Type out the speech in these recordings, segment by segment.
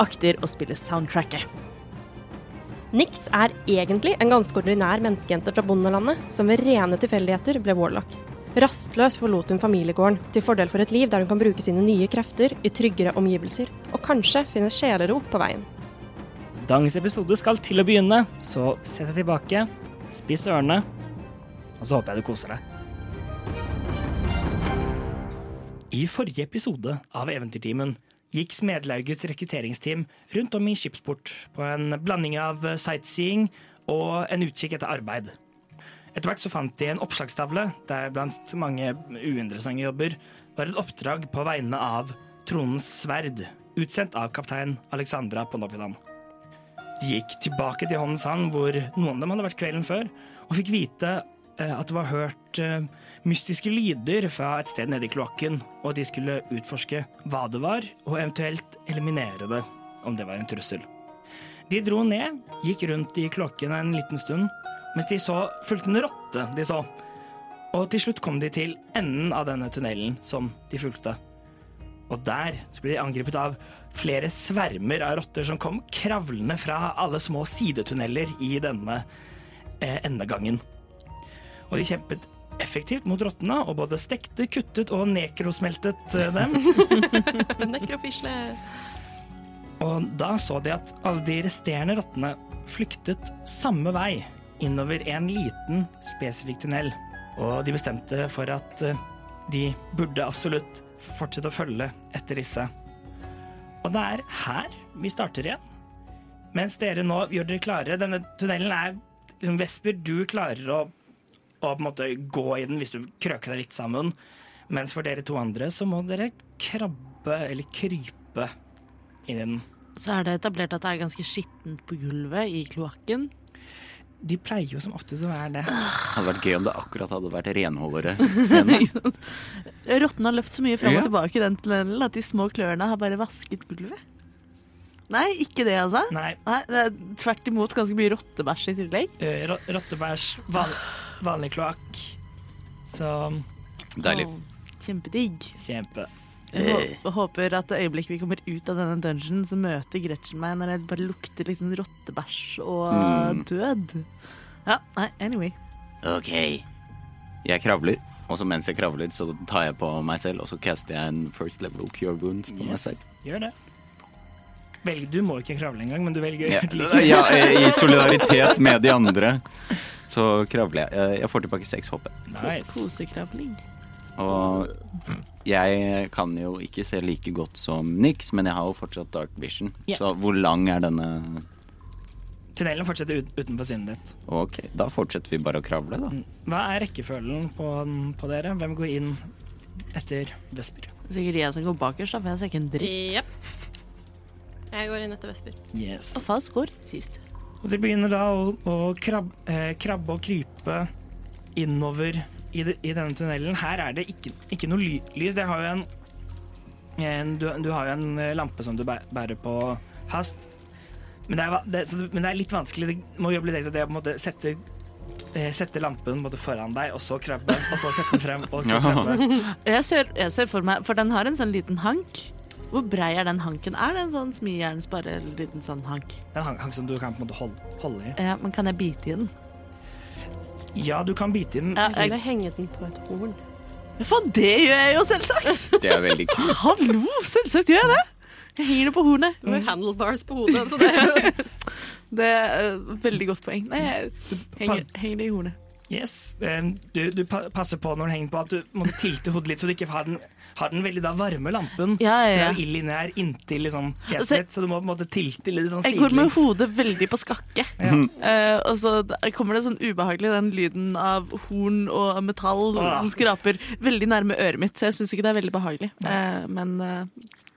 akter å spille soundtracket. Nix er egentlig en ganske ordinær menneskejente fra bondelandet, som ved rene tilfeldigheter ble warlock. Rastløs forlot hun familiegården, til fordel for et liv der hun kan bruke sine nye krefter i tryggere omgivelser, og kanskje finne sjelero på veien. Dagens episode skal til å begynne, så sett deg tilbake, spiss ørene, og så håper jeg du koser deg. I forrige episode av Eventyrtimen gikk Smedlaugets rekrutteringsteam rundt om i Skipsport på en blanding av sightseeing og en utkikk etter arbeid. Etter hvert så fant de en oppslagstavle der blant mange uinteressante jobber var et oppdrag på vegne av Tronens sverd, utsendt av kaptein Alexandra Ponovidan. De gikk tilbake til Håndens Havn, hvor noen av dem hadde vært kvelden før, og fikk vite eh, at det var hørt eh, mystiske lyder fra et sted nede i kloakken, og at de skulle utforske hva det var, og eventuelt eliminere det, om det var en trussel. De dro ned, gikk rundt i kloakken en liten stund, mens de så fulgte en rotte de så. Og til slutt kom de til enden av denne tunnelen som de fulgte. Og der så ble de angrepet av flere svermer av rotter som kom kravlende fra alle små sidetunneler i denne eh, endegangen. Og de kjempet effektivt mot rottene og både stekte, kuttet og nekrosmeltet eh, dem. Nekrofisle. Og da så de at alle de resterende rottene flyktet samme vei innover en liten, spesifikk tunnel. Og de bestemte for at eh, de burde absolutt fortsette å følge etter disse. Og det er her vi starter igjen. Mens dere nå gjør dere klare Denne tunnelen er liksom Vesper, du klarer å, å på en måte gå i den hvis du krøker deg litt sammen. Mens for dere to andre så må dere krabbe eller krype inn i den. Så er det etablert at det er ganske skittent på gulvet i kloakken. De pleier jo som oftest å være det. Hadde vært gøy om det akkurat hadde vært renholdere. Rottene har løpt så mye fram og Ja. tilbake i den tunnelen at de små klørne har bare vasket gulvet. Nei, ikke det, altså. Nei, Nei, det er Tvert imot ganske mye rottebæsj i tillegg. eh, ro- rottebæsj, van, vanlig kloakk. Så Deilig. Åh, Kjempedigg. kjempe. Jeg hå- håper at det øyeblikket vi kommer ut av denne dungeon, så møter Gretchen meg når det bare lukter liksom rottebæsj og Mm. død. Ja, nei, anyway. Ok. Jeg kravler, og så mens jeg kravler, så tar jeg på meg selv, og så caster jeg en first level cure wounds på meg Yes, selv. gjør det. Velg, du må ikke kravle engang, men du velger å Ja, gjøre det. ja, eh, I solidaritet med de andre så kravler jeg. Eh, Jeg får tilbake seks HP. Nice. Kosekravling. Og jeg kan jo ikke se like godt som Nix, men jeg har jo fortsatt dark vision. Ja. Så hvor lang er denne? Tunnelen fortsetter ut, utenfor synet ditt. Ok, da fortsetter vi bare å kravle, da. Hva er rekkefølgen på, på dere? Hvem går inn etter Vesper? Sikkert jeg som går bakerst, da, for jeg ser ikke en dritt. Jepp. Jeg går inn etter Vesper. Yes. Og Faust går sist. Og de begynner da å, å krab, eh, krabbe og krype innover i, de, i denne tunnelen. Her er det ikke, ikke noe ly, lys. Det har jo en, en du, du har jo en eh, lampe som du bæ- bærer på hast. Men det er, va- det, så, du- men det er litt vanskelig. Det må jobbe litt ekstra. Det er på en måte sette, eh, sette lampen på en måte foran deg, og så krabbe, og så sette den frem, og så Ja. krabbe. Jeg ser, jeg ser for meg, for den har en sånn liten hank. Hvor brei er den hanken? Er det en sånn smijerns bare en liten sånn hank? En hang, hang som du kan på en måte holde, holde i. Ja, men kan jeg bite i den? Ja, du kan bite i den. Ja, Eller jeg, henge den på et horn. faen, det gjør jeg jo selvsagt! Det er veldig kult. Hallo, selvsagt gjør jeg det! Jeg henger det på hornet. Du har handlebars på hodet, så det er jo Det er eh, veldig godt poeng. Nei, jeg henger, henger det i hornet. Yes. eh, Du, du pa- passer på når den henger på at du må tilte hodet litt, så du ikke har den, har den veldig da varme lampen. Ja, ja, ja. For det er jo ild inni her inntil liksom, Altså, fjeset ditt, så du må på en måte tilte litt sånn Jeg går med sidelengs. hodet veldig på skakke. Ja. Eh, og så da- kommer det sånn ubehagelig den lyden av horn og metall Ah. som skraper veldig nærme øret mitt, så jeg syns ikke det er veldig behagelig. Eh, men eh,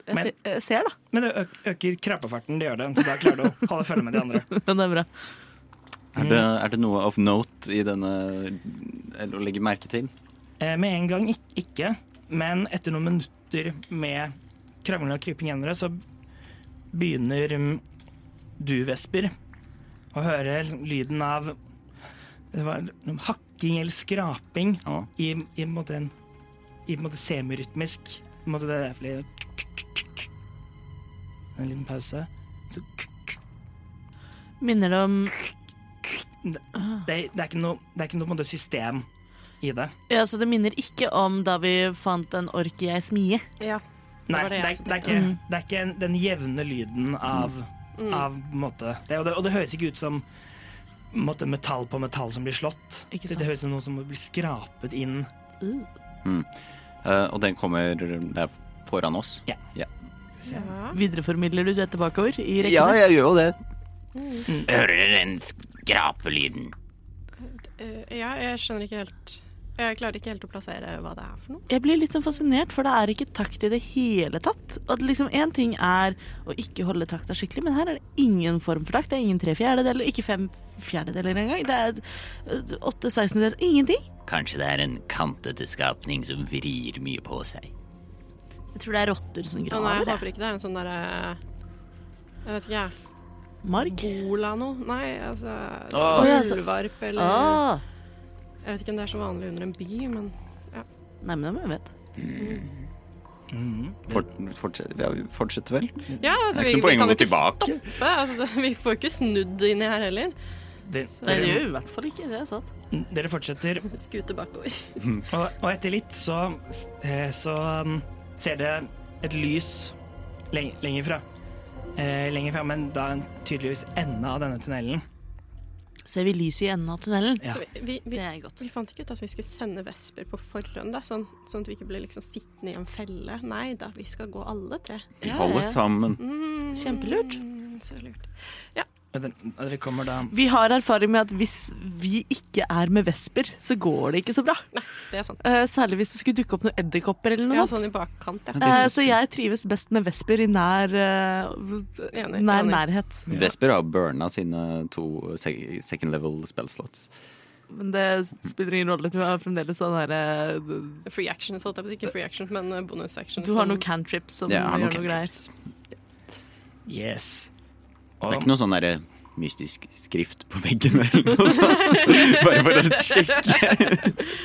jeg, Men- se, jeg ser, da. Men det øk øker krabbefarten, det gjør det. Så da klarer du å holde følge med de andre. Den er bra. Er det, er det noe of note i denne Eller å legge merke til? Eh, Med en gang ik ikke, men etter noen minutter med krangling og kryping gjennom det, så begynner mm, du, Vesper, å høre lyden av hva- hakking eller skraping Ja. i, i, på en måte en, i på en måte semirytmisk. På en måte det er fordi En liten pause. Så Minner det om det, det, er ikke noe, det er ikke noe på en måte system i det. Ja, så det minner ikke om da vi fant en ork i ei smie. Ja. Nei, var det, det jeg er, som det, er ikke, det er ikke en- den jevne lyden av, av på en måte det, og, det, og det høres ikke ut som på en måte, metall på metall som blir slått. Ikke Det, sant. høres ut som noe som blir skrapet inn. Eh, og den kommer der foran oss? Ja. ja. Videreformidler du det bakover i rekkene? Ja, jeg gjør jo det. Hører den skrapelyden. Eh, ja, jeg skjønner ikke helt Jeg klarer ikke helt å plassere hva det er for noe. Jeg blir litt sånn fascinert, for det er ikke takt i det hele tatt. Og at liksom Én ting er å ikke holde takta skikkelig, men her er det ingen form for takt. Det er ingen tre fjerdedeler, ikke fem fjerdedeler engang. Det er øh, åtte sekstendedeler, ingenting. Kanskje det er en kantete skapning som vrir mye på seg. Jeg tror det er rotter som Ja, nei, jeg graver. håper ikke det er en sånn derre Jeg vet ikke, jeg. jeg. Mark. Bola noe? Nei, altså Åh. Åh, ja, så- Ulvarp eller Ah. Jeg vet ikke om det er så vanlig under en by, men Nei, men det må jeg vite. Mm. Fort, fortsett, ja, vi fortsetter vel? Ja, altså, Det er vi, ikke noe vi poeng å kan jo gå ikke tilbake. stoppe. Altså, det, vi får jo ikke snudd inni her heller. Det, Nei, det dere, gjør i hvert fall ikke det. er sant. dere fortsetter, Skute bakover. og, og etter litt så, eh, så um, ser dere et lys leng- lenger fra. Eh, lenger fra, men da tydeligvis enden av denne tunnelen. Ser vi lyset i enden av tunnelen? Ja. Så vi, vi, vi, Det er godt. vi fant ikke ut at vi skulle sende vesper på forhånd, da, sånn, sånn at vi ikke ble liksom sittende i en felle. Nei da, vi skal gå alle tre. Vi Ja, holder ja. sammen. Mm, Kjempelurt. Så lurt. Og den- og Dere kommer da Vi har erfaring med at hvis vi ikke er med vesper, så går det ikke så bra. Nei, det er sant. Eh, Særlig hvis det skulle dukke opp noen edderkopper eller noe. Ja, sånt. sånn i bakkant, ja. Eh, så jeg trives best med vesper i nær, eh, Enig, nær enig. nærhet. Vesper har burna sine to se- second level spell slots. Men det spiller ingen rolle. Du har fremdeles sånn herre Du Free action, holdt jeg på å si. Ikke free action, men eh, bonus action. har som- noen cantrips som Ja, jeg har noen gjør noe greier. cantrips. Yes. Det Og- er ikke noe sånn derre mystisk skrift på veggen eller noe sånt. Bare for å sjekke.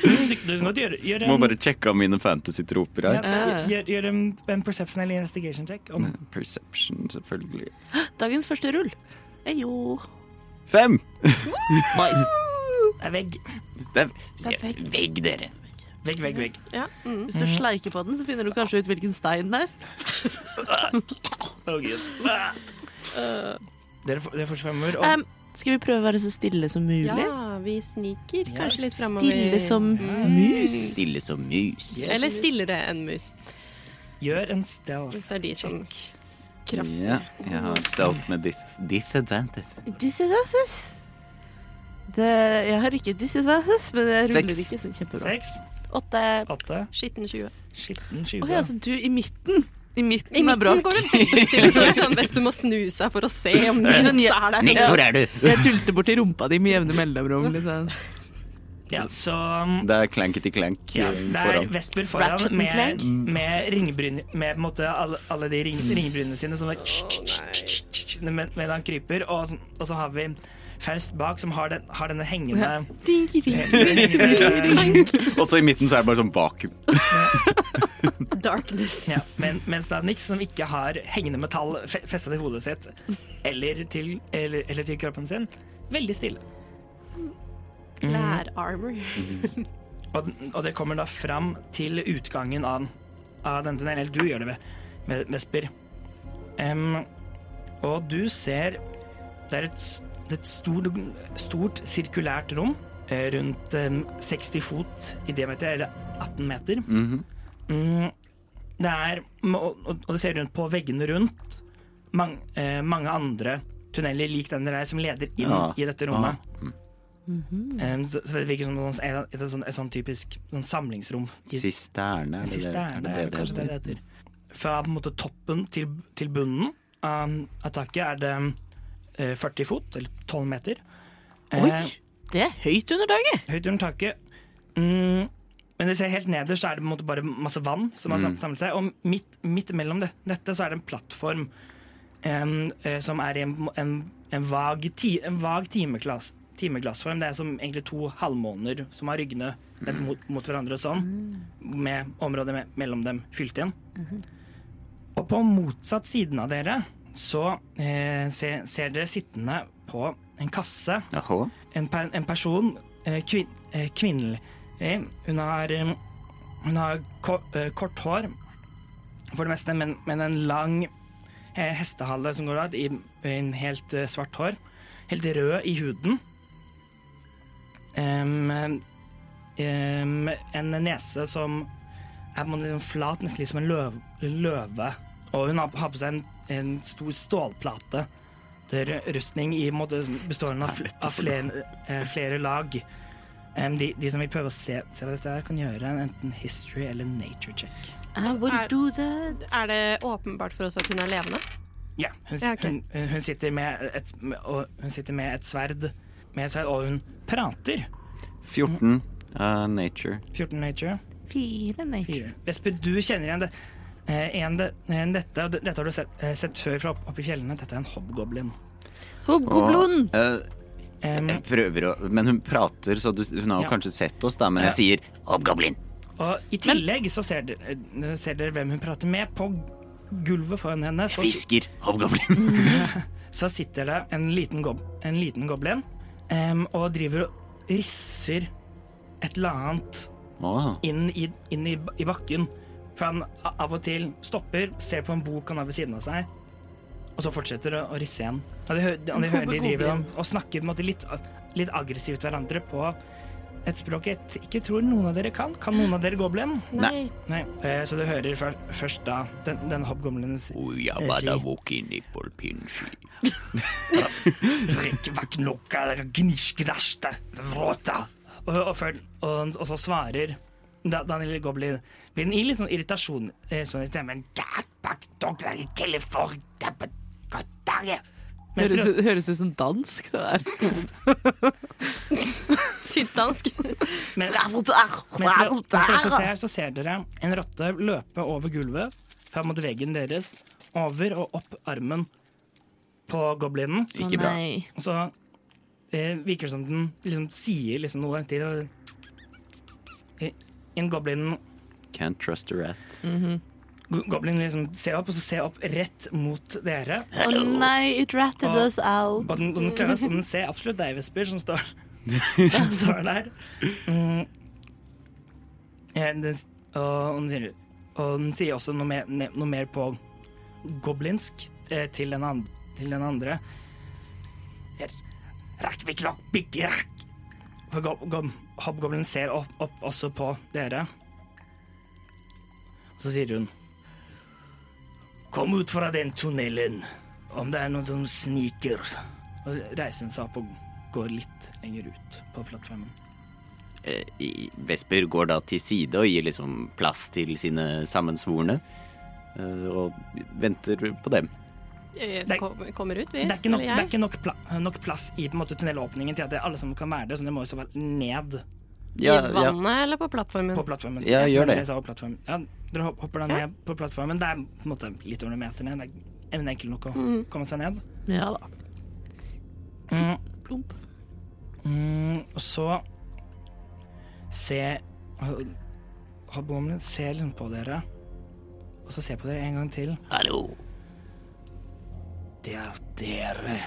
mm, Du, du kan godt gjøre, gjøre Må en- bare sjekke av mine fantasy-troper her. Ja, Ja. gjør, gjør en, en perception eller investigation check. Om, Perception, selvfølgelig. Dagens første rull. Ejo. Fem! Nice. det er vegg. Det er, Det er vegg. vegg, dere. Vegg, vegg, vegg. Ja, mm. Hvis du sleiker på den, så finner du kanskje ut hvilken stein det er. Å, Gud. Ah. Dere, får- dere får svømmer. Og, Em, skal vi prøve å være så stille som mulig? ja, vi sniker Ja. kanskje litt framover. Stille som mus. Stille som mus. Yes. Eller stillere enn mus, gjør en stealth. hvis det er de som krafser. Ja, jeg har stealth med dis disadvantage. Disadvantage. Det, jeg har ikke disadvantage, men jeg ruller Seks. ikke så kjempebra. Seks, Åtte. åtte, Skitten 20. skitten, Å 20. ja, så du i midten? I midten, I er midten bra. går det veldig stille, så det er sånn Vesper må snu seg for å se om det Sånn, ja. er der. Nix, hvor er du? Jeg tulter borti rumpa di med jevne mellomrom. Liksom. Ja, så um, Det er clankety clank ja, eh, det er foran. Vesper Ratchet foran and med, Clank. med ringbryn Med på en måte alle, alle de ring, ringbrynene sine som er med- Medan han kryper. Og, så- og så har vi Faust bak, som har, den, har denne hengende, Dinky, dinky. hengende Og så i midten så er det bare sånn vakuum. Darkness. Ja, men, mens det er Nix som ikke har hengende metall fe- festet til hodet sitt eller til, eller, eller til kroppen sin, veldig stille. Mm. Lærarmor. Og, den- og det kommer da fram til utgangen av, av denne tunnelen. Eller du gjør det, Ve- Ve- Vesper. Em, og du ser Det er et, s- det er et stort, stort sirkulært rom eh, rundt em, 60 fot i diameter, eller 18 meter. Mhm. Mm, det er Og, og- og du ser rundt på veggene rundt mang, eh, mange andre tunneler lik den der som leder inn Ja. Mm. i dette rommet. Em, så, så det virker som noe sånn- et, et, sånn- et sånn typisk sånn samlingsrom. i- Sisterne, er det det er Sisterne, det, er det, det kanskje det heter? det heter. Fra på en måte toppen til, til bunnen av av taket er det eh, 40 fot, eller 12 meter. Oi, Eh, det er høyt under dagen! høyt under taket. Mm, men det ser helt nederst så er det på en måte bare masse vann som har sam- samlet seg. Og midt, midt mellom det, dette så er det en plattform em, eh, som er i en, en, en vag, ti, en vag timeglass, timeglassform. Det er som egentlig to halvmåner som har ryggene vendt mot, mot hverandre sånn, med området me mellom dem fylt igjen. Og på motsatt siden av dere så eh, se, ser dere sittende på en kasse Jaha. en, per, en person, eh, kvin, eh, kvinnelig eh, Hun har, eh, hun har ko, eh, kort hår, for det meste, men, men en lang eh, hestehale som går av, i, i en helt eh, svart hår. Helt rød i huden. Em, em, en nese som er på en måte litt sånn flat, nesten litt som en løv, løve. Og hun har, har på seg en, en stor stålplate. Det er rustning i en måte bestående av, fl- av flere, eh, flere lag. Em, de, de som vil prøve å se, se hva dette er, kan gjøre en enten history eller nature check. I will Er- Ah, do that. Er det åpenbart for oss at hun er levende? Ja, hun, s- Ja, ok. hun, hun, sitter med et, med- og hun sitter med et sverd, med et sverd, og hun prater. 14. eh, nature. 14 nature. Fire nature. Fire. Vesper, du kjenner igjen det. Eh, igjen det, igjen dette, og det- dette har du sett, eh, sett før fra opp- oppe i fjellene. Dette er en hobgoblin. Hobgoblon! Og, eh, Em, jeg prøver å Men hun prater, så du, hun har jo Ja. kanskje sett oss, da. Men jeg sier hobgoblin. og i tillegg så ser dere, eh, ser dere hvem hun prater med. På gulvet foran henne så, Hvisker hobgoblin. så sitter det en liten, gob, en liten goblin em, og driver og risser et eller annet Å, inn i, inn i, i bakken. For han a- av og til stopper, ser på en bok han har ved siden av seg, og så fortsetter det å risse igjen. Og de, hø- og de hører de driver og, og snakker på en måte litt, litt aggressivt hverandre på et språk jeg t- ikke tror noen av dere kan. Kan noen av dere goblin? Nei. Nei. Eh, Så du hører før- først da den, den hoppgomlen si Drikk vaknoka, gniskdaste, vråta. Og, og, før- og, og så svarer da, Daniel Goblin blir den i litt sånn irritasjon eh, sånn i stemmen. «Gakbak dogler i California, på goddagen». Men Høres, etter å- ut- høres ut som dansk, det der. Sittdansk. men- men etter å- etter å også ser, så ser dere en rotte løpe over gulvet, fram mot veggen deres, over og opp armen på goblinen. ikke bra. Nei. Og så eh, virker det som den liksom sier liksom noe til eh, En goblin Can't trust a rat. go- Goblin liksom ser opp, og så ser opp rett mot dere. Å nei, it ratted Og- us out. Og den, og den klarer å den ser absolutt deg, Vesper, som står, som står der. Mm. Eh, Den, s- og, den sier, og den sier også noe mer, ne- noe mer på goblinsk eh, til den, an, til den andre. Rakkviklokk, biggerakk. For go, go, hobgoblin ser opp, opp også på dere. Og så sier hun Kom ut fra den tunnelen. Om det er noen som sniker. Og reiser hun seg opp og går litt lenger ut på plattformen. Eh, i- Vesper går da til side og gir liksom plass til sine sammensvorne. eh, Og venter på dem. Eh, Det- Kom- Kommer ut, vi. Det er ikke nok, det eller er jeg. ikke nok, pla nok plass i på en måte, tunnelåpningen til at det er alle som kan være der, så det må jo så være ned Ja, I ja. vannet eller på plattformen? på plattformen. Ja, gjør det. Jeg sa jo plattform. Ja, dere hop- hopper da ned på plattformen. Det er på en måte litt over en meter ned. Det er enkelt nok å Mm. komme seg ned. Ja da. Mm. Plump. Mm, og så se Hobbommen ser liksom på dere, og så ser på dere en gang til. Hallo. Det er dere.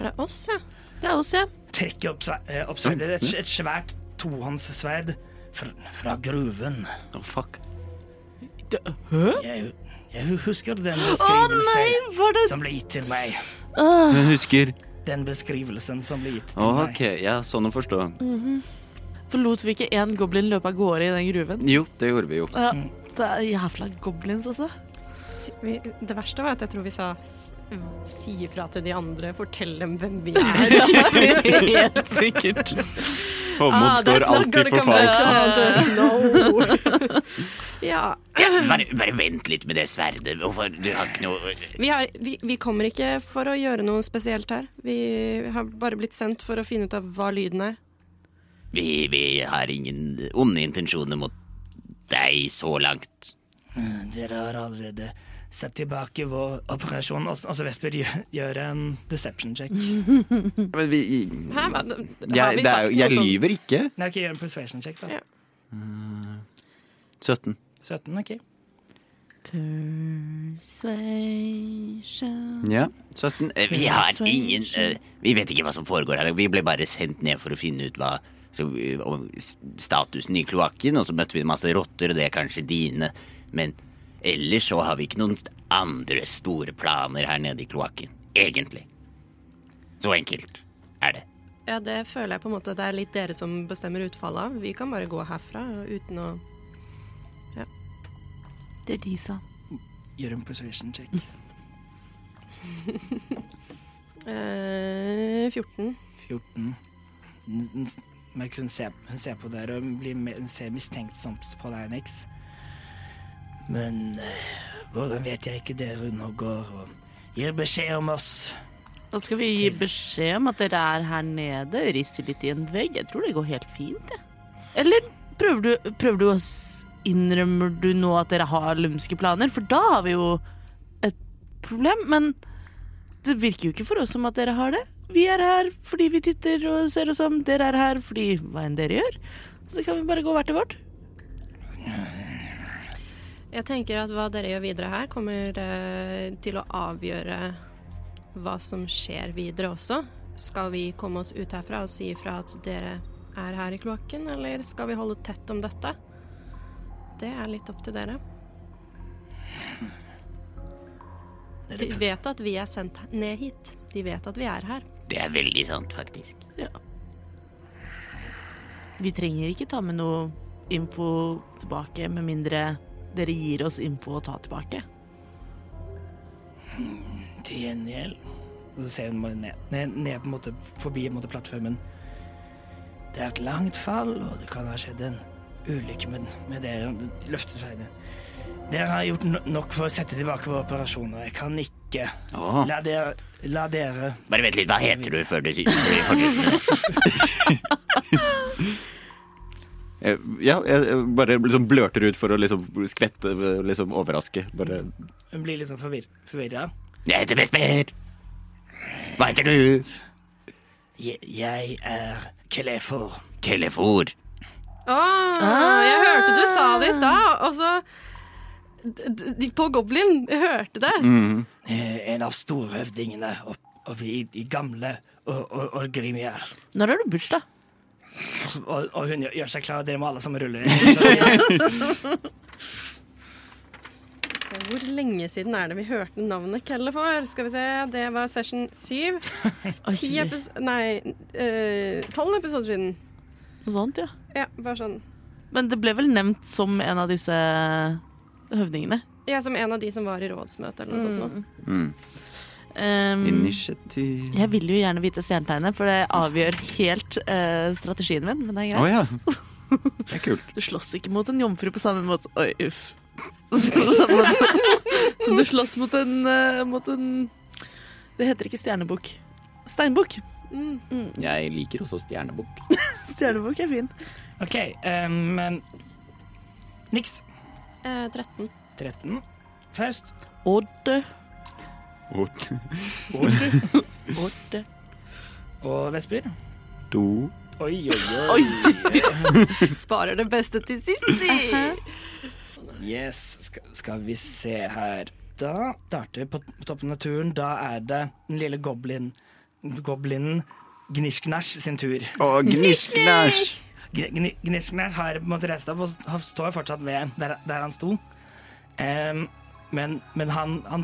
Er det oss, ja? Det er oss, ja. Trekker opp, sve- eh, opp sverdet. Det er Et, et svært tohåndssverd fra, fra gruven. Å, fuck. Hæ? Jeg, Jeg husker den Å beskrivelsen nei, var det som ble gitt til meg. Ah. Hun husker. Den beskrivelsen som ble gitt til Å, meg. ok, ja, sånn å forstå. Mm. Forlot vi ikke én goblin løpe av gårde i den gruven? Jo, det gjorde vi jo. Ja, det er jævla goblins, altså. Si- vi- Det verste var at jeg tror vi sa s- si ifra til de andre, fortell dem hvem vi er. Helt sikkert. Håmod Ah, står alltid for fall. Eh. ja. Bare, bare vent litt med det sverdet. Hvorfor? Du har ikke noe Vi, har, vi, vi kommer ikke for å gjøre noe spesielt her. Vi har bare blitt sendt for å finne ut av hva lyden er. Vi, vi har ingen onde intensjoner mot deg så langt. Mm, Dere har allerede sett tilbake vår operasjon. Altså, altså Vesper, gjø- gjør en deception check. Men vi Hæ? Hva- jeg, Mm. har vi det er, sagt jo- noe sånn? jeg som- lyver ikke. Nei, ok, gjør en persuasion check, da. Ja. 17. 17, ok. Persuasion Ja, 17. Eh, Vi har ingen eh, Vi vet ikke hva som foregår her. Vi ble bare sendt ned for å finne ut hva så, eh, om s- statusen i kloakken, og så møtte vi masse rotter, og det er kanskje dine. Men ellers så har vi ikke noen andre store planer her nede i kloakken. Egentlig. Så enkelt er det. Ja, det føler jeg på en måte at det er litt dere som bestemmer utfallet av. Vi kan bare gå herfra uten å Det de sa. Gjør en persuasion check. eh, 14. 14. N- n- Men hun ser, hun ser på dere og blir me- hun ser mistenksomt på deg, Nix. Men eh, hvordan vet jeg ikke dere undergår og gir beskjed om oss? Da skal vi gi beskjed om at dere er her nede, risser litt i en vegg. Jeg tror det går helt fint, jeg. Eller prøver du, prøver du å s- Innrømmer du nå at dere har lumske planer? For da har vi jo et problem. Men det virker jo ikke for oss som at dere har det. Vi er her fordi vi titter og ser oss om. Dere er her fordi hva enn dere gjør. Så det kan vi bare gå hvert til vårt. Jeg tenker at hva dere gjør videre her, kommer eh, til å avgjøre hva som skjer videre også. Skal vi komme oss ut herfra og si ifra at dere er her i kloakken, eller skal vi holde tett om dette? Det er litt opp til dere. De Dere, vet at vi er sendt ned hit. De vet at vi er her. Det er veldig sant, faktisk. Vi trenger ikke ta med noe info tilbake, med mindre dere gir oss info å ta tilbake. til gjengjeld Og så ser hun bare ned, ned, ned på en måte, forbi på en måte, plattformen. Det er et langt fall, og det kan ha skjedd en ulykke med, med dere. Løftet veien. Dere har gjort no nok for å sette tilbake våre operasjoner. Jeg kan ikke Åh. la dere, la dere Bare vent litt, hva heter du før du sier før du fortsetter? Eh, Ja, jeg jeg bare liksom blørter ut for å liksom skvette, liksom overraske. Bare Hun blir liksom forvir forvirra. Jeg heter Vesper. Hva heter du? Jeg, jeg er Kelefor. Telefor. Å, Ah! jeg hørte du sa det i stad, og så d- d- de På Goblin. Jeg hørte det. eh, En av storhøvdingene opp, oppe i, i gamle og, og, og Grimier. Når har du bursdag? Og, og hun gjør, gjør seg klar, og dere må alle sammen rulle. Så, Så hvor lenge siden er det vi hørte navnet Kelle for? Skal vi se, det var session syv. Ti epis... Nei, eh, tolv episoder siden. Noe sånt, ja. Ja, bare sånn. Men det ble vel nevnt som en av disse høvdingene. Sånn. Jeg er som en av de som var i rådsmøtet eller noe Mm. sånt. nå. Um, Mm. Initiativ jeg vil jo gjerne vite stjernetegnet, for det avgjør helt eh, strategien min. Men det er Å greit. ja. Det er kult. Du slåss ikke mot en jomfru på samme måte Oi, uff. På samme måte. Som du slåss mot en, eh, mot en Det heter ikke stjernebukk. Steinbukk. Mm. Jeg liker også stjernebukk. Stjernebukk er fin. OK. Um, Niks. Eh, 13. 13. Faust. Odde. Odde. Og Vesper. To. Oi, oi, oi. Sparer det beste til sist, si! Yes, skal, skal vi se her. Da starter vi på på toppen av turen. Da er det den lille goblin, goblinen Gnishknash sin tur. Og gnisknæsj! Gni- Gniskner har på en måte reist seg opp og har- står fortsatt ved der, der han sto. Ehm, Men, men han, han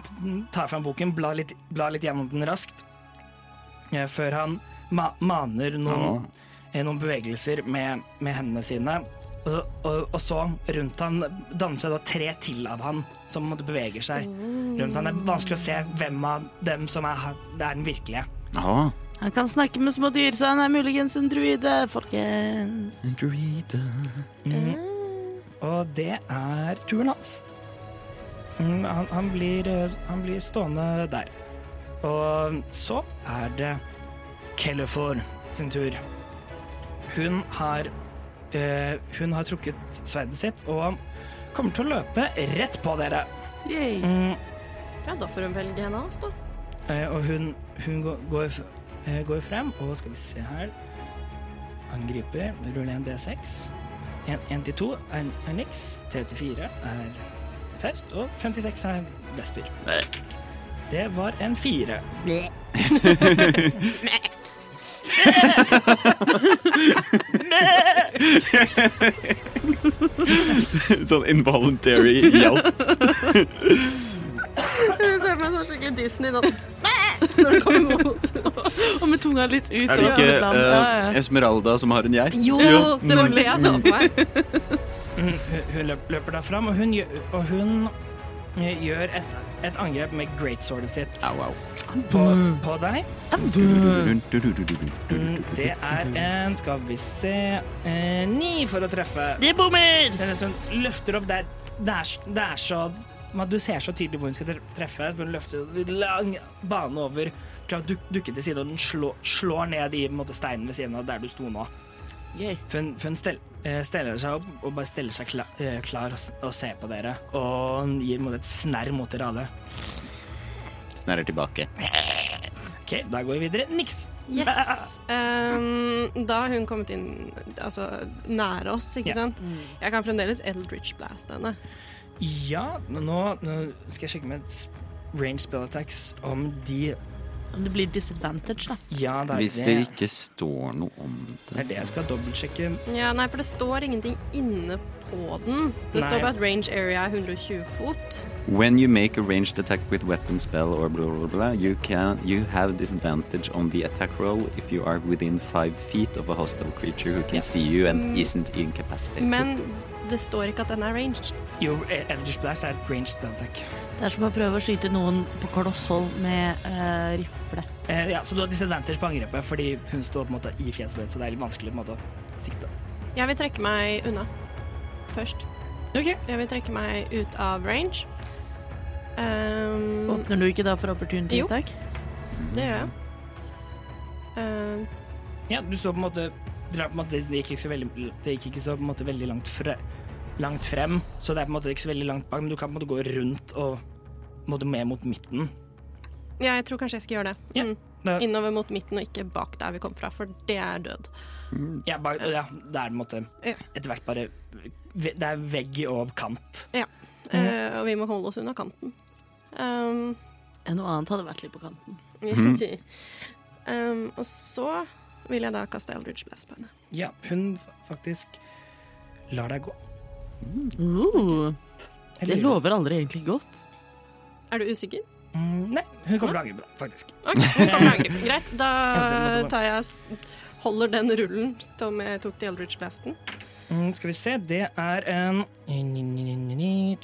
tar fram boken, blar litt, blar litt gjennom den raskt, eh, før han ma maner noen, eh, noen bevegelser med, med hendene sine. Og så, og, og så rundt han danner seg da tre til av han som måtte bevege seg rundt han. Det er vanskelig å se hvem av dem som er, han- det er den virkelige. Jaha. Han kan snakke med små dyr, så han er muligens en druide, folkens. Og det er turen hans. Mm, Han, han, blir, eh, han blir stående der. Og så er det Kellefor sin tur. Hun har eh, Hun har trukket sverdet sitt og kommer til å løpe rett på dere. Yay. Mm, Ja, da får hun velge en av oss, da. Eh, og hun, hun går, går, f- eh, går frem, og skal vi se her Angriper, ruller en D6. 1 til 2 er, er niks. 3 til 4 er Faust. Og 56 er Vesper. Det var en fire. Sånn involuntary hjelp. Hun ser meg som skikkelig Disney da. Når det kommer mot. Og med tunga litt ut. Er det og som et ikke lam. Ja, eh, ja. Mm. Esmeralda som har en geit? Jo, det altså. var det jeg så for meg. Mm, hun hun løp, løper da frem, og hun, gjør- og hun eh, gjør et, et angrep med greatswordet sitt Au, au. på, på deg. Mm, Det er en, skal vi se, eh, ni for å treffe. Det bommer! Men hvis hun løfter opp der Det er, s- det er så man- Du ser så tydelig hvor hun skal tre- treffe. for Hun løfter en lang bane over, klarer å duk- dukke til side, og den slår, slår ned i på en måte, steinen ved siden av der du sto nå. Yay. For hun, for hun stel, eh, steller seg opp og bare steller seg kla, eh, klar og, s- og ser på dere. Og hun gir mot et snerr mot dere alle. Snerrer tilbake. OK, da går vi videre. Niks. Yes. Ehm, da har hun kommet inn altså, nære oss, ikke Ja. Mm. sant? Jeg kan fremdeles Eldritch Blast henne. Ja, nå, nå skal jeg sjekke med s- range spell attacks om de Om det blir disadvantage, da. Ja, det er Hvis det det. ikke står noe om Det er det det jeg skal dobbeltsjekke. Ja, nei, for det står ingenting inne på den. Det Nei. står bare at range area er 120 fot. When you make a ranged attack with weapon spell or blah blah blah, you can you have disadvantage on the attack roll if you are within five feet of a hostile creature who can see you and isn't incapacitated. Men det står ikke at den er ranged. Jo, Elders Blast er et range spell attack. Det er som å prøve å skyte noen på koloss hold med eh, rifle. Eh, ja, så du har disadvantage på angrepet fordi hun står på en måte i fjeset ditt, så det er litt vanskelig på en måte å sikte. Jeg vil trekke meg unna først. Ok. Jeg vil trekke meg ut av range. Ehm, Åpner du ikke da for opportunity Jo. attack? det gjør jeg. Ehm, Ja, du står på en måte, dere er på en måte Det gikk ikke så veldig, det gikk ikke så på en måte veldig langt, fre, langt frem, så det er på en måte ikke så veldig langt bak, men du kan på en måte gå rundt og på en måte mer mot midten. ja, jeg tror kanskje jeg skal gjøre det. Ja. Mm. Da- Innover mot midten og ikke bak der vi kom fra, for det er død. Mm. ja, bak, ja, det er på en måte Ja. etter hvert bare ve- Det er vegg og kant. Eh, og vi må holde oss unna kanten. Ehm, Eh, Noe annet hadde vært litt på kanten. ehm, og så vil jeg da kaste Eldridge Blast på henne. Ja, hun faktisk lar deg gå. Uh, Eller- det lover aldri egentlig godt. Er du usikker? Mm, nei, hun kommer til å angre på deg, faktisk. Ok, hun kommer til å angripe. Greit, Eventuelt da måtte tar jeg s- holder den rullen som jeg tok til Eldridge Blasten. Mm, skal vi se, det er en 18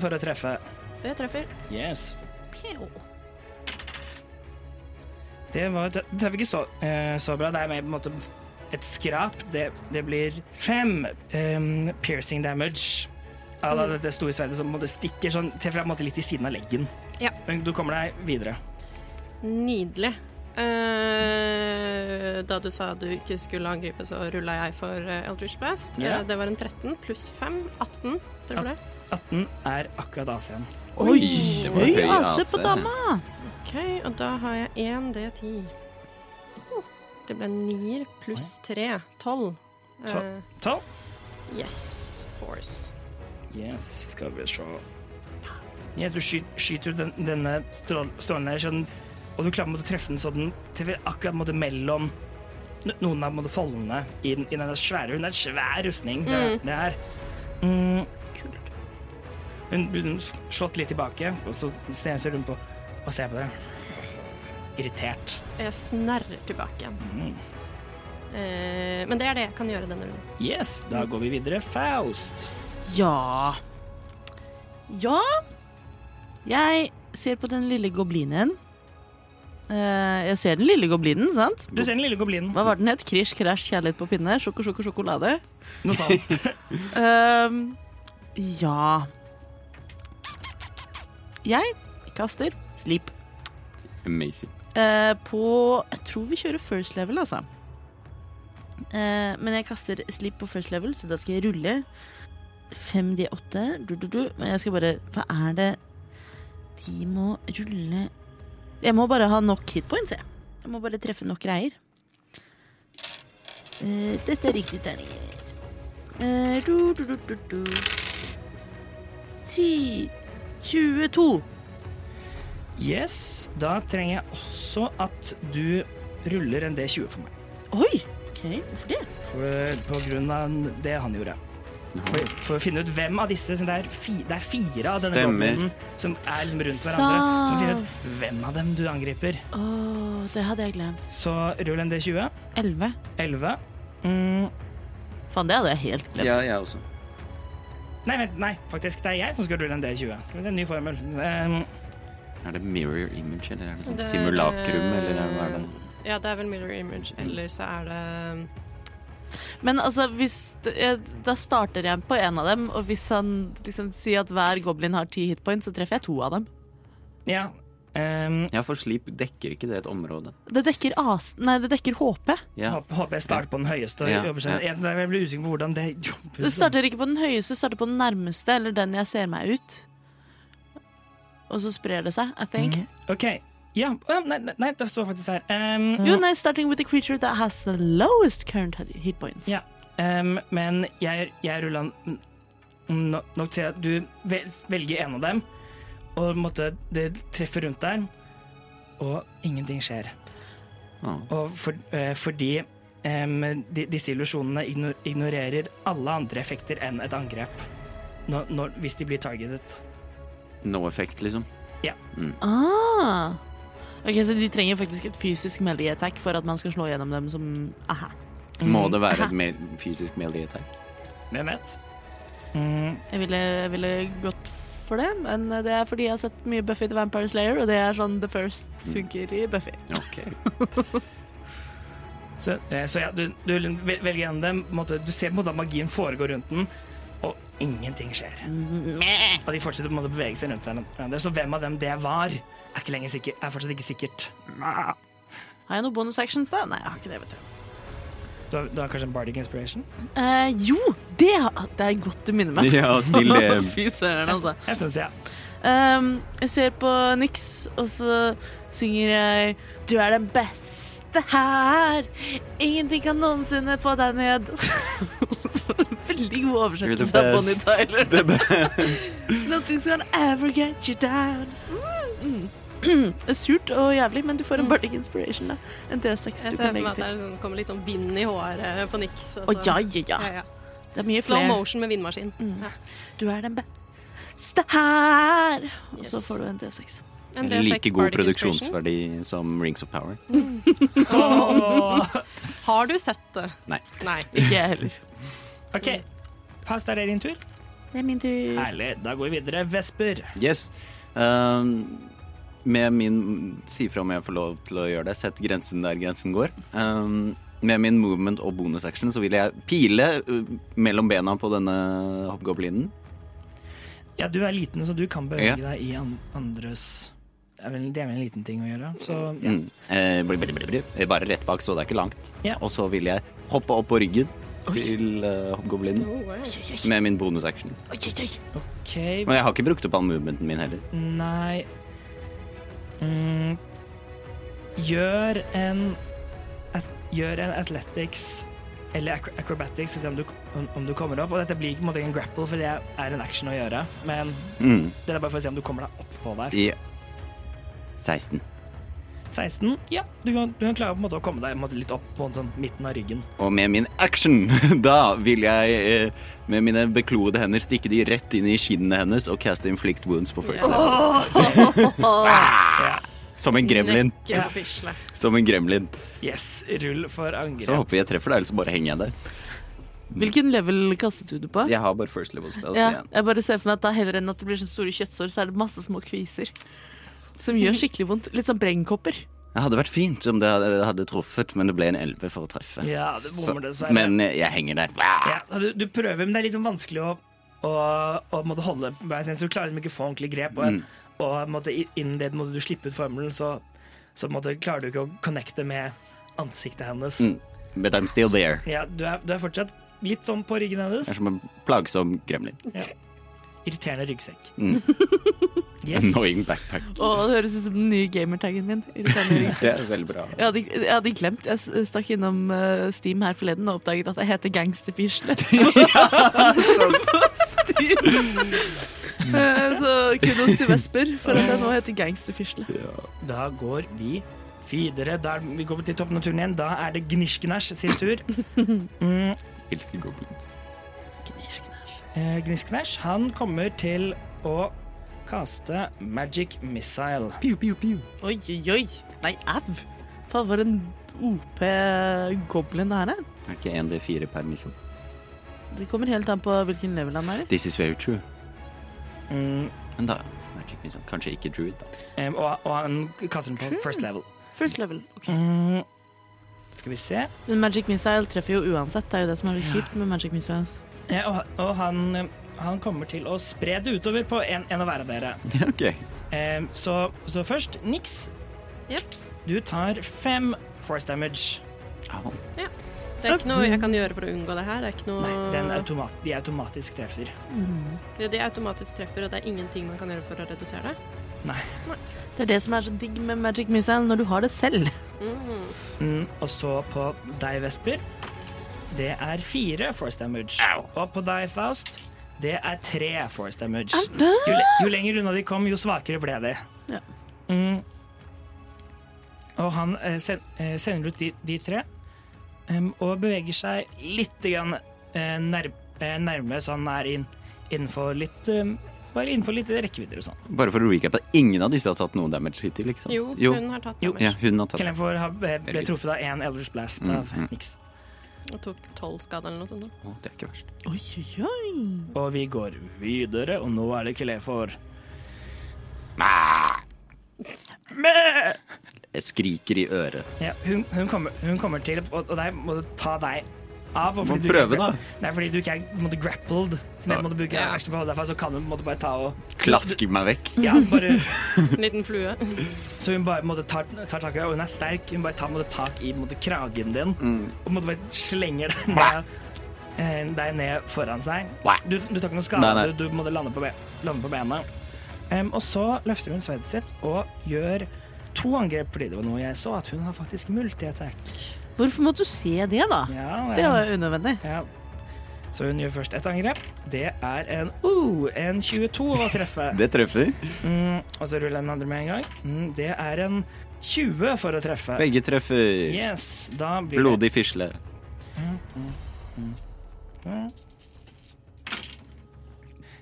for å treffe. Det treffer. Yes. Det var Det treffer ikke så, eh, så bra. Det er mer på en måte et skrap. Det, det blir fem em, piercing damage. À la dette store sverdet som på en måte stikker sånn, treffer deg på en måte litt i siden av leggen. Ja. Men du kommer deg videre. Nydelig. Eh, da du sa du ikke skulle angripe, så rulla jeg for eh, Eldridge Blast. Ja. Eh, det var en 13 pluss 5. 18, tror du det? 18 er akkurat AC-en. Oi! Det var Høy høy AC AC. på dama! OK, og da har jeg 1 D10. Oh, Det ble 9 pluss 3. 12. Tolv. 12. yes. Force. Yes, skal vi se. Yes, du skyter, skyter ut den, denne strål- strålen her, så den- og du klarer på en måte å treffe den så den treffer akkurat på en måte mellom n- noen av på en måte foldene i, den- i denne svære Hun er en svær rustning, det, det her. Mm. Hun hun s- slått litt tilbake, og så sneser hun på og ser på det. Irritert. Jeg snerrer tilbake igjen. Eh, men det er det jeg kan gjøre denne runden. Yes, da går vi videre. Faust. Ja Ja Jeg ser på den lille goblinen. Eh, jeg ser den lille goblinen, sant? Du ser den lille goblinen. Hva var den het? Krish, krasj, kjærlighet på pinne. Sjoko, sjoko, sjokolade. Noe sånt. Ehm, ja Jeg kaster sleep Amazing. eh, på Jeg tror vi kjører first level, altså. Eh, men jeg kaster sleep på first level, så da skal jeg rulle 5D8. Du, du, du. Men jeg skal bare Hva er det De må rulle Jeg må bare ha nok hitpoints, jeg. Jeg må bare treffe nok greier. Eh, dette er riktige terninger. Eh, du, du, du, du, du. 10 22. Yes, da trenger jeg også at du ruller en D20 for meg. Oi! OK, hvorfor det? For, på grunn av det han gjorde. For, for å finne ut hvem av disse siden det, er fi, det er fire av denne Stemmer. goblinen som er liksom rundt hverandre. Så finne ut hvem av dem du angriper. Åh, det hadde jeg glemt. Så rull en D20. 11. 11. Mm. Faen, det hadde jeg helt glemt. Ja, jeg også. Nei, vent, nei, faktisk. Det er jeg som skal rulle en D20. Så Det er en ny formel. Um, Er det mirror image, eller er det sånn Det er, simulakrum, eh, eller er det- hva er det? Ja, det er vel mirror image, eller så er um, det Men altså, hvis det- jeg- da starter jeg på en av dem, og hvis han liksom sier at hver goblin har ti hitpoints, så treffer jeg to av dem. ja. Um, Ja, for sleep dekker ikke det et område. Det dekker, AS nei, det dekker HP. Ja. håper, håper jeg starter på den høyeste. og Ja, jobber seg. ja. Jeg, jeg blir usikker på hvordan det Det starter ikke på den høyeste, det starter på den nærmeste, eller den jeg ser meg ut. Og så sprer det seg, I think. OK. Ja, å, nei, nei, nei, det står faktisk her. Um, Jo, nei, starting with a creature that has the lowest current hit points. Ja. Ehm, men jeg, jeg rulla n- no- nok til at du vel- velger en av dem, og måtte, det treffer rundt der, og ingenting skjer. Ah. Og for, eh, fordi em, de, disse illusjonene igno- ignorerer alle andre effekter enn et angrep når, når, hvis de blir targetet. No effect, liksom. Ah. Ok, Så de trenger faktisk et fysisk melee attack for at man skal slå gjennom dem som Aha. Mm. Må det være et mer fysisk melee attack? Hvem vet? Mm, Jeg ville, jeg ville gått for det, men det er fordi jeg har sett mye Buffy the Vampire Slayer, og det er sånn The First funker i Buffy. Ok. så, eh, så ja, du, du vel- velger en av dem, på en måte, du ser på en måte at magien foregår rundt den, og ingenting skjer. Og de fortsetter på en måte å bevege seg rundt hverandre. Så hvem av dem det var, er, ikke lenger sikker, er fortsatt ikke sikkert. Har jeg noen bonus actions, da? Nei, jeg har ikke det, vet du. Du har, du har kanskje en bardic inspiration? Eh, jo, det, har- det er godt du minner meg. Ja, snill DM. Fy søren, altså. Jeg synes jeg. Um, jeg ser på Nix, og så synger jeg Du er den beste her, ingenting kan noensinne få deg ned. så Veldig god oversettelse av Bonnie Tyler. The best. Nothing's gonna ever get you down. Mm. Det er surt og jævlig, men du får en bardic inspiration. da En D6 Jeg du ser kan for meg legge at det til. er sånn, kommer litt sånn vind i eh, håret på Nix. og Å så- ja, ja, sånn ja. Ja, ja. Det er mye Slow flere. Mm. motion med vindmaskin. Ja. Du er den beste her! Og så Yes. får du en D6. En D6 Like god bardic inspiration. produksjonsverdi som Rings of Power. Har du sett det? Nei. Nei. Ikke jeg heller. OK. Fast, er det din tur? Det er min tur. Herlig. Da går vi videre. Vesper. Yes. Um, med min Si fra om jeg får lov til å gjøre det. Sett grensen der grensen går. Um, med min movement og bonus action så vil jeg pile uh, mellom bena på denne hoppgoblinen. Ja, du er liten, så du kan Ja. bevege deg i an andres det er, vel, det er vel en liten ting å gjøre. Så ja. Mm. Eh, bli, bli, bli, bli. Bare rett bak, så det er ikke langt. Ja. Og så vil jeg hoppe opp på ryggen til eh, hoppgoblinen med min bonus action. Oi, oi, oi. OK. Men jeg har ikke brukt opp all movementen min heller. Nei mm. Gjør en at, Gjør en athletics eller acro- acrobatics, for å se om du, om, om du kommer opp. Og dette blir ikke på en måte en grapple, for det er en action å gjøre. Men Mm. Det er bare for å se om du kommer deg oppå der. I 16. 16. Ja, du kan, du kan klare på en måte å komme deg på en måte, litt opp på sånn, midten av ryggen. Og med min action, da vil jeg eh, med mine bekloede hender stikke de rett inn i kinnene hennes og caste inflict wounds på first level. Som en gremlin. Ikke på fisle. Som en gremlin. Yes, rull for Så angrep. håper vi jeg treffer deg, eller så bare henger jeg der. Hvilken level kastet du det på? Jeg har bare first level spells Ja, igjen. jeg bare ser for meg at da heller enn at det blir så store kjøttsår, så er det masse små kviser. Som gjør skikkelig vondt. Litt sånn brennkopper. Det hadde vært fint om det hadde, hadde truffet, men det ble en 11 for å treffe. Ja, det bommer dessverre. men eh, jeg henger der. Ja, så du, du prøver, men det er litt sånn vanskelig å, å, å måtte holde på hver sin, så du klarer liksom ikke å få ordentlig grep. Og, Mm. og måtte, innen det måtte du slippe ut formelen, så, så måtte, klarer du ikke å connecte med ansiktet hennes. Mm. But I'm still there. Ja, du er, du er fortsatt litt sånn på ryggen hennes. Jeg er som en plagsom gremlin. Irriterende ryggsekk. Mm. Yes. Annoying backpack. Og det høres ut som den nye gamertaggen min. Irriterende rygg. Det er veldig bra. Jeg hadde, jeg hadde glemt. Jeg s- stakk innom eh, Steam her forleden og oppdaget at jeg heter Gangsterfisle. På Steam. Eh, Så kudos til Vesper for at jeg nå heter Gangsterfisle. Mm. Da går vi videre. Da er, vi går til toppen av turen igjen. Da er det Gnishknæsj sin tur. Mm, Elsker goblins. eh, Gnishknæsj, han kommer til å kaste magic missile. Oi, oi, oi. Nei, au. Faen, for en OP goblin det her er. Er ikke 1D4 per misjon. Det kommer helt an på hvilken level han er i. This is very true. Mm, Men da Magic Missile. Kanskje ikke Druid, da. Em, og, og han kaster den på first level. First level. ok. Mm. Skal vi se. Men Magic Missile treffer jo uansett. Det er jo det som er litt kjipt med Magic Missiles. Ja, og og han, em, han kommer til å spre det utover på en, en av hver av dere. OK. Em, så, så først Nix. Jep. Du tar fem force damage. Au. Det er ikke noe jeg kan gjøre for å unngå det her. Det er ikke noe... Nei, den automat, de automatisk treffer. Mm. Det er det automatisk treffer, og det er ingenting man kan gjøre for å redusere det. Det er det som er så digg med Magic Missile, når du har det selv. Mm, og så på deg, Vesper. Det er fire force damage. Og på deg, Faust, det er tre force damage. Jo, le jo lenger unna de kom, jo svakere ble de. Ja. Mm. Og han eh, sen eh, sender ut de, de tre em, og beveger seg litt grann, eh, nær eh, nærme, så han er inn innenfor litt em, bare innenfor litt rekkevidder og sånn. Bare for å recappe. Ingen av disse har tatt noe damage hittil, liksom? Jo, hun har tatt Jo. damage Ja, hun har tatt Kellen får ha, ble, ble truffet av én Elders Blast Mm, av mm. Nix. og tok tolv skader eller noe sånt. da. Å, det er ikke verst. Oi, oi, oi. Og vi går videre, og nå er det Kelefor. Jeg skriker i øret. Ja, hun, hun, kommer, hun kommer til Og, og der må du ta deg av. og Må du ikke prøve, er gra- da. Nei, fordi du ikke er på en måte, grappled, så jeg Ja. måtte bruke action for å holde deg fast, så kan hun på en måte, bare ta og Klasker meg vekk. ja, bare, En liten flue. Så hun bare på en måte, tar, tar tak i deg, og hun er sterk. Hun bare tar på en måte, tak i på en måte, kragen din Mm. og på en måte, bare slenger deg ned, eh, deg ned foran seg. Blæ. Du, du tar ikke noe skade, Nei, nei. du, du måtte lande på, be lande på bena. Em, og så løfter hun sverdet sitt og gjør to angrep, fordi det var noe jeg så, at hun har faktisk multi-attack. Hvorfor måtte du se det, da? Ja, Det ja. var jo unødvendig. Ja. Så hun gjør først et angrep. Det er en uh, en 22 å treffe. Det treffer. Mm, og så ruller jeg den andre med en gang. Mm, det er en 20 for å treffe. Begge treffer. Yes, da blir det Blodig fisle. Mm.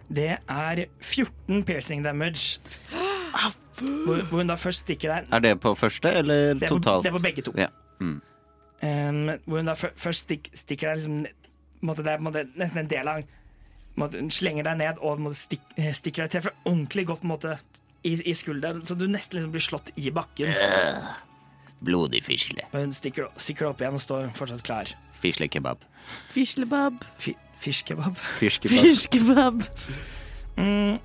Det er 14 piercing damage. Hvor, hvor hun da først stikker deg Er det på første eller Det er på, totalt? det er på begge to. Ja. Mm. Um, hvor hun da fø- først stikk, stikker deg liksom, måtte det er på en måte nesten en del av måtte, Hun slenger deg ned og måtte stikk, eh, stikker deg til fra ordentlig godt på en måte, i, i skulderen, så du nesten liksom blir slått i bakken. Blodig fisle. Men hun stikker, stikker opp igjen og står fortsatt klar. Fislekebab. Fislebab. Fi- Fiskebab. Fiskebab. Fiskebab. Mm,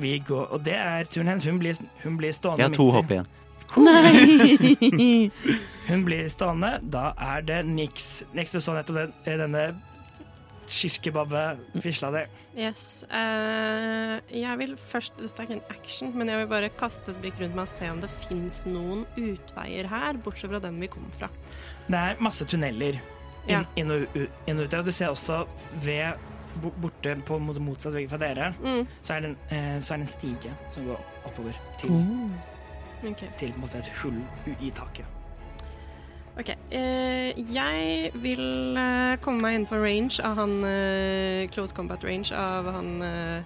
vi går, og det er turen hennes. Hun blir, hun blir stående. Jeg har to midt i- hopp igjen. Nei! Hun blir stående. Da er det niks. Niks, du så nettopp den, eh, denne Mm. kirskebabbe-fisla di. Yes. eh, jeg vil først Dette er ikke en action, men jeg vil bare kaste et blikk rundt meg og se om det fins noen utveier her, bortsett fra den vi kom fra. Det er masse tunneler inn, Ja. inn, og, u- inn og ut. der, Og du ser også ved bo- Borte på mot- motsatt vegg fra dere, Mm. Mm. så er, det en, eh, så er det en stige som går oppover til Ok. til på en måte, et hull u- i taket. Ok, eh, jeg vil eh, komme meg innenfor range av han eh, Close combat range av han eh,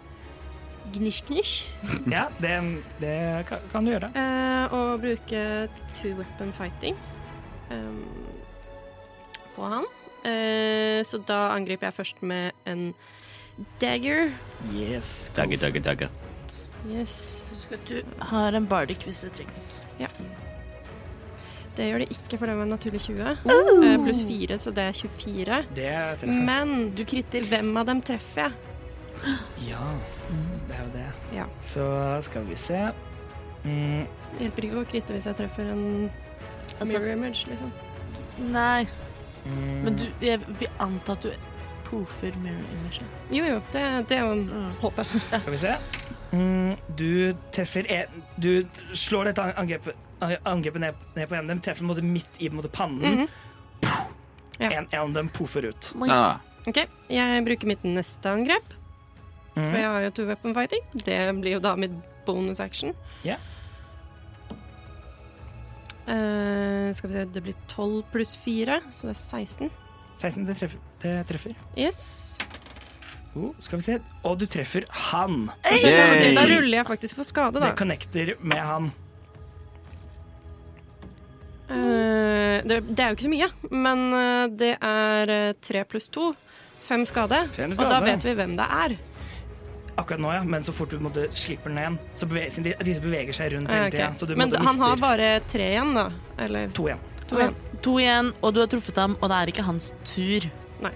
Gnish-Gnish. Ja, det, det kan, kan du gjøre. eh, og bruke two weapon fighting ehm, på han. Eh, så da angriper jeg først med en dagger. Yes. go Dagger, for it. dagger, dagger. Yes. Husk at du har en bardic hvis det trengs. Det gjør det ikke, for det var en naturlig 20. Eh, pluss 4, så det er 24. Det treffer. Men du kritter. Hvem av dem treffer jeg? Ja, det er jo det. Ja. Så skal vi se. Mm, Det hjelper ikke å kritte hvis jeg treffer en Altså- mirror image, liksom. Nei, mm, men du, jeg vil anta at du poofer mirror image. Jo, jo, det, det er jo en Mm. håpe. Skal vi se. Mm, du treffer en, Du slår dette angrepet, angrepet ned, ned på en av dem, treffer på en måte midt i på en måte, pannen. Mhm. Ja. en, en av dem poffer ut. Ah, OK, jeg bruker mitt neste angrep, Mhm. for jeg har jo two weapon fighting. Det blir jo da mitt bonus action. Ja. Eh, skal vi se, det blir 12 pluss 4, så det er 16. 16, det treffer. Det treffer. Yes. Oh, skal vi se. Og du treffer han. Yay! Da ruller jeg faktisk for skade, da. Det connecter med han. Eh, det, det er jo ikke så mye, men eh, det er eh, 3 pluss 2. Fem skade, Fem og da skade. vet vi hvem det er. Akkurat nå, ja. Men så fort du på en måte, slipper den igjen, så beveger, siden de, disse beveger seg rundt Eh, hele ok. tida. Så du på en Men måte, han har mister bare tre igjen, da? Eller to igjen. to igjen? To igjen, og du har truffet ham, og det er ikke hans tur. Nei.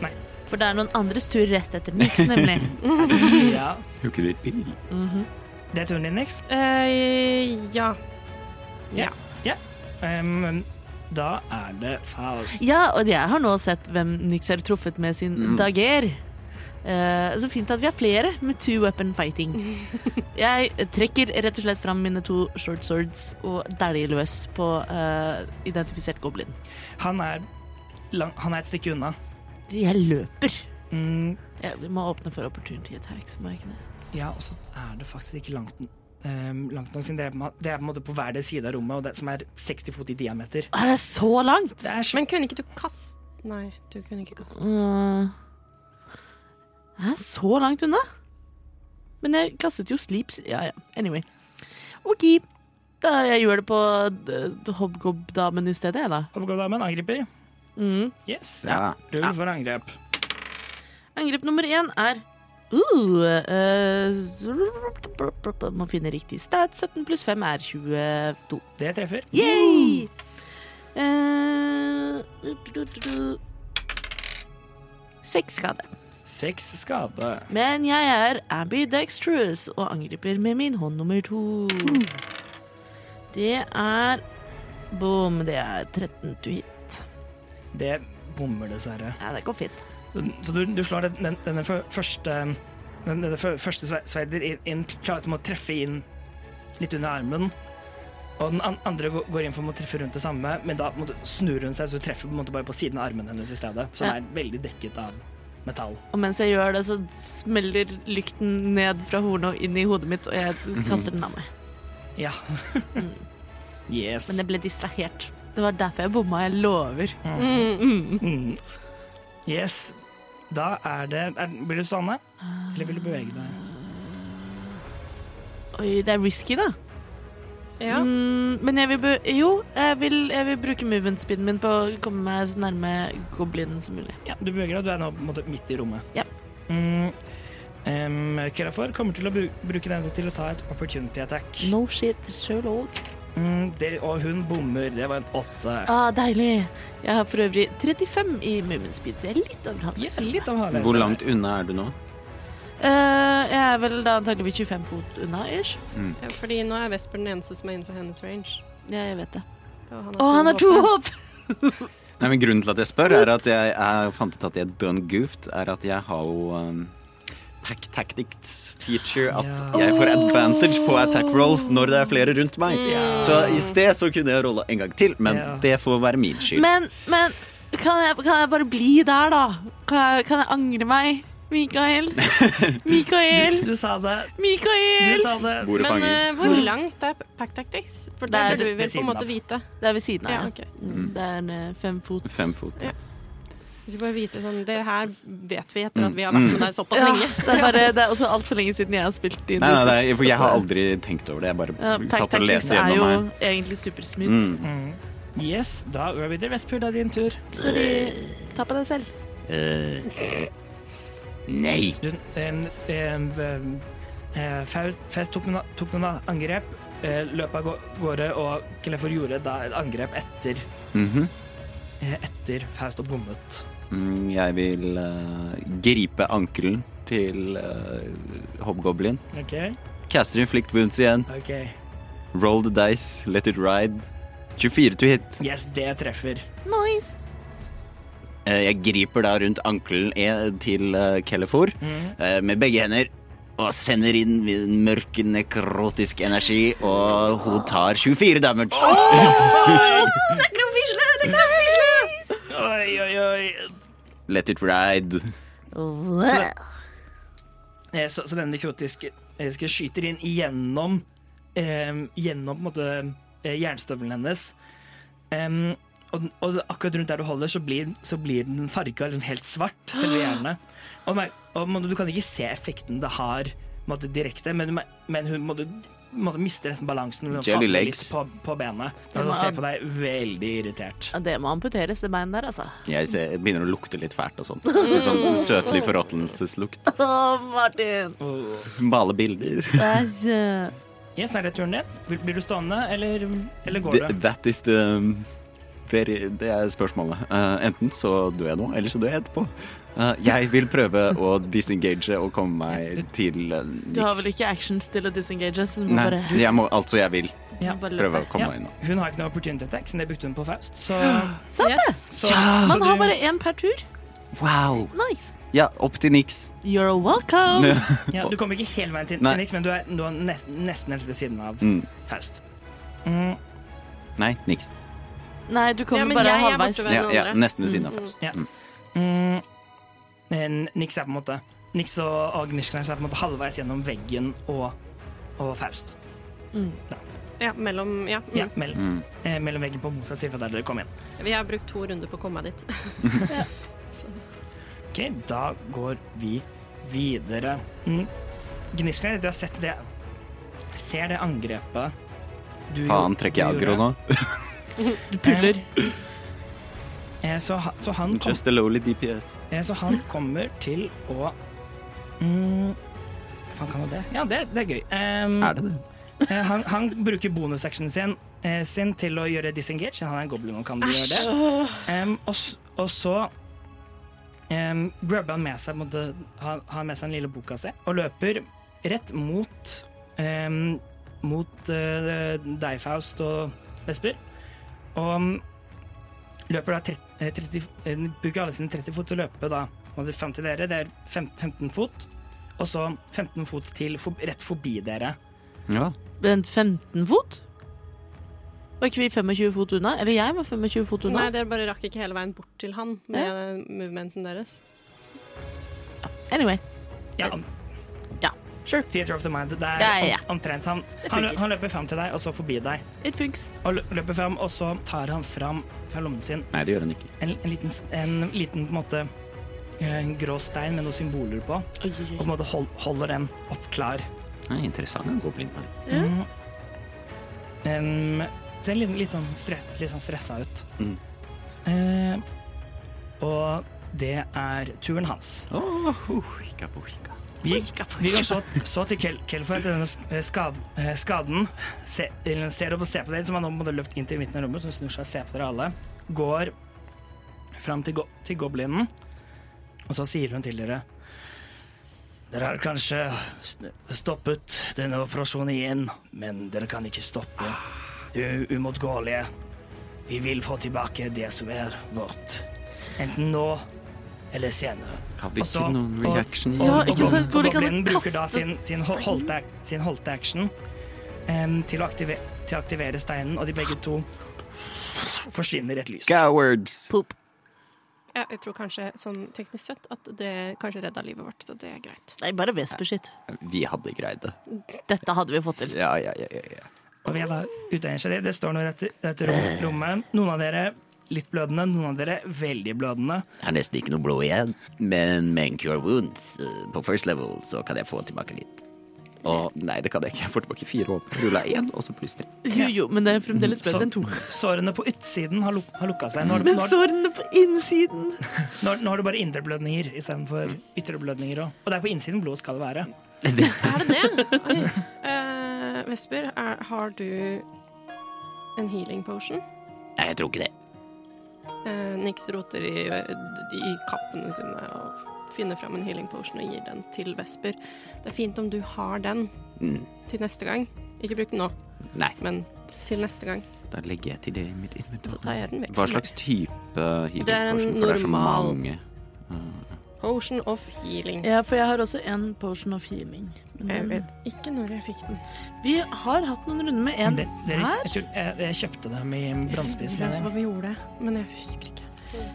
Nei. For det er noen andres tur rett etter Nix, nemlig. Mhm. Ja. Det er turen din, Nix. Eh, ja. Um, da er det Faust. ja, og jeg har nå sett hvem Nix har truffet med sin Mm. dager. Eh, så fint at vi er flere med two weapon fighting. Jeg trekker rett og slett fram mine to short swords og dæljer løs på eh, identifisert goblin. Han er, lang, han er et stykke unna. Jeg løper. Mm, Jeg må åpne for opportunity attacks, må jeg ikke det? ja, og så er det faktisk ikke langt, um, langt nok, siden det er, på ma- det er på en måte på hver deres side av rommet, og det, som er 60 fot i diameter. Er det så langt? Det er Men kunne ikke du kaste Nei, du kunne ikke kaste. Mm. Jeg er så langt unna. Men jeg kastet jo slips. Ja, ja. Anyway. OK. Da jeg gjør det på eh, hobgob-damen i stedet, jeg, da. Oppgavedamen angriper. Mm. Yes. ja. Rull for angrep. Angrep nummer én er uh, eh, Må finne riktig stat. 17 pluss 5 er 22. Det treffer. Yay! Eh, du, du, du. Seks skade. Seks skade. Men jeg er ambidextrous og angriper med min hånd nummer to. Det er Boom, det er 13 to hit. Det bommer, dessverre. Ja, det går fint. Så, så du, du slår den, den, denne fø- første den, denne fø- første sve- sveider inn, inn klarer til å treffe inn litt under armen. Og den an andre gå- går inn for å treffe rundt det samme, men da på en måte snur hun seg, så du treffer på en måte bare på siden av armen hennes i stedet, som Ja. er veldig dekket av metall. Og mens jeg gjør det, så smeller lykten ned fra hornet og inn i hodet mitt, og jeg kaster den av meg. Ja. Yes. Men jeg ble distrahert. Det var derfor jeg bomma, jeg lover. Mm. Yes. Da er det er, Blir du stående? Eller vil du bevege deg? Oi, det er risky, da. Ja. Mm, men jeg vil be Jo, jeg vil, jeg vil bruke movement speeden min på å komme meg så nærme goblinen som mulig. Ja, du beveger deg. Du er nå på en måte midt i rommet. Ja. Mm. Em, Kerafor kommer til å bru bruke denne til å ta et opportunity attack. No shit, sjøl òg. Mm, det, og hun bommer. Det var en åtte. Ah, deilig. Jeg har for øvrig 35 i Moomin Speed, så jeg er litt over halvveis. Yes, litt av halvveis. Hvor langt unna er du nå? Eh, jeg er vel da antakeligvis 25 fot unna, ish. Mm. ja, fordi nå er Vesper den eneste som er innenfor hennes range. Ja, jeg vet det. Og han Å, han har to våpen. hopp! Nei, men Grunnen til at jeg spør, er at jeg, jeg fant ut at jeg done goofed, er at jeg har jo um, Pack Tactics feature at Ja. jeg får advantage på attack rolls når det er flere rundt meg. Så i sted så kunne jeg rolla en gang til, men Mm. Ja. det får være min skyld. Men, men kan jeg, kan jeg bare bli der, da? Kan jeg, kan jeg angre meg? Mikael! Mikael! Du sa det. Du Mikael! sa det. Bordet Men fanger. eh, hvor langt er Pack Tactics? For det Det er burde vi ved vel på siden en måte av. vite. Det er ved siden av. Ja, Ja, ok. Mm, Det er en eh, fem fot. Fem fot. Vi skal bare vite sånn Det her vet vi etter at vi Mm. har vært med deg såpass Ja, lenge. det er, bare, det er også altfor lenge siden jeg har spilt inn Nei, nei, nei, sist, for jeg så har det- aldri tenkt over det. Jeg bare Ja, Tac satt og Tactics leste er gjennom jo her. egentlig supersmooth. Mm. Yes, da er vi til Vestpur. Det er din tur. Ta på deg selv. Eh, nei. Du, em, em, em, eh, Faust Faust tok noen, tok noen angrep, eh, løp av gå- gårde, og Klefor gjorde da et angrep etter, Mhm. eh, etter Faust og bommet. Mm, Jeg vil eh, gripe ankelen til eh, hobgoblin. OK? Caster inflict wounds igjen. ok Roll the dice, let it ride. 24 to hit. Yes, det treffer. Eh, jeg griper da rundt ankelen eh, til uh, Kellefor Mhm. eh, med begge hender og sender inn min mørke nekrotisk energi, og hun tar 24 damage. Oi, oi, oi. Let it ride. Eh, Så, så denne nekrotiske eh, skal skyter inn gjennom eh, Gjennom på en måte eh, jernstøvelen hennes. Em, og, den- og akkurat rundt der du holder, så blir, så blir den farga liksom helt svart. Selve hjernen. Og, mer- og må- du kan ikke se effekten det har på en måte, direkte, men, du mer- men hun må, du, må, du mister nesten balansen. og Jelly faller legs. litt På, på benet. Og så ser på deg veldig irritert. Ja, det må amputeres, det beinet der, altså. Jeg ser, begynner å lukte litt fælt og sånt. Litt Mm. Sånn søtlig forråtnelseslukt. Å, Martin! Male bilder. eh, Yes, er det turen din? Blir- Blir du stående, eller, eller går Det, du? that is the very, Det er spørsmålet. Eh, enten så dør jeg nå, eller så dør jeg etterpå. Eh, jeg vil prøve å disengage og komme meg til uh, Du har vel ikke actions til å disengage, så du må Nei, bare jeg må, altså jeg vil Ja. bare prøve løpe. å komme meg inn. Hun har ikke noe opportunity attack, siden det brukte hun på Faust. Så, Sant det? så, så Man har du- bare én per tur. Wow! Nice. Ja, opp til niks. You're welcome. Ja, du kommer ikke hele veien til, Nei. til Nix, men du er, du er nes- nesten helt ved siden av Mm. Faust. Mm, Nei, niks. Nei, du kommer Ja, men bare jeg- jeg er halvveis. borte ved- Ja, ja, nesten ved siden av. Faust. mm, men Nix er på en måte Nix og Agniskners er på en måte halvveis gjennom veggen og, og Faust. Ja, mellom Ja. Mm. Ja, mell, eh, mellom veggen på Mosas side der dere kom inn. Vi har brukt to runder på å komme meg dit. Ok, da går vi videre. Mm. Gniskner, du har sett det Ser det angrepet du Faen, gjo- trekker jeg du aggro gjorde. nå? Du puller. Eh, så, ha- så han kom Just a lowly DPS. Eh, Så han kommer til å mm, Faen, kan han det? Ja, det, det er gøy. Ehm, Mm. Er det det? eh, han, han bruker bonusactionen sin, eh, sin til å gjøre disengage. siden Han er en goblin og kan gjøre det. Ehm, og, s- og så um, grubber han med seg på en måte, han, han med seg den lille boka si og løper rett mot ehm, mot eh, deg, Faust og Vesper. Og løper da tre- eh, 30, eh, bruker alle sine 30 fot til å løpe da må det fram til dere. Det er fem, 15 fot. Og så 15 fot til for, rett forbi dere. Mm. Ja. Vent, 15 fot? Var ikke vi 25 fot unna? Eller jeg var 25 fot unna. Nei, dere bare rakk ikke hele veien bort til han med movementen deres. Anyway. Ja, Ja, sure. Theater of the Mind. Det er Ja, ja, ja. om- omtrent han. Han, lø- han løper fram til deg, og så forbi deg. It funks. Og lø- løper fram, og så tar han fram fra lommen sin Nei, det gjør den ikke. en, en liten, s- en liten på en måte eh, en grå stein med noen symboler på, og Oi, oi, på oi. en måte hold, holder den opp klar. Mm. Nei, interessant å gå blind på. Um, ser litt, litt, sånn stre, litt sånn stressa ut. Mm. Eh, og det er turen hans. Oh, hika på hika. Vi, vi går så, så til Kel, Kelfor etter denne sk- eh, skad, eh, skaden. Se, eller ser opp og ser på dere, som han nå måtte løpt inn til midten av rommet, så hun snur seg og ser på dere alle. Går fram til, go, til goblinen, og så sier hun til dere Dere har kanskje st- stoppet denne operasjonen igjen, men dere kan ikke stoppe det umåtgåelige. Vi vil få tilbake det som er vårt. Enten nå eller senere. Har vi Og Altså, så- ikke noen og- reaction? og- Ja, og ikke sant? goblin- Går det ikke an å goblinen bruker da kaste sin, sin, hol- holdte, ac- sin holdte action em, til, å aktive, til å aktivere steinen, og de begge to forsvinner i et lys. Cowards! Poop. Ja, jeg tror kanskje sånn teknisk sett at det kanskje redda livet vårt, så det er greit. Nei, bare vesperskitt. Vi hadde greid det. Dette hadde vi fått til. Ja, ja, ja, ja, ja. Og vi er da ute av initiativ. Det står noe i dette, dette rom- rommet. Noen av dere litt blødende, noen av dere veldig blødende. Jeg har nesten ikke noe blod igjen, men med en cure wounds eh, på first level så kan jeg få tilbake litt. Og nei, det kan jeg ikke. Jeg får tilbake fire håp. Rulla én, og så pluss tre. Jo, jo, men det er fremdeles Mm. bedre enn to. Sårene på utsiden har, luk har lukka seg. Nå har, du- Men nå, har, sårene på innsiden nå, har- nå har du bare indre blødninger istedenfor ytre blødninger. også. Og det er på innsiden blodet skal være. Er det det? Oi. Eh, Vesper, er, har du en healing potion? Nei, jeg tror ikke det. Eh, Nix roter i, i kappene sine og finner fram en healing potion og gir den til Vesper. Det er fint om du har den Mm, til neste gang. Ikke bruk den nå, nei. men til neste gang. Da legger jeg til det i mitt Så inventar. tar jeg den vekk. Hva slags type healing? Det er en potion? For det er så normal. mange. Potion of healing. Ja, for jeg har også en potion of healing. Men Jeg den- vet ikke når jeg fikk den. Vi har hatt noen runder med Men en det- dere, her. jeg, tror, jeg, jeg kjøpte dem i brannspis, Jeg men vet ikke hva vi gjorde, men jeg husker ikke.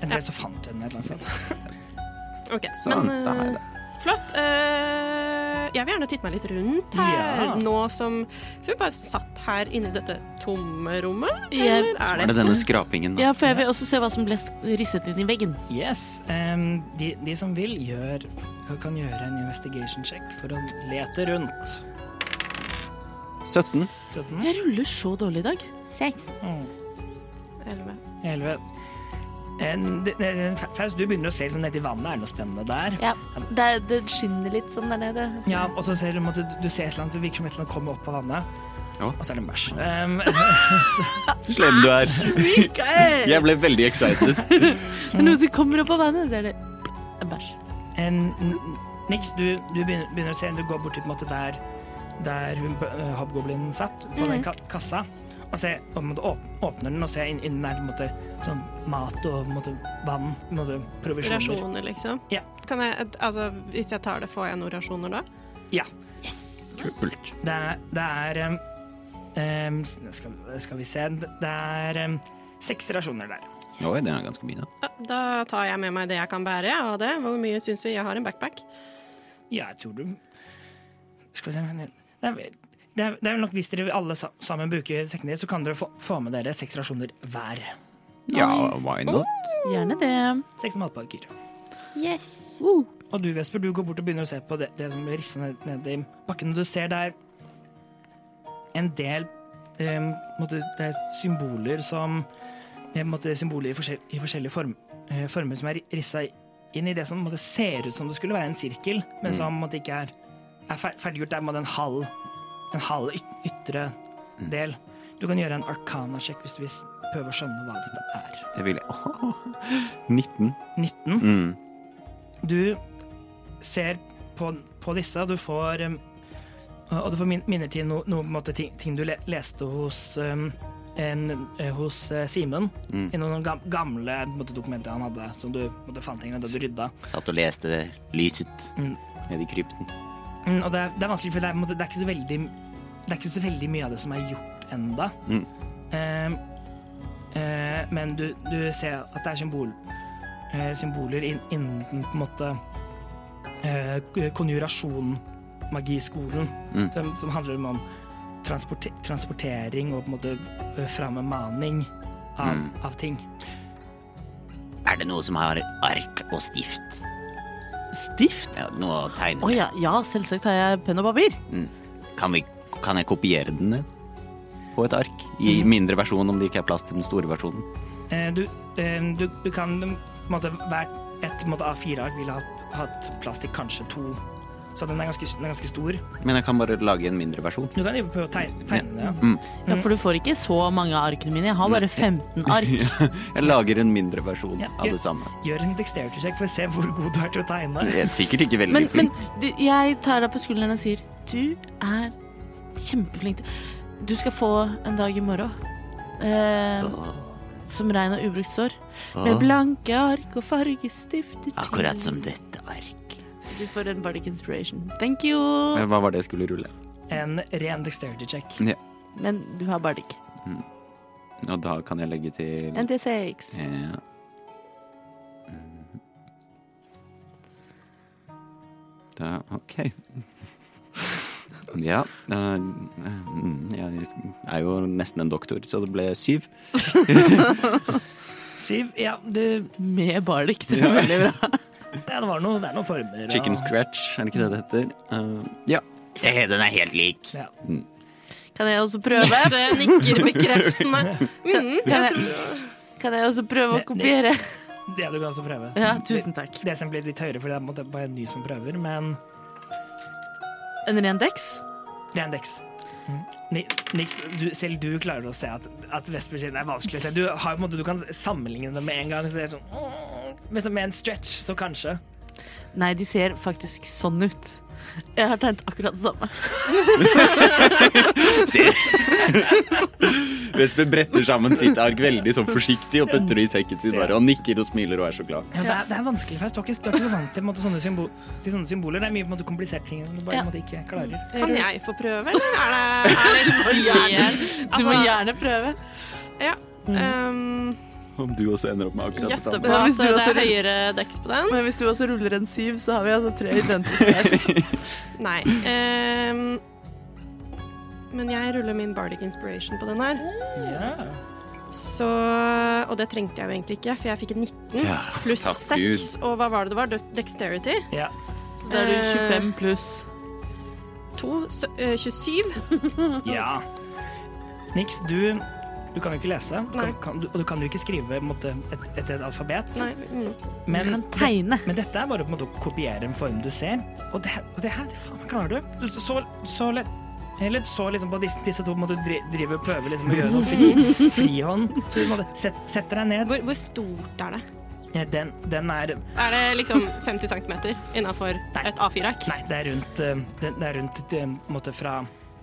en del så fant jeg den et eller annet sted. Ok, Sånn, men da har jeg eh, flott. Eh, jeg vil gjerne titte meg litt rundt her, Ja. nå som For vi bare satt her inne i dette tomme rommet, Jeg- eller er Er det det denne skrapingen? da? Ja, for jeg vil også se hva som ble st- risset inn i veggen. Mm. Yes, em, de, de som vil, gjør, kan gjøre en investigation check for å lete rundt. 17. 17? Jeg ruller så dårlig i dag. Mm. Elleve. 11. En- det- det- Faust, du begynner å se liksom, nedi vannet. Er det noe spennende der? Ja, det, er- det skinner litt sånn der nede. så- Ja, og så ser du, måtte, du ser et eller annet, det virker som et eller annet kommer opp av vannet. Ja. Og så er det mæsj. Um, Slem du er. Jeg ble veldig excited. Det er noen som kommer opp av vannet, så er det en bæsj. en- n- Nix, du, du begynner, begynner å se, du går bort til på en måte der, der hun, b- øh, hobgoblinen satt, på den ka kassa, og, se, og på en måte åp åpner den og ser inn, inn der på en måte, sånn mat og på en måte, vann, på en måte, provisjoner. Rasjoner, liksom? Ja. Kan jeg, altså, hvis jeg tar det, får jeg noen rasjoner da? Ja. Kult. Det er, det er um, um, skal, skal vi se, det er um, seks rasjoner der. Oi, det er ganske mye, da. Ja, Da tar jeg med meg det jeg kan bære av det. Hvor mye syns vi jeg har en backpack? Ja, jeg tror du Skal vi se men- Det er, vel- det er, det er vel nok hvis dere alle sa- sammen bruker sekkene deres, så kan dere få, få med dere seks rasjoner hver. Ja, why not? Gjerne det. Seks matpakker. Yes. Og du, Vesper, du går bort og begynner å se på det, det som blir rissa ned, ned i bakken. Og du ser der en del eh, måtte, Det er symboler som eh, måtte, Symboler i, forskjell, i forskjellige form, eh, former som er rissa inn i det som måtte, ser ut som det skulle være en sirkel, men som måtte, ikke er, er fer- ferdiggjort. Det er måtte, en halv, en halv yt, ytre del. Du kan gjøre en arcana-sjekk hvis du vil s- prøve å skjønne hva dette er. Det vil jeg. Åh, 19. 19. Mm. Du ser på, på disse, og du får um, Og du får min- minner til noe no, på en måte ting, ting du le, leste hos um, en, eh, hos eh, Simen, i noen gam- gamle på en måte, dokumenter han hadde, som du på en måte, fant tingene da du rydda. Satt og leste ved lyset Mm. nede i krypten. Mm, og det, er- det er vanskelig, for det er, på en måte, det, er ikke så veldig, det er ikke så veldig mye av det som er gjort enda. Mm. Ehm, eh, men du, du ser at det er symbol, eh, symboler inn- innen på en måte eh, konjurasjon, magiskolen, Mm. som, som handler om, om transporte, transportering og på en måte eh, frammemaning av, Mm. av ting. Er det noe som har ark og stift? Stift? Ja, noe å tegne Å med? ja, ja, selvsagt har jeg penn og papir. Kan, vi, kan jeg kopiere den ned? På et ark? I mindre versjon, om det ikke er plass til den store versjonen. Eh, du, eh, du, du kan på en måte, hvert ett på en måte, A4-ark ville hatt, hatt plass til kanskje to. Så den er ganske, den er ganske stor. Men jeg kan bare lage en mindre versjon. Du kan jo prøve å tegne, tegne det. Ja. Mm. Ja, for du får ikke så mange av arkene mine. Jeg har bare 15 ark. Jeg lager en mindre versjon Ja, av ja. det samme. Gjør en dexterity-sjekk for å se hvor god du er til å tegne. Jeg er sikkert ikke veldig Men, men flink. du, jeg tar deg på skulderen og sier du er kjempeflink. Du skal få en dag i morgen eh, Åh, som regn og ubrukt sår. Med åh, blanke ark og fargestifter. til. akkurat som dette ark. Du får en bardic inspiration. Thank you. Men Hva var det jeg skulle rulle? En ren dexterity-sjekk. Men du har bardic. Og da kan jeg legge til NT6. Ja. Mm. Det, OK. Ja eh, mm, Jeg er jo nesten en doktor, så det ble syv. Siv, ja, det, Med bardic, det er veldig bra. ja, det var noe, det er noen former. og- Chicken scratch, er det ikke det det heter? Eh, ja. Se, den er helt lik. Ja. Kan jeg også prøve? Nisse nikker bekreftende. Mm, Kan jeg jeg, tror kan jeg også prøve å kopiere? Det du kan også prøve. Ja, tusen takk. Det som blir litt høyere, for det er på en måte bare en ny som prøver, men En ren dex? det er en dex. Ni- Nix, du, selv du klarer å se at, at Vesper sin er vanskelig å se. Du, har, på en måte, du kan sammenligne det med en gang. Så det er sånn, åh, men så med en stretch, så kanskje. Nei, de ser faktisk sånn ut. Jeg har tegnet akkurat det samme. Vesper bretter sammen sitt ark veldig sånn forsiktig og putter det i sekken sin bare og nikker og smiler og er så glad. Ja, det, er, det er vanskelig, for du er ikke, du er ikke så vant til, på en måte, sånne, symbo til sånne symboler. Det er mye på en måte, kompliserte ting som du bare på en måte, ikke klarer. Kan jeg få prøve, eller? Er det, er det helt Altså, Du må gjerne prøve. Ja. Mm. Um, Om du også ender opp med akkurat det Gjette samme. på Ja, hvis at du det også- er høyere deks på den. Men hvis du også ruller en syv, så har vi altså tre identiske. her. Nei. ehm, men jeg ruller min Bardic Inspiration på den her. Ja. Så, og det trengte jeg jo egentlig ikke, for jeg fikk en 19 Ja, pluss takk 6. Og hva var det det var? Dex- Dexterity? Ja. Så da er du 25 pluss. 2, 27. Ja. Nix, du, du kan jo ikke lese, du kan, Nei. kan, du, og du kan jo ikke skrive på en måte, et, etter et alfabet. Nei. Mm. Men, Kan tegne. men dette er bare på en måte å kopiere en form du ser. Og det, og det her, det faen meg klarer du. du så, så lett. Eller så liksom på disse, disse to på en måte, dri, driver og prøver liksom, å gjøre noe fri, frihånd. Så du på en måte, set, setter deg ned. Hvor, hvor stort er det? Eh, Den, den er Er det liksom 50 cm innafor et A4-ark? Nei, det er rundt, eh, det, det er rundt eh, på en måte fra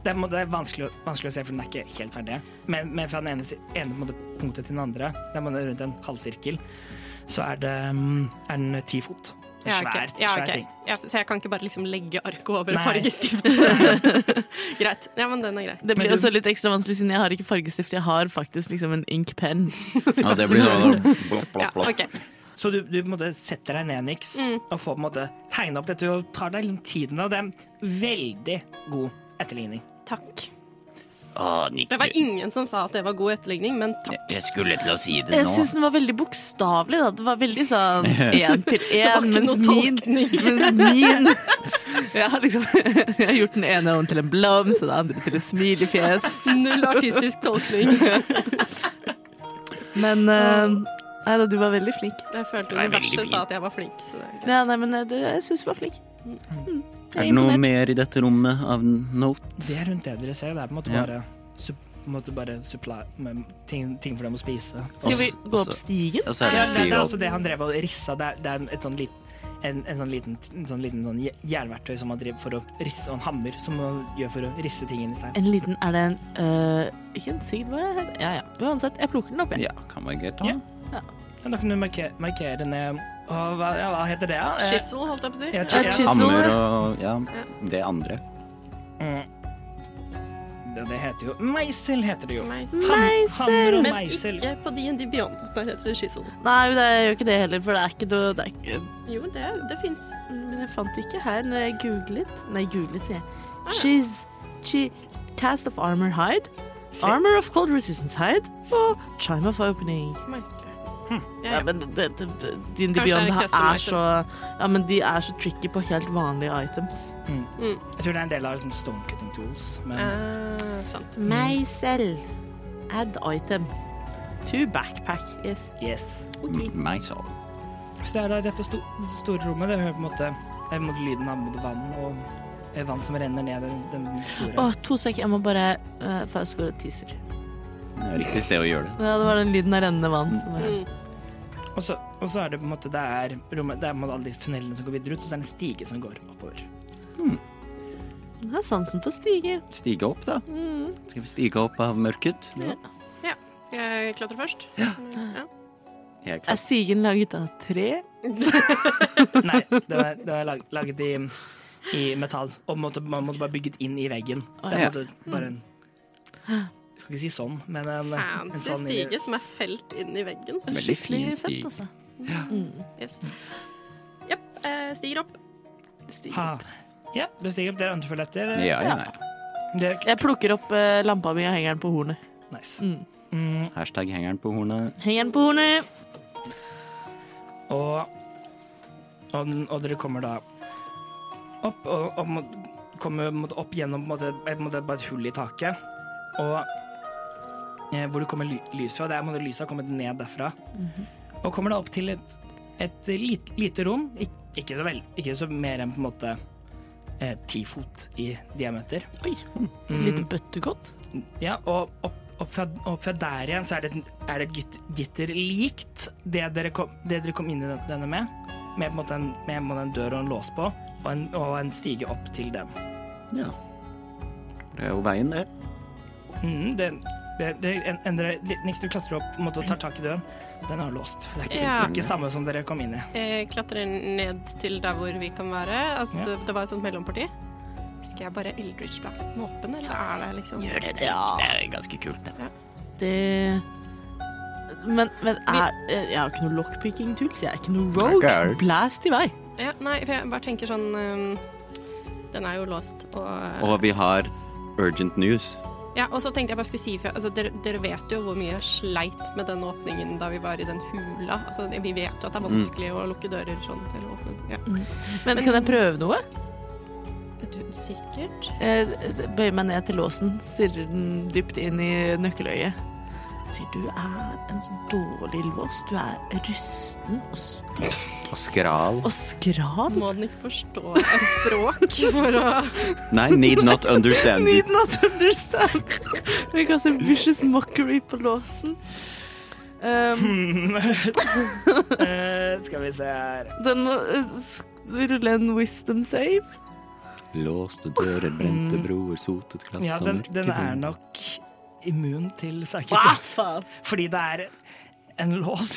det er, på en måte- det er vanskelig, å- vanskelig å se, for den er ikke helt ferdig. Men, men fra den ene, si- ene på en måte, punktet til den andre, det er på en måte rundt en halvsirkel, så er, det, mm, er den ti fot. Så Ja, ok. svært, ja, svær ok. ting. Ja, så jeg kan ikke bare liksom legge arket over Nei. fargestiftet? Greit. Ja, men den er grei. Det Men blir du- også litt ekstra vanskelig siden jeg har ikke fargestift, jeg har faktisk liksom en inkpenn. Ja, det blir sånn blopp, Ja, blopp, blopp. ok. Så du, du på en måte setter deg ned, Nix, og får på en måte tegne opp dette, og tar deg litt tiden, og det er en veldig god etterligning. Takk. Å, Nick, Det var ingen som sa at det var god etterligning, men takk. jeg skulle til å si det Jeg nå. syns den var veldig bokstavelig, da. Det var veldig sånn én til var én, ikke mens noe min Mens min Jeg har liksom Jeg har gjort den ene hånden til en blomst og den andre til et smilefjes. Null artistisk tolkning. Men eh, Nei da, du var veldig flink. Jeg følte Det er veldig universet sa fint. at jeg var flink. Så det er greit. Ja, nei, men eh, du, jeg syns du var flink. Mm. Er det noe mer i dette rommet av note? Det er rundt det dere ser, det er på en måte Ja. bare, sup- på en måte bare supply, med ting, ting for dem å spise. Skal vi Også- gå opp også- stigen? Ja, så er Ja, det det, det er stiv også det han drev og rissa. Det er, det er en- et sånn lit, en, en sånn liten, en sånn liten sånn je- jernverktøy som han driver for å risse, og en hammer som han gjør for å risse ting inn i stein. En liten Er det en eh, Ikke en sigd, var det? Ja ja. Uansett, jeg plukker den opp, jeg. Ja, kan være greit. Ja. da. Men da kan du markere, markere ned og hva, ja, hva heter det? da? Eh, Skissel, holdt jeg på å si. ja, Ja. chi- ja. Chisel. Hammer og ja, det andre. Mm. Det, det heter jo Meisel, heter det jo. Meisel. Ham, hammer og Men meisel. ikke på D&D Beyond. Der heter det skissel. Nei, det gjør ikke det heller, for det er ikke noe det er ikke, mm, Jo, det, det fins. Men jeg fant det ikke her når jeg googlet. Nei, googlet, sier jeg. She's she, Cast of armor hide. Se. Armor of cold resistance hide. Og chime of opening. Ja, Hm. Ja, ja. men det, det, det, Din Kanskje det er Beyond en er, custom item. så Ja, men de er så tricky på helt vanlige items. Jeg tror det er en del av liksom, stonecutting tools. Men Eh, sant. Meg selv. Add item. To backpack. Yes. yes. M- Meg så. Så det er da dette sto store rommet. Det hører på en måte, det er på en måte lyden av på en måte vann og eh, vann som renner ned den, den store Å, to sek. Jeg må bare uh, Faust går og tisser. Det er riktig sted å gjøre det. Ja, det var den lyden av rennende vann. Som var. Mm. Og så, og så er det på en måte Det er, rommet, det er på en måte alle disse tunnelene som går videre ut, og så er det en stige som går oppover. Jeg har sansen sånn for stiger. Stige opp, da. Mm. Skal vi stige opp av mørket? Skal jeg klatre først? Jeg er Er klar. stigen laget av tre? Nei, den er, den er lag, laget i, i metall, og måtte, man måtte bare bygget inn i veggen. Det ja. er på en måte bare en jeg skal ikke si sånn, men en, en Fancy sånn stige som er felt inn i veggen. Veldig altså. Skikkelig fin fett, stig. altså. Yes. Jepp. eh, stiger opp. Stig. Ha. Ja, bestig opp. Dere andre følger etter. Ja, ja. Dere, Jeg plukker opp eh, lampa mi og henger den på hornet. nice. Mm. Mm, Hashtag hengeren på hornet. Henger den på hornet! og, og, den- og dere kommer da opp, og, og må, kommer på en måte opp gjennom på en måte, på en måte, bare et hull i taket. Og eh, hvor det kommer ly lys fra. Det er på en måte lyset har kommet ned derfra. Og kommer da opp til et, et lite, lite rom. Ik ikke så vel, ikke så mer enn på en måte eh, ti fot i diameter. Oi, et lite bøttekott. Ja, og opp, opp, fra, opp fra der igjen så er det, et- er det et git- gitter likt det dere kom, det dere kom inn i den- denne med. Med, på en måte en, med en måte en dør og en lås på, og en, og en stige opp til den. Ja. Det er jo veien, det. Mhm, det, det, det en- endrer litt niks. Du klatrer opp på en måte, og tar tak i døren. Den er låst. Det er ikke, Ja. ikke samme som dere kom inn i. Jeg Eh, klatrer ned til der hvor vi kan være. Altså, Ja. det, det var et sånt mellomparti. Skal jeg bare Eldridge Blast den åpen, eller er det liksom Gjør det, det, Ja. det er ganske kult, det. Det men, men er, eh, jeg har ikke noe lockpicking tools, jeg er ikke noe rogue. Ikke jeg. Blast i vei. Ja, nei, for jeg bare tenker sånn um, Den er jo låst, og, eh, Og vi har urgent news. Ja, og så tenkte jeg bare skulle si ifra altså, dere, dere vet jo hvor mye jeg sleit med den åpningen da vi var i den hula. Altså, vi vet jo at det er vanskelig å lukke dører sånn. Eller åpne. Ja. Men kan jeg prøve noe? Du, sikkert. Jeg bøyer Eh, meg ned til låsen, stirrer den dypt inn i nøkkeløyet. Sier du er en så dårlig lås. Du er rusten og, s- Og skral. og skral. Må den ikke forstå et språk for å Nei, need not understand it. Need not understand. Jeg kaster vicious mockery på låsen. Um, Eh, skal vi se her den må eh, sk- rulle en wisdom save. Låste dører, brente broer, sotet Mm. glass Ja, og den, mørke den er rom. nok immun til Ah, saker. faen. Fordi det er en lås.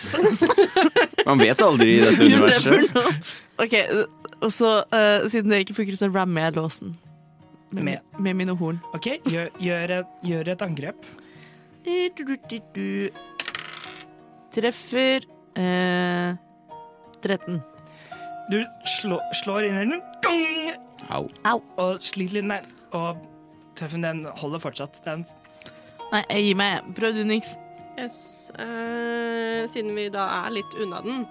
Man vet aldri i dette Gjør det for universet. noe. OK, eh, og så, eh, siden det ikke funker, så rammer jeg låsen. Med, med mine horn. OK, gjør, gjør, et, gjør et angrep. Eh, du, du, du, du. Treffer eh, 13. Du slå, slår inn i den, gang, Au. og sliter litt ned. Og tøffen den holder fortsatt. Den, Nei, jeg gir meg. Prøv du, Nix. Yes. eh, siden vi da er litt unna den,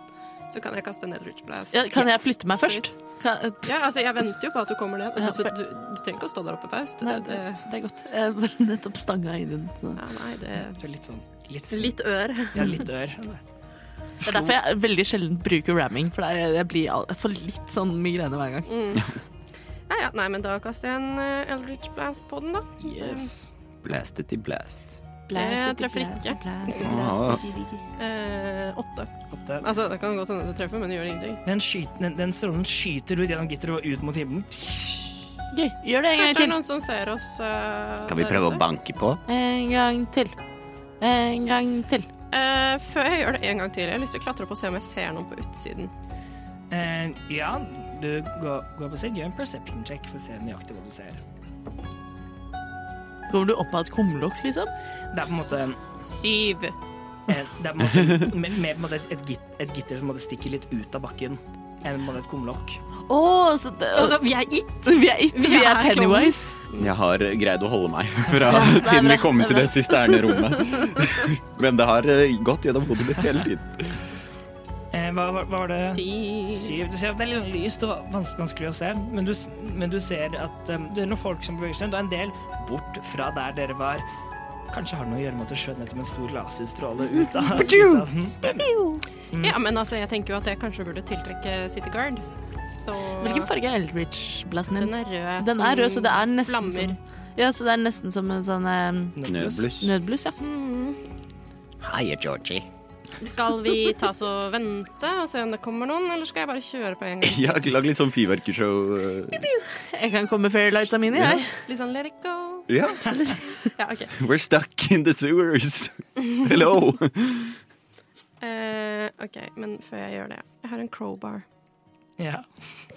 så kan jeg kaste en Eldridge Blast. Ja, kan jeg flytte meg først? Kan, eh, Ja, altså, jeg venter jo på at du kommer ned. Ja, Altså, for- du, du trenger ikke å stå der oppe, Faust. Nei, det, det er godt. Jeg bare nettopp stanga i den. så- ja, nei, det det er litt sånn litt, Litt ør. Ja, litt ør. Det er derfor jeg veldig sjelden bruker ramming, for jeg, jeg, blir, al- jeg får litt sånn migrene hver gang. Nei, Mm. ja, nei, men da kaster jeg en eh, Eldridge Blast på den, da. Yes. Blast it i blast. Jeg treffer ikke. Ah, Eh, åtte. Åtte. Altså, det kan godt hende det treffer, men det gjør ingenting. Den, skyter, den, den strålen skyter ut gjennom gitteret og ut mot himmelen. Gøy. Gjør det en gang Kanskje det er til. noen som ser oss eh, Kan vi der prøve ute? å banke på? En gang til. En gang til. Eh, før jeg gjør det en gang til, jeg har lyst til å klatre opp og se om jeg ser noen på utsiden. Eh, ja, du går, går på siden. Gjør en perception check for å se nøyaktig hva du ser. Kommer du opp av et kumlokk, liksom? Det er på en måte en Syv. Eh, Det er på en måte, med, med på en måte et, et, git, et gitter som måtte stikke litt ut av bakken enn på en måte et kumlokk. Å, så det, Og da, vi er gitt! Vi er, it, Vi vi er er Pennywise. Jeg har eh, greid å holde meg fra siden vi kom til det sisterne rommet. Men det har eh, gått gjennom hodet mitt hele tiden. Eh, hva, hva, hva var det? Syv. Syv. Du ser at det er litt sånn lyst og vans- vanskelig å se, men du, s- men du ser at eh, det er noen folk som beveger seg. Det er en del bort fra der dere var. Kanskje har det noe å gjøre med at du skjøt nettopp en stor laserstråle ut av, ut av den. Ja, men altså, jeg tenker jo at jeg kanskje burde tiltrekke City Guard. Så Hvilken farge er Eldridge-blassen din? Den er rød. Den er rød, så det er nesten flammer. som Ja, så det er nesten som en sånn eh, Knøbluss. nødbluss, ja. Hei, Georgie. Hmm. Skal vi ta oss og vente og se om det kommer noen, eller skal jeg bare kjøre på en gang? Jeg har lagd litt sånn fyrverkershow. eh, Jeg kan komme med fairylightsa mine, jeg. Litt sånn let it go. Ja, Ja, OK. we're stuck in the sewers. Hello. Eh, OK, men før jeg gjør det Jeg har en crowbar. Ja.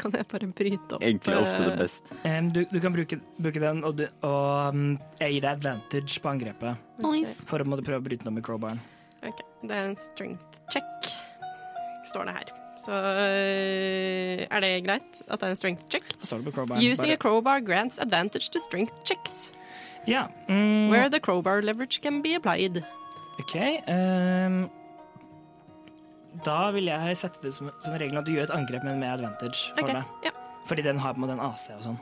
Kan jeg bare bryte opp eh, Egentlig ofte det beste. Em, um, du, du kan bruke, bruke den, og, du, og mm, jeg gir deg advantage på angrepet Oi. for å måtte prøve å bryte den om i crowbaren. Ok, Det er en strength check, står det her. Så eh, er det greit at det er en strength check? Da står det på crowbaren. Using a Bare- crowbar grants advantage to strength checks, Ja. Mm, where the crowbar leverage can be applied. OK. ehm, da vil jeg sette det som, som regel at du gjør et angrep, men med advantage for Ok, deg. ja. Fordi den har på en måte en AC og sånn.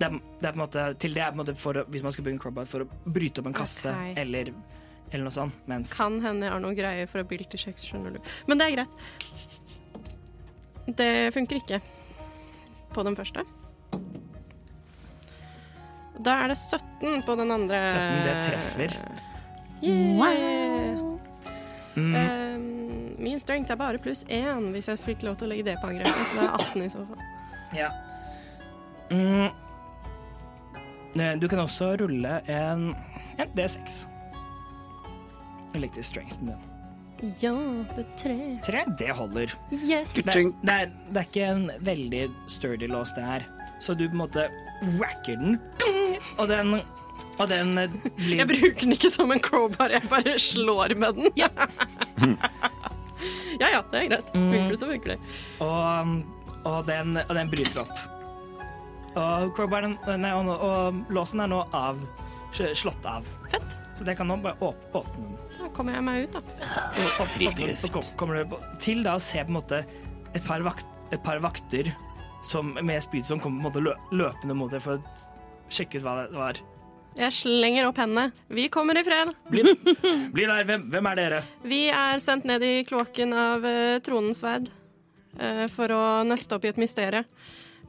Det er, det er på en måte, til det er på en måte for å, hvis man skal bruke en crowbar for å bryte opp en kasse Ok. eller, eller noe sånt. Mens Kan hende jeg har noen greier for ability checks, skjønner du. Men det er greit. Det funker ikke på den første. Da er det 17 på den andre. 17, det treffer. Yeah. Wow. mm, Um, min strength er bare pluss én, hvis jeg fikk lov til å legge det på angrepet. Så det er 18 i så fall. Ja. Mm. Eh, Du kan også rulle en, en D6. Jeg likte strengthen din. Ja, det er tre. Tre, det holder. Yes. Det er, det, er, det er ikke en veldig sturdy lås, det her. Så du på en måte whacker den, Dung! og den, og den eh, Jeg blir bruker den ikke som en crowbar, jeg bare slår med den. Ja ja, ja det er greit. Mm. Funker det, så funker det. og, um, og, den, og den bryter opp. Og, crowbaren, nei, og, og låsen er nå av, sl- slått av. Fett. Så det kan nå bare åp- åpne den. Da kommer jeg meg ut, da. Og- og- Frisk og- og- luft. kom- Kommer du på- til da å se på en måte et par, vak et par vakter som, med spyd som kommer på en måte lø løpende mot deg for å sjekke ut hva det var. Jeg slenger opp hendene. Vi kommer i fred. Bli, bli der, hvem, hvem er dere? Vi er sendt ned i kloakken av eh, tronens sverd eh, for å nøste opp i et mysterium.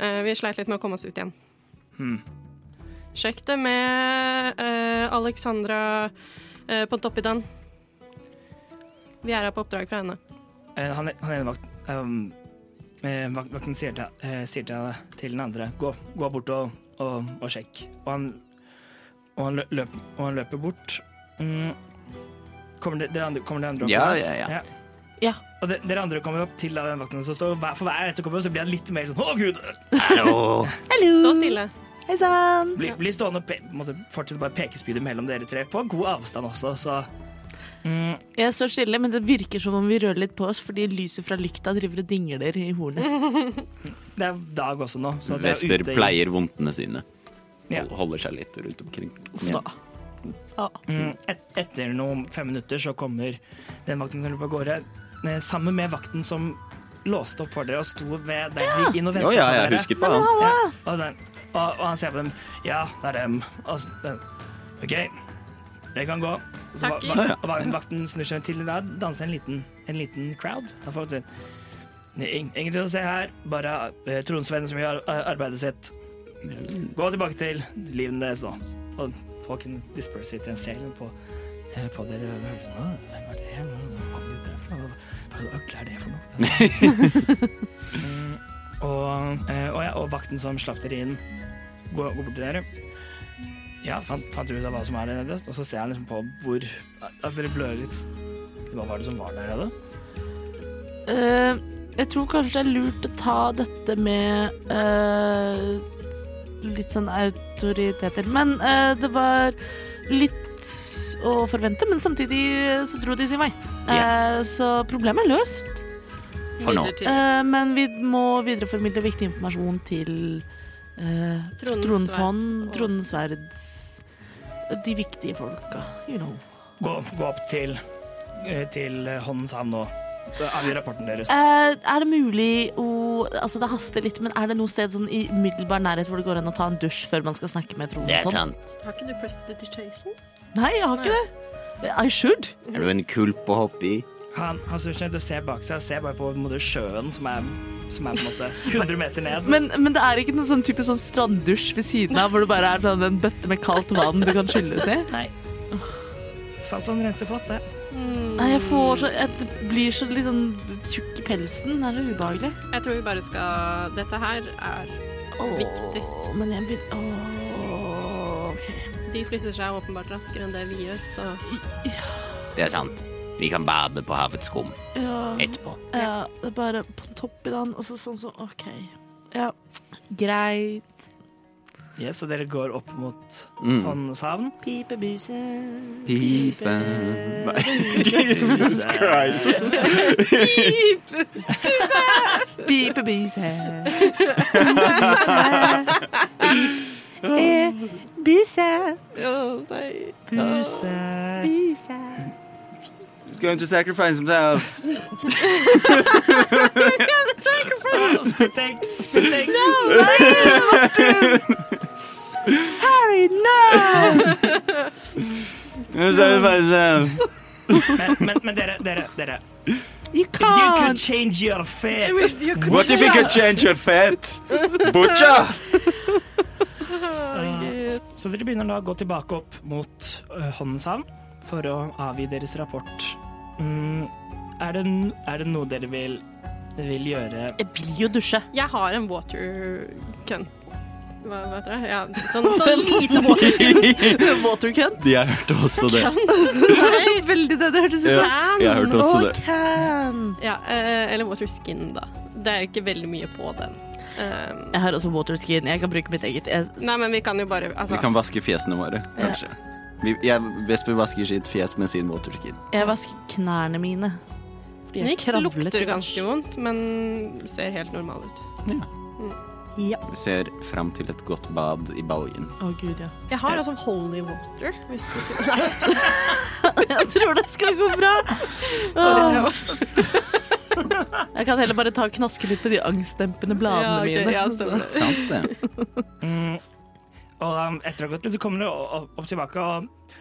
Eh, vi sleit litt med å komme oss ut igjen. Hmm. Sjekk det med eh, Alexandra eh, Pontoppidan. Vi er her på oppdrag fra henne. Eh, han, han ene vakten ehm, eh, vak- Vakten sier, til, eh, sier til, henne- til den andre Gå, gå bort og, og, og sjekk Og han, og han, lø- løp, og han løper bort mm. Kommer det, dere andre, kommer dere andre opp? Ja, Mats? ja, ja. Ja. Og de, dere andre kommer opp til da den vakten som står hver- For hver etter kommer opp, så blir han litt mer sånn Å Gud, Hallo! Hallo! Stå stille. Hei sann! bli, bli stående og pe, måtte fortsette bare pekespydet mellom dere tre På god avstand også, så mm, Jeg står stille, men det virker som om vi rører litt på oss fordi lyset fra lykta driver og dingler i hornet. Det er dag også nå så dere er Vesper ute i- pleier vondtene sine. Ja. Og holder seg litt rundt omkring. Da. Mm, et, etter noen fem minutter så kommer den vakten som løper av gårde, eh, sammen med vakten som låste opp for dere og sto ved der vi gikk inn og Å ventet ja, på jeg dere. husker på han. Ja, og, den, og, og han ser på dem. Ja, det er dem. Og, s- den, OK, det kan gå. Og Så va, Takk. va, og vakten, vakten snur seg til da danser en liten, en liten crowd. Da får vi si, "Ing- Ingenting å se her, bare uh, tronsvennen som gjør eh, arbeidet sitt. Gå tilbake til livene deres nå. Og folk kan disperse litt i en serie på, eh, på dere. Å, Hvem er det? Hvor kom de ut derfra? Hva- Hva øgle er det for noe? Mm, og, eh, og, ja, og vakten som slapp dere inn, går, går bort til dere. Ja, fant, fant du ut av hva som er der nede? Og så ser jeg liksom på hvor At dere blør litt. Hva var det som var der nede? Eh, jeg tror kanskje det er lurt å ta dette med eh, litt sånn autoriteter. Men eh, det var litt å forvente, men samtidig eh, så dro de sin vei. Eh, så problemet er løst. For nå. Eh, men vi må videreformidle viktig informasjon til eh, Tronens Tronens sverd hånd, og- Tronens sverd De viktige folka, you know. Gå, gå opp til, eh, til Håndens havn nå. Avgi rapporten deres. Eh, er det mulig å Altså, det haster litt, men er det noe sted sånn i umiddelbar nærhet hvor det går an å ta en dusj før man skal snakke med Trond? Det er og sånn? sant. Har ikke du prestidigitation? Nei, jeg har ikke det. I should. Er du en kulp å hoppe i? Han, han snur seg rundt og ser bak seg og ser bare på på en måte, sjøen som er, som er på en måte 100 meter ned. Men, men det er ikke noen sånn typisk sånn stranddusj ved siden av hvor det bare er sånn en bøtte med kaldt vann du kan skylles i? Nei. Saltvann renser flott, det. Mm. Nei, jeg får så Jeg blir så litt sånn tjukk i pelsen. Det er så ubehagelig. Jeg tror vi bare skal Dette her er Viktig. Åh, Men jeg vil Åh, OK. De flytter seg åpenbart raskere enn det vi gjør, så Det er sant. Vi kan bade på havets skum Ja. etterpå. Ja, det er bare på topp i den, og så sånn som OK. Ja, greit. Yes, så dere går opp mot Mm. hans havn. Pipebusen Pipe Nei, Jesus Christ! Pipebuse. Pipebuse. Buse. Buse. Buse. It's going to sacrifice himself. Spytek, spytek. Harry, no! Gonna sacrifice himself. Men, men, men dere, dere, dere. You If you could can't! change your fate What if he could change your fate? Butcher! Ah. Så dere begynner da å gå tilbake opp mot uh, Håndenshavn for å avgi deres rapport. Mm, er, det, n- er det noe dere vil, vil gjøre Jeg vil jo dusje. Jeg har en water gun. Hva, hva heter det? Ja, sånn, sånn lite water Watercunt. Jeg hørte også det. Veldig det det hørtes ut Ja, som. jeg hørte også det. Can. Ja, eh, eller water skin, da. Det er jo ikke veldig mye på den. Eh, Jeg har også waterskin. Jeg kan bruke mitt eget. Jeg nei, men vi kan jo bare altså, Vi kan vaske fjesene våre, kanskje. Vi, jeg, Vesper vasker sitt fjes med sin waterskin. Jeg vasker knærne mine. Fordi jeg Nix kravlet lukter i ganske bæsj. vondt, men ser helt normal ut. Vi ser fram til et godt bad i baljen. Å gud, ja. Jeg har altså holy water. Hvis du tror. Nei, Jeg tror det skal gå bra. sorry. det Åh, var- Jeg kan heller bare ta og knaske litt på de angstdempende bladene Ja, ok, mine. ja, stemmer det. Sant det? Mm, og um, etter å ha gått litt, så kommer dere o- o- opp tilbake, og,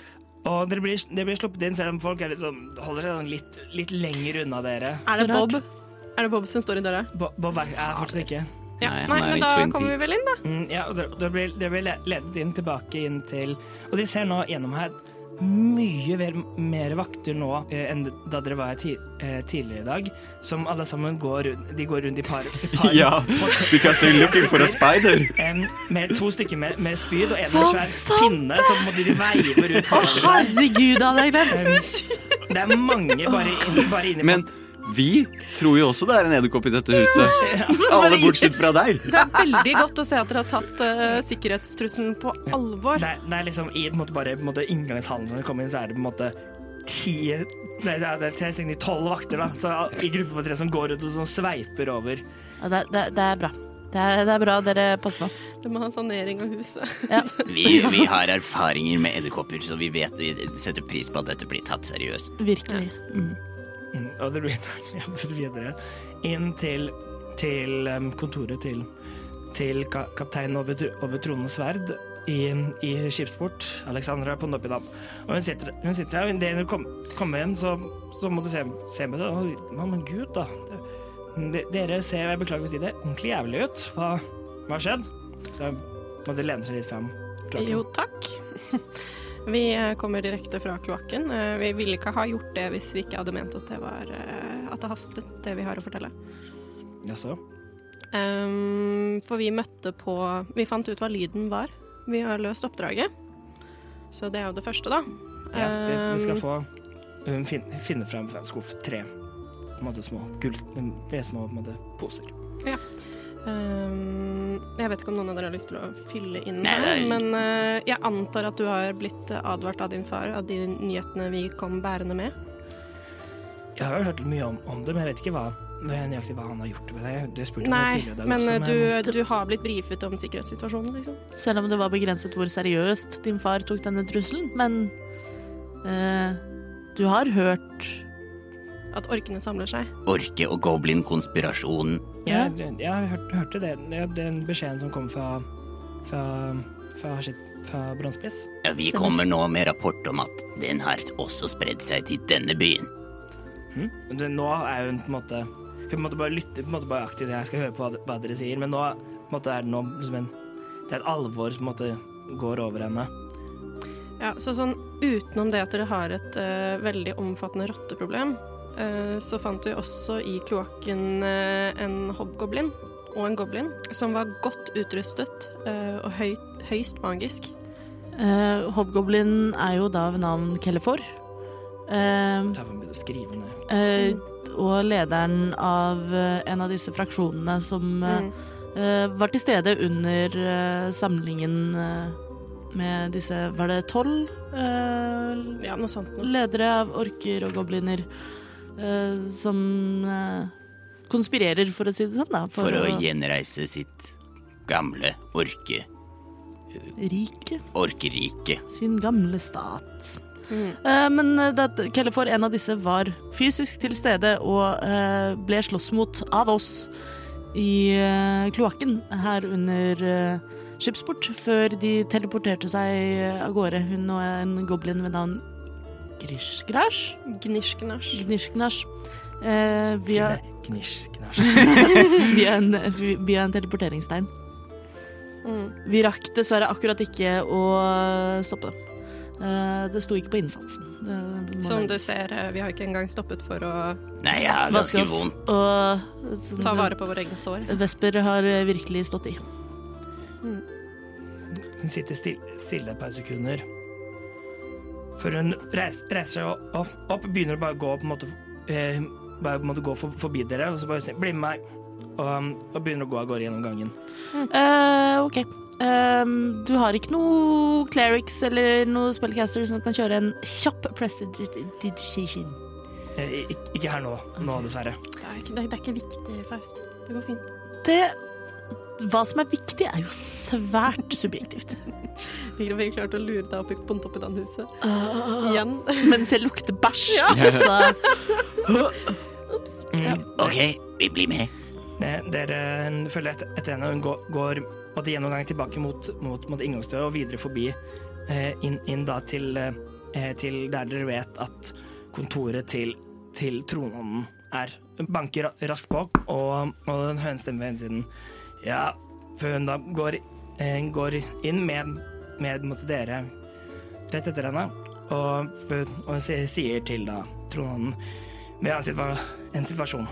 og dere, blir, dere blir sluppet inn selv om folk er litt sånn, holder seg sånn litt, litt lenger unna dere. Er det Så rart. Bob? Er det Bob som står i døra? Bo- Bob er er fortsatt ikke. Ja. Nei, Nei, han er i men da Twin kommer vi vel inn, da. Mm, ja, og dere, dere blir, dere blir le- ledet inn tilbake inn til Og dere ser nå gjennom her mye vel, mer vakter nå eh, enn da dere var her ti, eh, tidligere i dag, som alle sammen går rundt De går rundt i par, i par because they're looking for a spider. en, med to stykker med, med spyd og en med svær pinne, så måtte de veive rundt foran seg. Herregud, det hadde jeg glemt. Um, det er mange bare, inn, bare inni Men vi tror jo også det er en edderkopp i dette huset. Alle bortsett fra deg. Det er veldig godt å se at dere har tatt eh, sikkerhetstrusselen på alvor. Det, er- det er liksom i på en måte, bare på en måte, inngangshallen når du kommer inn, så er det på en måte ti Nei, det er, det er, tre- siden de tolv vakter, da. Så i gruppe på tre som går rundt og som sveiper over. Ja, det, det, det er bra. Det er, det er bra dere passer på. Du må ha sanering av huset. Ja. Vi, vi har erfaringer med edderkopper, så vi vet vi setter pris på at dette blir tatt seriøst. Virkelig. Mm, Og det blir ledet videre inn til, til um, kontoret til, til ka kapteinen over, tr- over tronens sverd i, i skipsport, Alexandra Pondopidam. Og hun sitter, hun sitter der, og idet hun kom- kommer inn, så, så må du se, se med det. Og, «Å, men gud, da. De- Dere ser, og jeg beklager hvis de det, ordentlig jævlig ut. Hva hva har skjedd? Så må de lene seg litt fram. Klokken. Jo, takk. Vi eh, kommer direkte fra kloakken. Eh, Vi ville ikke ha gjort det hvis vi ikke hadde ment at det, var, eh, at det hastet, det vi har å fortelle. Jaså? Ehm, for vi møtte på Vi fant ut hva lyden var. Vi har løst oppdraget. Så det er jo det første, da. Ja, det, vi skal Ehm, få hun fin, finne fram fra en skuff tre på en måte, små gull... Det er små på en måte, poser. ehm, jeg vet ikke om noen av dere har lyst til å fylle inn Nei, her, nei. men eh, jeg antar at du har blitt eh, advart av din far av de nyhetene vi kom bærende med. Jeg har jo hørt mye om, om det, men jeg vet ikke hva nøyaktig hva han har gjort med det. Det spurte jeg meg Nei, tidligere i dag men også, eh, men- du, du har blitt brifet om sikkerhetssituasjonen, liksom? Selv om det var begrenset hvor seriøst din far tok denne trusselen, men eh, du har hørt At orkene samler seg. Orke- og goblin-konspirasjonen. Ja, jeg, hørte, hørte det. det. Den beskjeden som kom fra fra, fra, skitt- fra Bronsepiss. Ja, vi Stemmer. kommer nå med rapport om at den har også spredd seg til denne byen. Hm? Men det- Nå er hun på en måte Hun måtte bare lytte på en måte bare aktivt. Jeg skal høre på hva, hva dere sier, men nå på en måte, er det noe som en Det er et alvor som på en måte går over henne. Ja, så sånn utenom det at dere har et eh, veldig omfattende rotteproblem, eh, så fant vi også i kloakken eh, en hobgoblin og en goblin som var godt utrustet eh, og høyt, høyst magisk. eh, Hobgoblin er jo da ved navn Kellefor. Eh, Så jeg får begynne å skrive ned. eh, og lederen av eh, en av disse fraksjonene som eh, Mm. eh, var til stede under eh, samlingen eh, med disse Var det tolv eh, Ja, noe sånt noe. ledere av orker og gobliner eh, som eh, konspirerer, for å si det sånn, da. for å gjenreise sitt gamle orke, rike orkerike. sin gamle stat. Mm. Eh, men eh, da Kellefor, en av disse, var fysisk til stede og eh, ble slåss mot av oss i eh, kloakken her under eh, skipsport, før de teleporterte seg eh, av gårde, hun og en goblin ved navn Grishgrash. Gnishgnasj. Gnishgnash. Eh, via, Gnisj, gnasj. via, en, via en teleporteringsstein. Mm. Vi rakk dessverre akkurat ikke å stoppe dem. Eh, det sto ikke på innsatsen. Det må Som du nevnes. ser, eh, vi har ikke engang stoppet for å Nei, jeg har Vaske ganske oss vondt. og sånn, ta vare på våre egne sår. Vesper har eh, virkelig stått i. Hun sitter stille, stille et par sekunder. Før hun reiser, reiser seg opp, opp, begynner å bare gå på en måte eh, bare på en måte gå for, forbi dere, og så bare sier 'bli med meg', og, og begynner å gå av gårde gjennom gangen. Eh, OK. Ehm, du har ikke noe clerics eller noe spellcaster som kan kjøre en kjapp prestidigitation? Eh, ik- ikke her nå, nå dessverre. Det er, ikke, det, er, det er ikke viktig, Faust. Det går fint. Det Hva som er viktig, er jo svært subjektivt. Ligger vi klarte å lure deg opp i- på toppen av huset. Igjen. Mens jeg lukter bæsj. så- Mm. OK, vi blir med. Eh, Dere følger etter, etter henne, og hun går, går på en måte gjennom gangen tilbake mot, mot, mot inngangsdøra og videre forbi eh, inn, inn da til, eh, til der dere vet at kontoret til, til tronånden er. Hun Banker ra- raskt på, og, og en hønestemme ved innsiden. Ja, før hun da går, eh, går inn med, med mot dere rett etter henne, og, og hun sier- sier til da tronånden Vi har en situa- en situasjon.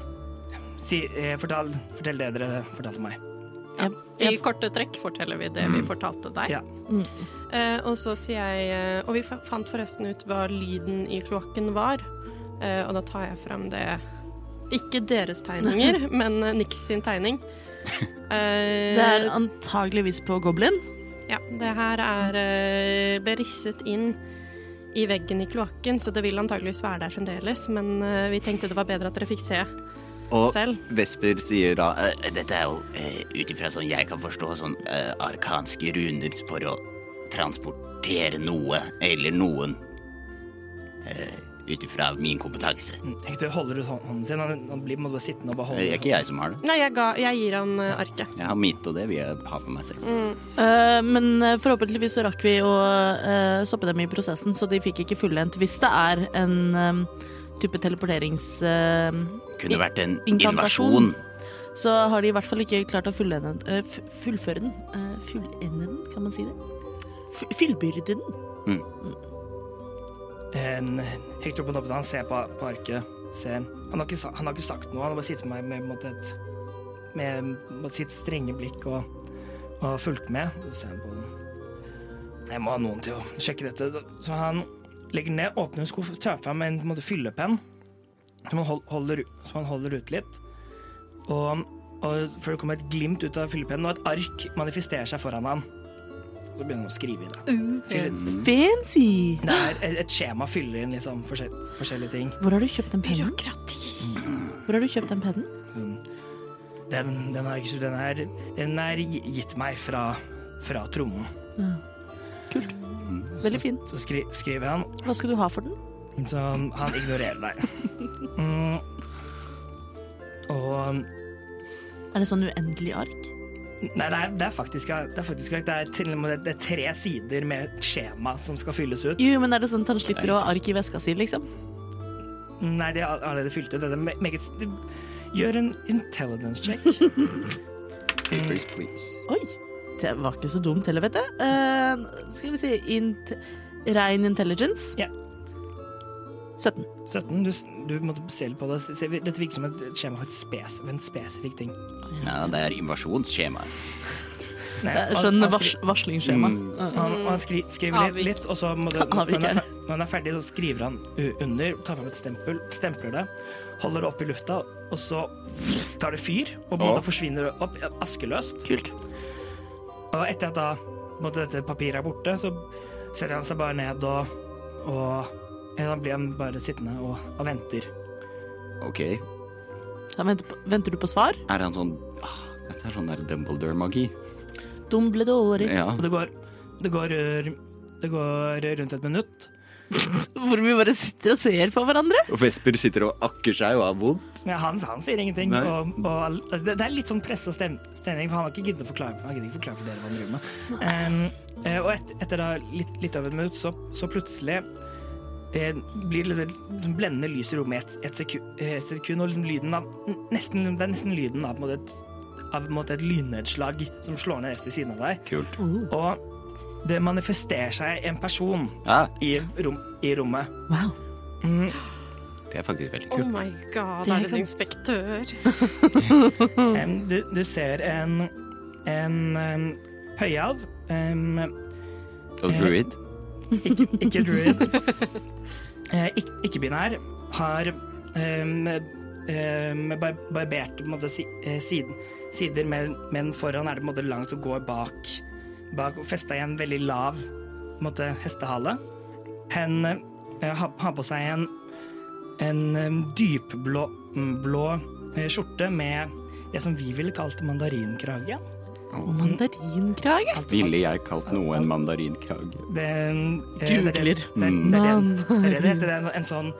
Si, eh, fortell, fortell det dere fortalte meg. I korte trekk forteller vi det vi fortalte deg. Ja. Eh, og så sier jeg eh, Og vi fa- fant forresten ut hva lyden i kloakken var. Eh, og da tar jeg fram det Ikke deres tegninger, men eh, Nix sin tegning. Eh, Det er antageligvis på goblin. Ja, det her er eh, ble risset inn i veggen i kloakken, så det vil antageligvis være der fremdeles. Men eh, vi tenkte det var bedre at dere fikk se Og selv. Vesper sier da eh, Dette er jo eh, ut ifra sånn jeg kan forstå, sånn eh, arkanske runer for å transportere noe eller noen. Eh, ut ifra min kompetanse. Hector Mm. holder ut hå- hånden sin. Han, han blir på en måte bare sittende og bare Det holde. er ikke jeg som har det. Nei, jeg, ga, jeg gir han eh, arket. Jeg har mitt, og det vil jeg ha for meg selv. Eh, men eh, forhåpentligvis så rakk vi å eh, stoppe dem i prosessen, så de fikk ikke fullendt. Hvis det er en eh, type teleporterings... eh, Kunne vært en Inkantasjon. invasjon. så har de i hvert fall ikke klart å fullende, eh, f- fullføre den. Eh, fullende den, kan man si det? F fyllbyrde den. En- Hector på toppen, han ser på, på arket. Ser. Han, har ikke, sa- han har ikke sagt noe. Han har bare sittet med, med, på en måte et, med, med sitt strenge blikk og, og fulgt med. Så ser han på den. Jeg må ha noen til å sjekke dette. Så han legger ned, åpner en skuff, tar fram en på en måte, fyllepenn som han hol- holder, ut- som han holder ut litt. Og, og før det kommer et glimt ut av fyllepennen, og et ark manifesterer seg foran han. Så begynner han å skrive i det. Fyller- Fancy! det er et, et skjema fyller inn liksom forskjell, forskjellige ting. Hvor har du kjøpt den pennen? Byråkrati. Hvor har du kjøpt den pennen? Den, den, har jeg ikke, den, er, den er gi- gitt meg fra, fra tronen. Kult. Veldig fin. Så skri, skriver han, Hva skal du ha for den? så han ignorerer deg. Mm. Og Er det sånn uendelig ark? Nei, det er, det er faktisk det er, faktisk, det er, til, og med- det er tre sider med et skjema som skal fylles ut. Jo, men er det sånn at han slipper å ha ark i veska si, liksom? Nei, de har allerede fylt ut. Det er me- meget, gjør en intelligence check. Papers, please. Oi, det var ikke så dumt heller, vet du. Eh, skal vi si int rein intelligence? Ja. 17. 17, du, s- du måtte se litt på det. Se- se- Dette virker som et skjema for et spes, en spesifikk ting. Ja, det er invasjonsskjemaet. Nei, Jeg han- Skjønner han skri- vars varslingsskjema. Mm. Han, og han skri, skriver litt, Avvik. litt, og så må det, Avvik når, han er er fer, når han er ferdig, så skriver han u- under, tar fram et stempel, stempler det, holder det opp i lufta, og så tar det fyr, og Å. båten forsvinner opp ja, askeløst. Kult. Og etter at da på en måte, dette papiret er borte, så setter han seg bare ned og, og eller da blir han bare sittende og, og venter. Ok. Er Da venter, på- venter du på svar? han sånn ah, Dette er sånn der Dumbledore-magi. Dumbledore. Ja. Og det går, det går, eh, det går rundt et minutt. Hvor vi bare sitter og ser på hverandre. Og Vesper sitter og akker seg og har vondt. Men han, han sier ingenting. Nei. Og, og, all- det, det er litt sånn pressa stem- stemning, for han har ikke giddet å forklare for, han gidder ikke forklare for dere hva han driver med. Em, eh, og et, etter da litt, litt over et minutt, så, så plutselig eh, blir det litt- sånn blendende lys i rommet i et, et sekund, eh, sekund, og liksom lyden av n- nesten, Det er nesten lyden av, på en måte et, av på en måte et lynnedslag som slår ned rett ved siden av deg. Kult. Og det manifesterer seg en person Ja, i, rom, i rommet. Wow. Mm, det er faktisk veldig Oh kult. my god, Det er er det en ganske- inspektør? Em, du, du ser en, en em, høyalv. em, Og druid. ikke, ikke druid. Eh, ikk- Ikke-binær. Har em, em, bar barbert på en måte, si, eh, siden, sider, men, men foran er det på en måte langt og går bak. bak og festa i en veldig lav på en måte, hestehale. Hen eh, har, har på seg en, en em, dypblå mm, blå, eh, skjorte med det som vi ville kalt mandarinkrage. Mm. Mandarinkrage. Alt- Ville jeg kalt noe en mandarinkrage? Den Googler. Den, den, den, Mann. den, den, den, en sånn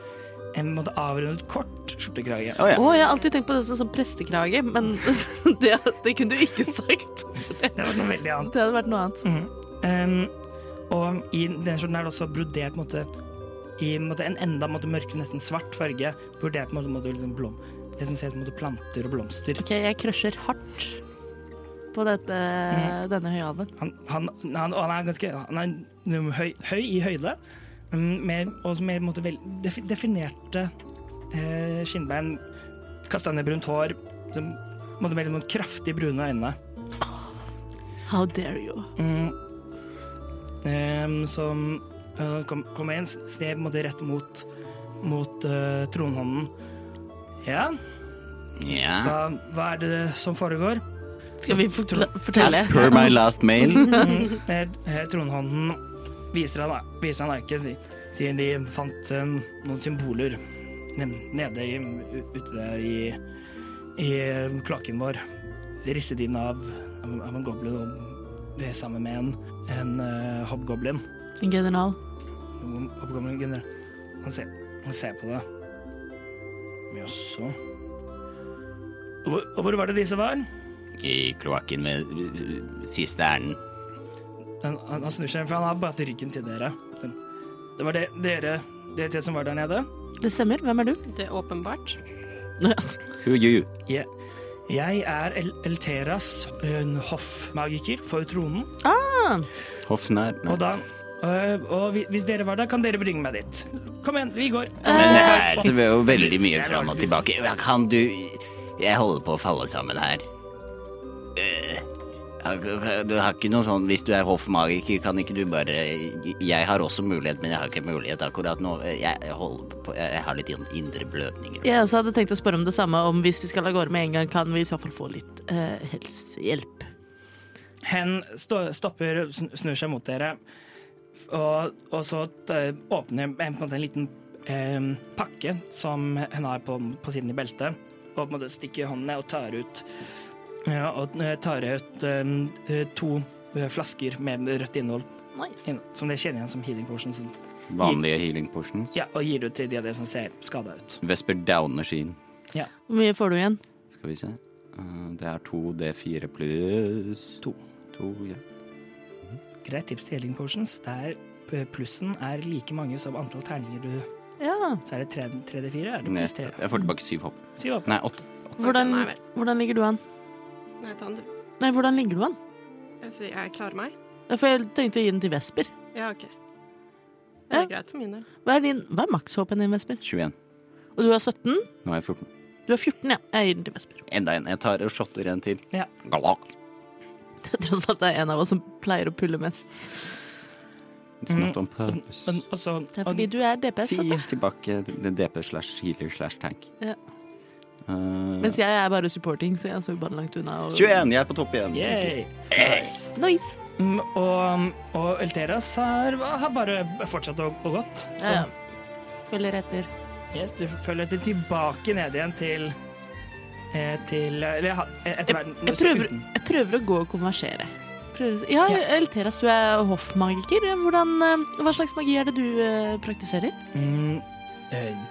en måte avrundet kort skjortekrage. Å ja. Å, jeg har alltid tenkt på det som, som prestekrage, men det, det kunne du ikke sagt. Det var noe veldig annet. Mhm. Det hadde vært noe annet. Em, og i den skjorten er det også brodert på en måte, i en måte, en enda på en måte, mørkere, nesten svart farge. Brodert på en måte, på en måte, liksom blom, det som ser ut som på en måte, planter og blomster. Ok, jeg crusher hardt på dette, denne høyalven. Han, han, han, og han er ganske han er en- høy, høy i høyde, mm, med, og med på en måte, vel, defi- definerte eh, skinnbein, kastanjebrunt hår, som, på en måte, veldig sånn kraftig brune øyne. How dare you? Mm. Ehm, som eh, kom- kommer inn, ser på en måte rett mot, mot eh, tronhånden. Ja, Ja. hva, hva er det som foregår? Skal vi fortelle? fortelle? As per my last mail. Mm, eh, eh, tronhånden viser han, viser han arket, si- siden de fant eh, noen symboler ne- nede i, ute i, i eh, kloakken vår. Risset inn av, av en goblin og eh, sammen med en, en eh, hobgoblin. En general. Noen oppgammel general. Han ser, han ser på det. Jaså. Og Hvor, og hvor var det disse var? I kloakken med uh, siste ærend. Han, han, han snur seg, for han har bare hatt ryggen til dere. Det var det, dere, dere tre som var der nede? Det stemmer. Hvem er du? Det er åpenbart. Who you? Jeg, jeg er El Elteras eh, hoffmagiker for tronen. Hoffnær? Nei. Og da øh, Og hvi- hvis dere var der, kan dere bringe meg dit. Kom igjen, vi går. Men det her det er jo veldig mye fram og tilbake. Ja, Kan du Jeg holder på å falle sammen her. Eh, Du har ikke noe sånn Hvis du er hoffmagiker, kan ikke du bare Jeg har også mulighet, men jeg har ikke mulighet akkurat nå. Jeg holder på Jeg har litt indre blødninger. Jeg også hadde tenkt å spørre om det samme, om hvis vi skal av gårde med en gang, kan vi i så fall få litt eh, helsehjelp. Hen stå, stopper, sn- snur seg mot dere, og, og så t- åpner en, på en, måte en liten em, pakke som hun har på, på siden i beltet, og på en måte stikker hånden ned og tar ut, ja, og eh, tar ut em, eh, to eh, flasker med rødt innhold, Nice. inn- som dere kjenner igjen som healing potions, Vanlige healing portions. ja, og gir ut til de av dere som ser skada ut. Vesper downer sin. Hvor mye får du igjen? Skal vi se. Eh, Det er 2D4 pluss To. To, ja. Greit tips til healing potions, der p- plussen er like mange som antall terninger du Ja. Så er det tre- 3D4, er det pluss 3? Nettopp. Jeg får tilbake syv hopp. Syv opp. Nei, åtte. Hvordan, Nei, vel. hvordan ligger du an? Nei, ta den du. Nei, hvordan ligger du an? Jeg sier jeg klarer meg. Ja, For jeg tenkte å gi den til Vesper. Ja, OK. Det Ja. er greit for min del. Hva er, din- hva er makshåpen din, Vesper? 21. Og du har 17? Nå er jeg 14. Du har 14, ja. Jeg gir den til Vesper. Enda en. Jeg tar og shotter en til. Ja. Galak. Tross alt det er en av oss som pleier å pulle mest. It's not on purpose. Men altså Det er fordi du er DPS. Ti vet du. tilbake til DP slash healer slash tank. Ja. Eh, Mens jeg er bare supporting, så jeg står bare langt unna. Og... 21! Jeg er på topp igjen. Yay. Nice. Mm, Og, og Elteras har, har bare fortsatt å gå godt. Så Ja, ja. Følger etter. yes, du følger deg tilbake ned igjen til eh, Til Eller ha- eh, etter verden. Jeg så prøver, uten- jeg prøver å gå og konversere. Prøver, ja, Elteras, du er hoffmagiker. Hvordan, eh, hva slags magi er det du eh, praktiserer? Mm, eh,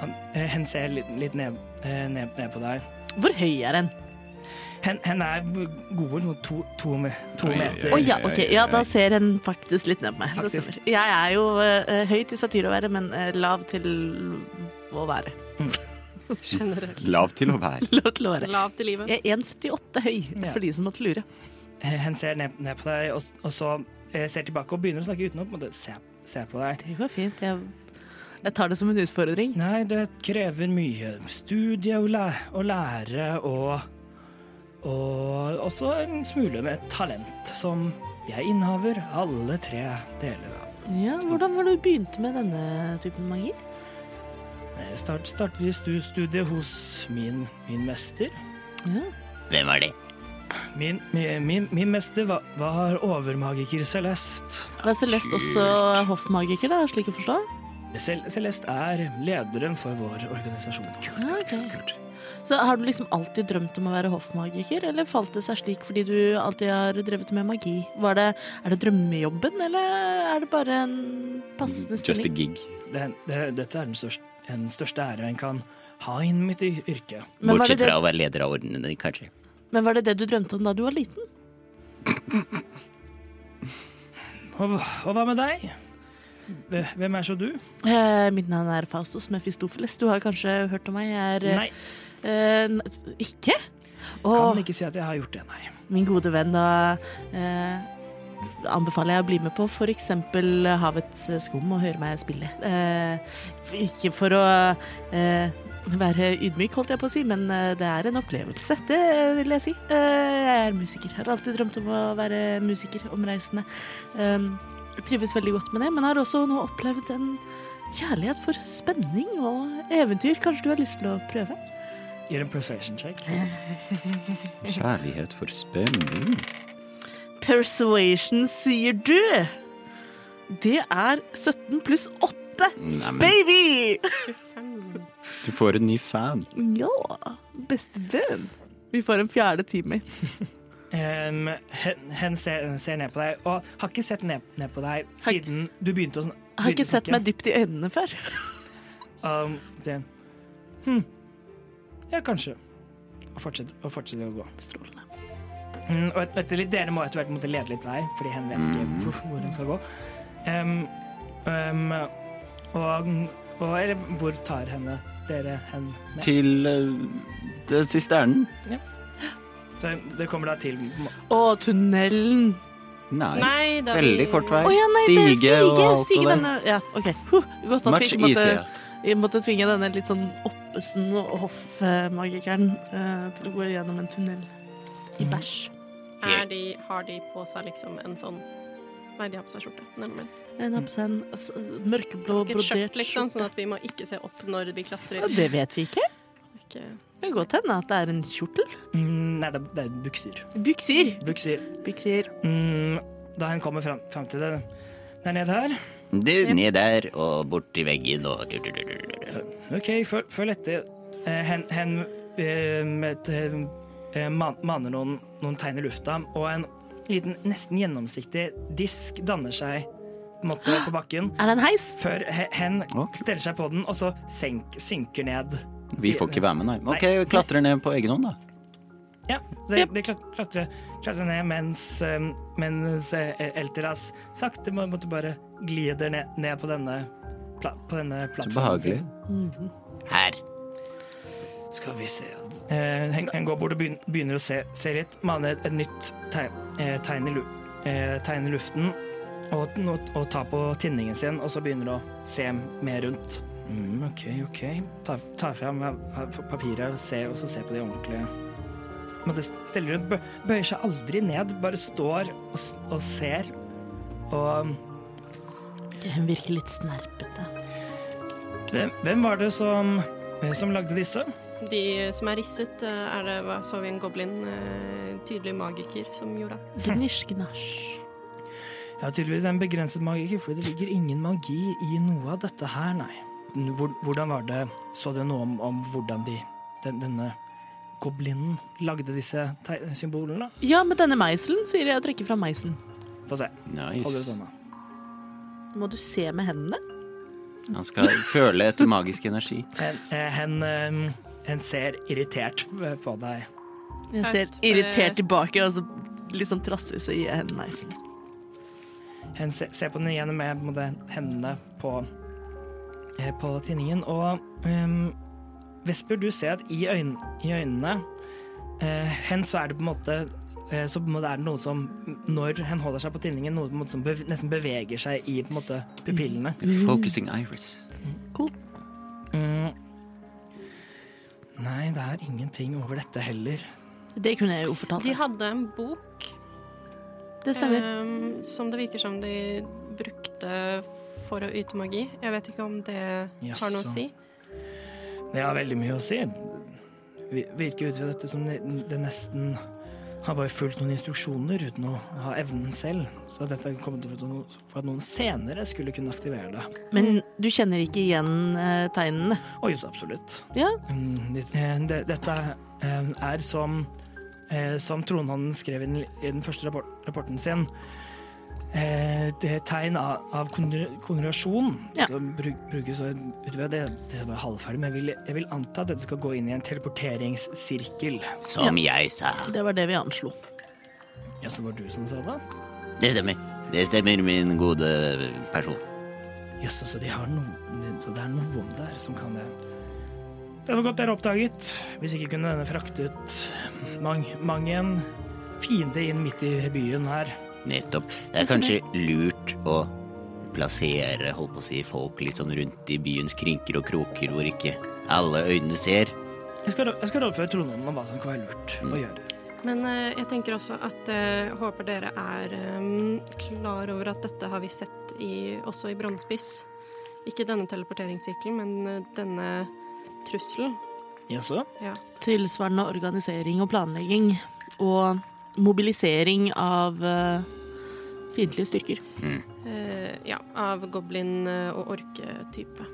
han- eh, Hen ser litt, litt ned, eh, ned, ned på deg. Hvor høy er den? Hen, hen er gode noe to, to, me- to Oi, oi, meter. Å oi. ja, ok. Ja, da ser en faktisk litt ned på meg. Det Faktisk. stemmer. Jeg er jo eh, høy til satyr å være, men eh, lav til å være. Generelt. Lav til å være. Lav til å være. Lavt i livet. Jeg er 1,78 høy, Ja. for de som måtte lure. Eh, Hen ser ned, ned på deg, og, s- og så eh, ser tilbake og begynner å snakke utenom. Og det ser, ser på deg. Det går fint. Jeg, jeg tar det som en utfordring. Nei, det krever mye studie og læ å lære og Og også en smule med talent, som jeg innehaver alle tre deler av. Ja, Hvordan var det du begynte med denne typen magi? Eh, Start, starter i stu studiet hos min, min mester. Ja. Hvem var det? Min, min, min, min mester var, var overmagiker Celeste. Var Celeste også hoffmagiker, da, slik å forstå? Cel Celeste er lederen for vår organisasjon. Ja, Ah, ok. Så har du liksom alltid drømt om å være hoffmagiker, eller falt det seg slik fordi du alltid har drevet med magi? Var det, er det drømmejobben, eller er det bare en passende Mm, Just a stilling? gig. Det, det, dette er den største, den største ære en kan ha innen mitt y- yrke. Men var, det Bortsett det, fra å være leder av ordenen din, kanskje. men var det det du drømte om da du var liten? Og, og hva med deg? Hve- Hvem er så du? Eh, mitt navn er Faustus Mefistofeles. Du har kanskje hørt om meg? Jeg er eh, Nei, eh, n- Ikke? Åh, kan ikke si at jeg har gjort det, nei. min gode venn, da eh, anbefaler jeg å bli med på for eksempel Havets skum og høre meg spille. Eh, f- ikke for å eh, være ydmyk, holdt jeg på å si, men eh, det er en opplevelse, det vil jeg si. Eh, jeg er musiker, har alltid drømt om å være musiker, omreisende. Eh, trives veldig godt med det, men har også nå opplevd en kjærlighet for spenning og eventyr. Kanskje du har lyst til å prøve? Gjør en persuasion check. Kjærlighet for spenning. Persuasion, sier du? Det er 17 pluss 8. Neimen, Baby! du får en ny fan. Ja. Bestevenn. Vi får en fjerde time. Em, hen hen ser, ser ned på deg, og har ikke sett ned, ned på deg siden du begynte å sn- Jeg har ikke begynte å sett snakke. meg dypt i øynene før. Um, det. Hm. Ja, kanskje. Og fortsette, og fortsette å gå. Strålende. Mm, og et, etter litt, dere må etter hvert måtte lede litt vei, fordi hen vet ikke Mm. hvor, hvor hun skal gå. Em, em, og, og Eller hvor tar henne dere hen med? Til eh, det sisternen. Det, det kommer da til Å, tunnelen. Nei. Nei, da Veldig vi- kort vei. Å ja, nei, det er Stige og stige. alt Stige det der. denne Ja, OK. Huh, Godt at vi Much ikke måtte, easier. vi måtte tvinge denne litt sånn oppesen hoffmagikeren eh, til å gå gjennom en tunnel i bæsj. Er de, har de på seg liksom en sånn Nei, de har på seg skjorte. Neimen. Mm. En har på seg en s- mørkeblå Ikke et skjørt, brodert liksom, skjorte. sånn at vi må ikke se opp når vi klatrer. Ja, det vet vi ikke. Ikke. Det kan godt hende at det er en kjortel. mm, Nei, det, det er bukser. Bukser. Bukser. Bukser. Mm, da hen kommer fram, fram til det der nede her Du, ned der og bort til veggen og du, du, du, du, du. OK, føl, følg etter. Eh, hen hen eh, med, eh, man, maner noen, noen tegn i lufta, og en liten, nesten gjennomsiktig disk danner seg på, en måte, på bakken. Er det en heis? Før he- hen Ok. steller seg på den, og så senk, synker ned. Vi får ikke være med, nei. OK, vi klatrer ned på egen hånd, da. Ja, så de, de klat- klatrer, klatrer ned mens, eh, mens eh, Elteras sakte må- måtte bare glider ned, ned på denne, pla, på denne Så plattformen. behagelig. Her. Skal vi se eh, hen, hen går bort og begyn- begynner å se, se litt. Mane et, et nytt tegn, eh, tegn, i lu, eh, tegn i luften. Og, den- og, og ta på tinningen sin, og så begynner å se mer rundt. Mm, OK, OK. Ta, ta fram eh, papiret og se, og så se på de ordentlige men det steller rundt. bø- Bøyer seg aldri ned, bare står og, s- og ser. Og Hun virker litt snerpete. eh, hvem, hvem var det som, eh, som lagde disse? De som er risset, eh, er det hva så vi en goblin, eh, tydelig magiker, som gjorde. Gnisj, gnasj. Jeg har tydeligvis en begrenset magiker, for det ligger ingen magi i noe av dette her, nei. Hvor- Hvordan var det Så du noe om, om hvordan de den, Denne goblinen lagde disse teg- symbolene? Ja, med denne meiselen, sier jeg og trekker fra meiselen. Få se. Hold det Nice. sånn, da. Må du se med hendene? Han skal føle etter magisk energi. Hen, eh, hen, eh, hen ser irritert på deg. Jeg ser Først, eh, irritert tilbake, og så litt sånn trassig, så gir jeg henne meiselen. Hen se- ser på den igjen med på en måte hendene på, eh, på tinningen. Og ehm, Vesper, du ser at i, øyn, i øynene eh, hen så er det på en måte eh, så på en måte er det noe som, når hen holder seg på tinningen, noe på en måte som bev, nesten beveger seg i på en måte, pupillene. Focusing iris. Mm. Nei, det er ingenting over dette heller. Det kunne jeg jo fortalt. De deg. hadde en bok Det stemmer. eh, som det virker som de brukte for å yte magi. Jeg vet ikke om det har noe å Jaså. si. Det har veldig mye å si. Vi- Virker ut fra dette som det det nesten har bare fulgt noen instruksjoner uten å ha evnen selv. Så dette kom til for at noen- for at noen senere skulle kunne aktivere det. Men du kjenner ikke igjen eh, tegnene? Og just absolutt. Ja. Mm, det- eh, det- Dette eh, er som eh, som Tronhånden skrev i den, i den første rapport, rapporten sin. eh, Det er tegn av, av konru- konjurasjon Ja. som bruk, brukes utover det. Disse er bare halvferdig, men jeg vil, jeg vil anta at dette skal gå inn i en teleporteringssirkel. Som jeg sa. Det var det vi anslo. Ja, så var det du som sa det? Det stemmer. Det stemmer, min gode person. Jøss, så, de har noen- så det er noen der som kan det. Det var godt dere oppdaget. Hvis ikke kunne denne fraktet mang, mang en fiende inn midt i byen her. Nettopp. Det er kanskje lurt å plassere holdt på å si, folk litt sånn rundt i byens krinker og kroker hvor ikke alle øynene ser. Jeg skal, jeg skal rådføre Trondheim om hva som kan være lurt å gjøre. Men eh, jeg tenker også at eh, håper dere er eh, klar over at dette har vi sett i, også i Brannspiss. Ikke denne teleporteringssirkelen, men eh, denne trusselen. Jaså? Ja. Tilsvarende organisering og planlegging og mobilisering av uh, fiendtlige styrker. Eh, ja, av goblin- eh, og orketype.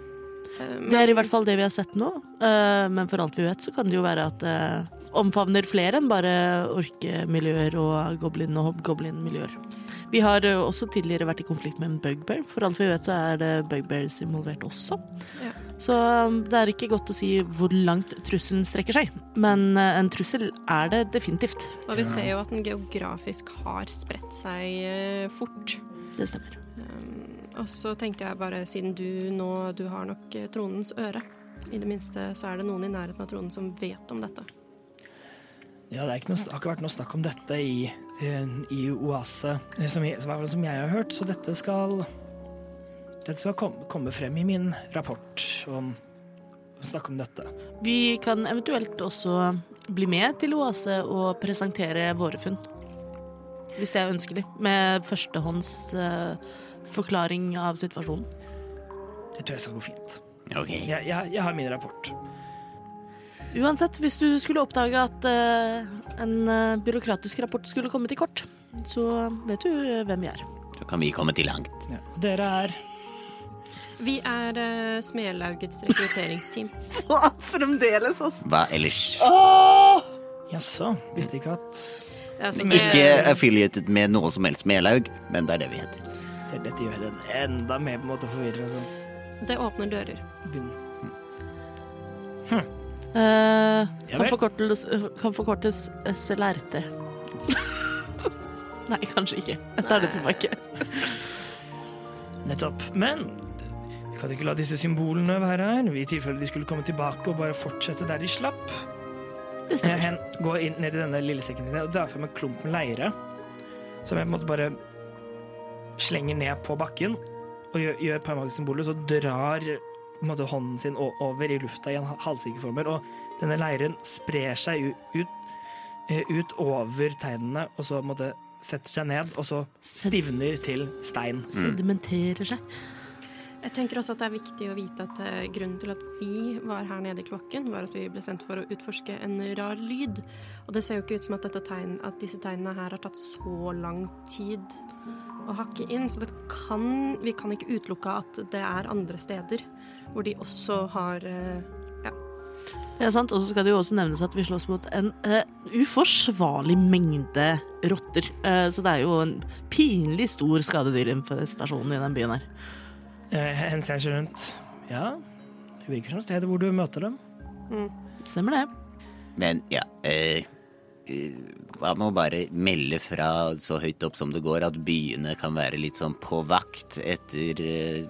Eh, men- Det er i hvert fall det vi har sett nå, eh, men for alt vi vet så kan det jo være at det omfavner flere enn bare orkemiljøer og goblin- og hobgoblin-miljøer. Vi har eh, også tidligere vært i konflikt med en bugbear. For alt vi vet så er det bugbears involvert også. Ja. Så um, det er ikke godt å si hvor langt trusselen strekker seg, men eh, en trussel er det definitivt. Og vi ser jo at den geografisk har spredt seg eh, fort. Det stemmer. Og så tenkte jeg bare, siden du nå du har nok eh, tronens øre, i det minste så er det noen i nærheten av tronen som vet om dette. Ja, det, er ikke noe, det har ikke vært noe snakk om dette i, eh, i Oase, eh, som, jeg- som, er- som jeg har hørt, så dette skal Dette skal komme, komme frem i min rapport om Snakke om dette. Vi kan eventuelt også bli med til Oase og presentere våre funn. Hvis det er ønskelig. Med førstehånds eh, forklaring av situasjonen. Det tror jeg skal gå fint. Ok. Jeg, jeg, jeg har min rapport. Uansett, hvis du skulle oppdage at eh, en eh, byråkratisk rapport skulle komme til kort, så vet du eh, hvem vi er. Så kan vi komme til langt. Ja. Og dere er Vi er eh, Smelaugets rekrutteringsteam. Fremdeles, ass. Hva ellers? Jaså, visste ikke at Ikke affiliated med noe som helst Melaug, men det er det vi heter. Ser dette gjør den enda mer på en måte forvirra. Sånn. Det åpner dører. Begynn- Eh, Ja kan, vel. forkortes, kan forkortes SLRT. Nei, kanskje ikke. Jeg tar det tilbake. Nettopp. Men vi kan ikke la disse symbolene være her, i tilfelle de skulle komme tilbake og bare fortsette der de slapp. Det Eh, stemmer. Hen går inn ned i denne lille sekken din og drar frem en klump med leire, som jeg på en måte bare slenger ned på bakken og gjør, gjør permagesymbolet, så drar på en måte, hånden sin o- over i lufta i en ha- halvsirkelformer, og denne leiren sprer seg u- ut eh, ut over teinene, og så på en måte setter seg ned, og så stivner til stein. Sedimenterer seg. Jeg tenker også at det er viktig å vite at eh, grunnen til at vi var her nede i kloakken, var at vi ble sendt for å utforske en rar lyd. Og det ser jo ikke ut som at, dette tegn, at disse tegnene her har tatt så lang tid å hakke inn, så det kan, vi kan ikke utelukke at det er andre steder hvor de også har eh, Det er sant, Og så skal det jo også nevnes at vi slåss mot en eh, uforsvarlig mengde rotter. Eh, så det er jo en pinlig stor skadedyrinfestasjon i den byen her. Eh, en ser seg rundt. Ja, det virker som stedet hvor du møter dem. Stemmer det. Men ja eh, eh, Hva med å bare melde fra så høyt opp som det går at byene kan være litt sånn på vakt etter eh,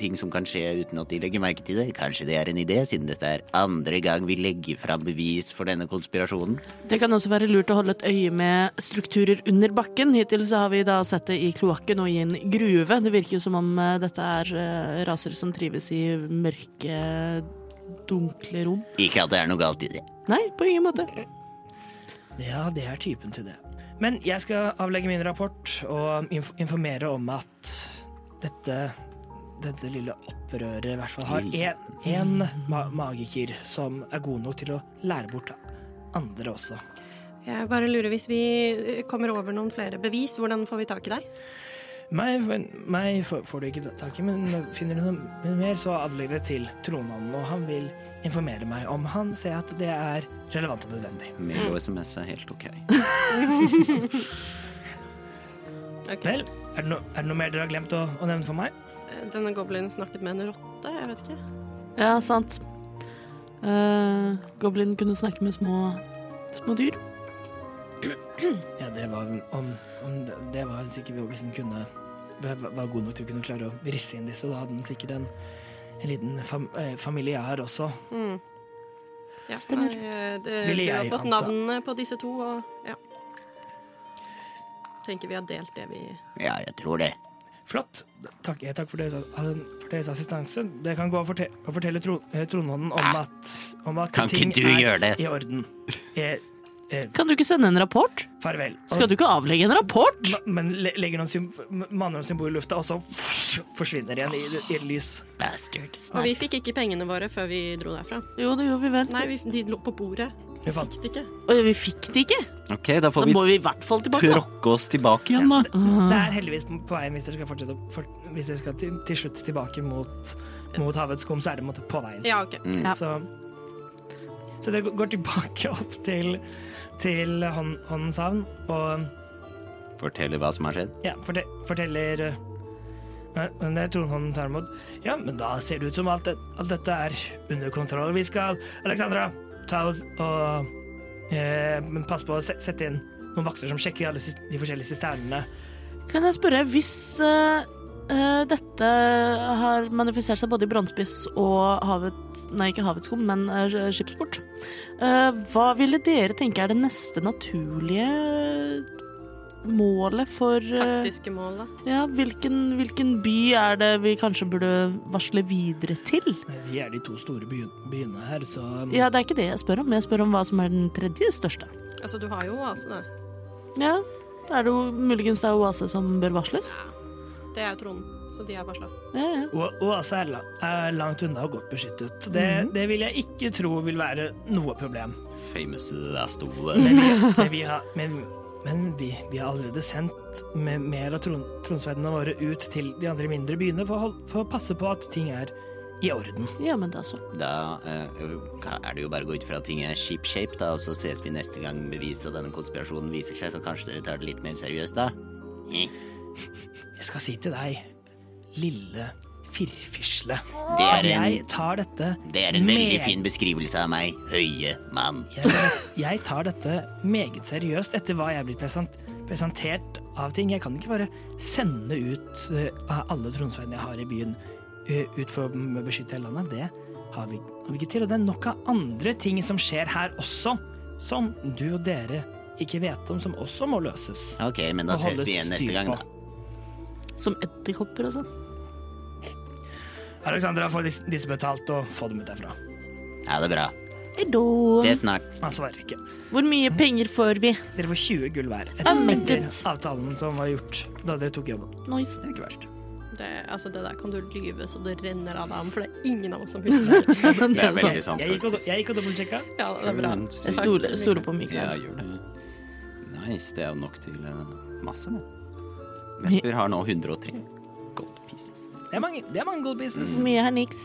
ting som kan skje uten at de legger merke til det? Kanskje det er en idé, siden dette er andre gang vi legger fram bevis for denne konspirasjonen? Det kan også være lurt å holde et øye med strukturer under bakken. Hittil så har vi da sett det i kloakken og i en gruve. Det virker jo som om eh, dette er eh, raser som trives i mørke, dunkle rom. Ikke at det er noe galt i det. Nei, på ingen måte. Ja, det er typen til det. Men jeg skal avlegge min rapport og inf informere om at dette, dette lille opprøret i hvert fall har én ma magiker som er god nok til å lære bort andre også. Jeg bare lurer, hvis vi eh, kommer over noen flere bevis, hvordan får vi tak i deg? Meg, meg får får du ikke tak i, men finner du noe mer, så avlegg det til tronmannen, og han vil informere meg om han ser at det er relevant og nødvendig. Mail og SMS er helt ok. Vel, er det, no, er det noe mer dere har glemt å, å nevne for meg? Eh, Denne goblinen snakket med en rotte, jeg vet ikke. Ja, sant. Eh, Goblin kunne snakke med små, små dyr. Ja, det var om, om det, det var sikkert vi liksom kunne var- var god nok til å kunne klare å risse inn disse, og da hadde den sikkert en, en liten fam, eh, familie her også. Ja, Stemmer. nei, eh, Det, Ville vi har jeg fått anta. navnene på disse to, og ja. Tenker vi har delt det vi Ja, jeg tror det. Flott. Takk, eh, takk for, deres, for deres assistanse. Dere kan gå og fortelle, og fortelle tro, eh, Trondhånden om Ah. at, om at Kan ting ikke du er gjøre det? i orden. Eh, eh, Kan du ikke sende en rapport? farvel. Og- Skal du ikke avlegge en rapport? ma- Men le- legger noen sym- manner noen symboler i lufta, og så forsvinner igjen i, i et lys. Bastard. Og vi fikk ikke pengene våre før vi dro derfra. Jo, det gjorde vi vel. Nei, vi, de lå på bordet. Vi fant Fikk det ikke. Oi, vi fikk det ikke. Ok, da Da får vi må vi i hvert fall tilbake. da. tråkke oss tilbake igjen, da. Det er heldigvis på på veien hvis dere skal, fortsette, å- for, hvis dere skal til, til slutt tilbake mot, mot havets skum, så er det på en måte på veien. Ja, OK. Ja. Så, så dere går tilbake opp til, til hånd, håndens havn og Fortelle hva som har skjedd. ja, forte- forteller eh, men det er Trondhånden tar imot. Ja, men da ser det ut som alt, det, alt dette er under kontroll. Vi skal, Alexandra, ta oss og eh, men pass på å se- sette inn noen vakter som sjekker alle sis- de forskjellige sisternene. Kan jeg spørre, hvis eh, eh, dette har manifisert seg både i Brannspiss og havet, nei, ikke havets skum, men eh, skipsport, eh, hva ville dere tenke er det neste naturlige målet for eh, Taktiske mål, da. Ja, hvilken, hvilken by er det vi kanskje burde varsle videre til? Vi er de to store by- byene her, så um, Ja, det er ikke det jeg spør om. Jeg spør om hva som er den tredje største. Altså, du har jo altså det. Ja, da er det jo muligens det er Oase som bør varsles. Det er jo Trond, så de er varsla. Ja, ja. O- Oase altså er, la er langt unna og godt beskyttet. Det, Mhm. det vil jeg ikke tro vil være noe problem. Famous last Men word. vi, men vi, har, men, men vi, vi har allerede sendt me- mer av tron tronsverdene våre ut til de andre mindre byene for å, hold- for å passe på at ting er i orden. ja men da så. Da eh, er det jo bare å gå ut fra at ting er ship-shape, da, og så ses vi neste gang bevis av denne konspirasjonen viser seg, så kanskje dere tar det litt mer seriøst da. Eh, Jeg skal si til deg, lille firfisle, Det at er en- jeg tar dette Det er en veldig meget- fin beskrivelse av meg, høye mann. Jeg, jeg tar dette meget seriøst etter hva jeg blir present, presentert av ting. Jeg kan ikke bare sende ut eh, alle tronsveinene jeg har i byen eh, ut for å beskytte hele landet. Det har vi, har vi ikke til. Og det er nok av andre ting som skjer her også, som du og dere ikke vet om, som også må løses. Ok, men da Og ses holdes vi igjen neste styr gang, på. da. Som edderkopper og sånn. Alexandra, få dis- disse betalt og få dem ut derfra. Sånn. Ja, det er bra. Hejdå. Se snart. Han svarer ikke. Hvor mye penger får vi? Dere får 20 gull hver men etter gud. avtalen som var gjort da dere tok jobben. Nice. Det er ikke verst. Det, altså, det der kan du lyve så det renner av deg om, for det er ingen av oss som husker. Det er veldig sant, Jeg gikk og, faktisk. jeg gikk og dobbeltsjekka. Ja, det er bra. sånn. Jeg stoler stoler på Ja, Mikael. gjør det. mm. Nice, det er jo nok til eh, masse, det. Vesper har nå 103 gold pieces. Det er mange, det er mange gold pieces. Så mye er niks.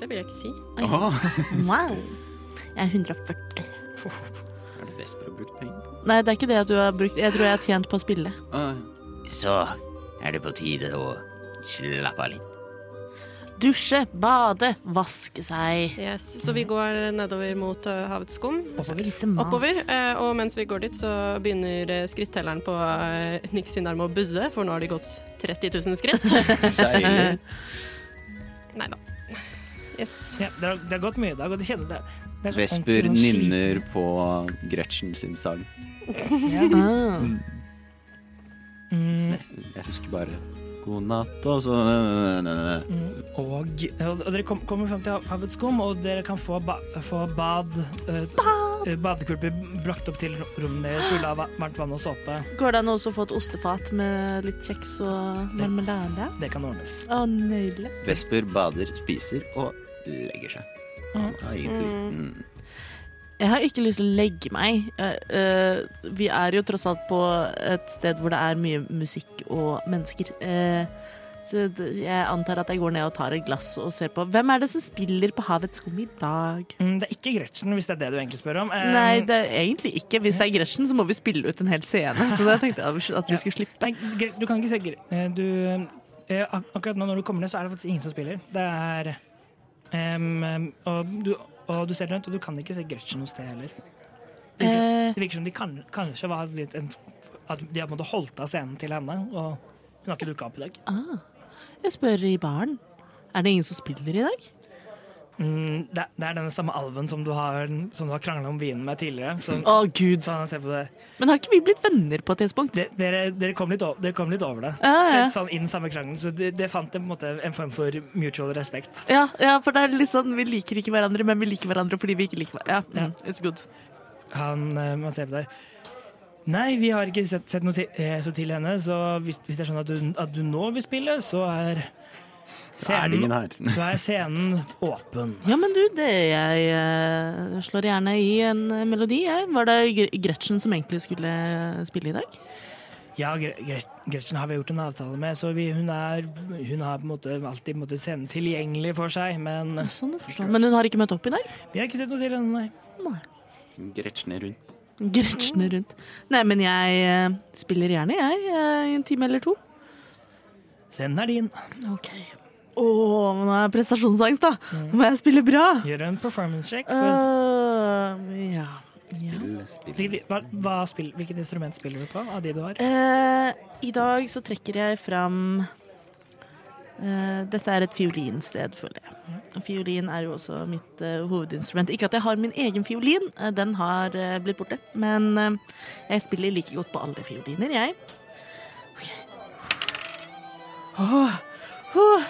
Det vil jeg ikke si. Åh, Wow. Jeg er 140. er det Vesper har brukt penger på? Nei, det er ikke det at du har brukt. Jeg tror jeg har tjent på å spille. Så er det på tide å slappe av litt. Dusje, bade, vaske seg. Yes. Så vi går nedover mot eh, havets skum. Spise mat. Oppover. eh, Og mens vi går dit, så begynner eh, skrittelleren på eh, Nix sin arm å buzze, for nå har de gått 30 000 skritt. Deilig. Nei da. Yes. Ja, det, har, det har gått mye. Det har gått kjedelig. Det, det er sånn så Vesper ordentlig noe sliten. nynner på Gretchen sin sang. Ah. Mm, Jeg husker bare God natt, og så og, og dere kom, kommer frem til havets skum, og dere kan få, ba, få bad, eh, eh, Badekulper brakt opp til rommet deres fulle av va- varmt vann og såpe. Går det an å også få et ostefat med litt kjeks og marmelade? Det kan ordnes. Å, nydelig. Vesper bader, spiser og legger seg. Han har egentlig mm. Jeg har ikke lyst til å legge meg. Eh, eh, vi er jo tross alt på et sted hvor det er mye musikk og mennesker. Eh, så d- jeg antar at jeg går ned og tar et glass og ser på. Hvem er det som spiller på Havets skum i dag? Mm, det er ikke Gretchen, hvis det er det du egentlig spør om. Eh, Nei, det er egentlig ikke. Hvis det er Gretchen, så må vi spille ut en hel scene. Så det tenkte jeg at vi skulle slippe. Nei, Gre- du kan ikke se Gre- eh, du, eh, ak Akkurat nå når du kommer ned, så er det faktisk ingen som spiller. Det er em, em, og, du, og du ser rundt, og du kan ikke se Gretchen noe sted heller. Det virker, Eh, det virker som de kan, kanskje var litt en, At de har på en måte holdt av scenen til henne, og hun har ikke dukka opp i dag. jeg spør i baren. Er det ingen som spiller i dag? Mm, det, det er den samme alven som du har, som du har krangla om vinen med tidligere. Så, Å, gud. så han ser på det. Men har ikke vi blitt venner på et tidspunkt? De, dere, dere, kom litt over, dere kom litt over det. Ah, Ja, ja. Så, sånn, I den samme krangelen. Så det, det fant en, på en, måte, en form for mutual respekt. Ja, ja, for det er litt sånn, vi liker ikke hverandre, men vi liker hverandre fordi vi ikke liker hverandre. Ja, mm, it's good. Han, eh, man ser på deg Nei, vi har ikke sett, sett noe til, eh, så til henne, så hvis, hvis det er sånn at du, at du nå vil spille, så er Da er det ingen scenen, her. så er scenen åpen. Ja, men du, det jeg eh, slår gjerne i en eh, melodi, jeg. Var det Gre- Gretchen som egentlig skulle spille i dag? Ja, Gre- Gre- Gretchen har vi gjort en avtale med, så vi, hun, er, hun har på en måte alltid på en måte, scenen tilgjengelig for seg, men Sånn, jeg forstår. Men hun har ikke møtt opp i dag? vi har ikke sett noe til henne, nei. Nei. Gretchen er rundt. Gretchen er rundt. Nei, men jeg eh, spiller gjerne, jeg, eh, i en time eller to. Scenen er din. Ok. Mm. Å, men nå er jeg prestasjonsangst, da. Må jeg spille bra? Gjør en performance check. Eh. For, Øh, ja. ja. Spill. hvilket, hva, hva spill, hvilket instrument spiller du på av de du har? Eh, I dag så trekker jeg fram eh, Dette er et fiolinsted, føler jeg. Og Fiolin er jo også mitt eh, hovedinstrument. Ikke at jeg har min egen fiolin, eh, den har eh, blitt borte. Men eh, jeg spiller like godt på alle fioliner, jeg. Ok. Åh, åh.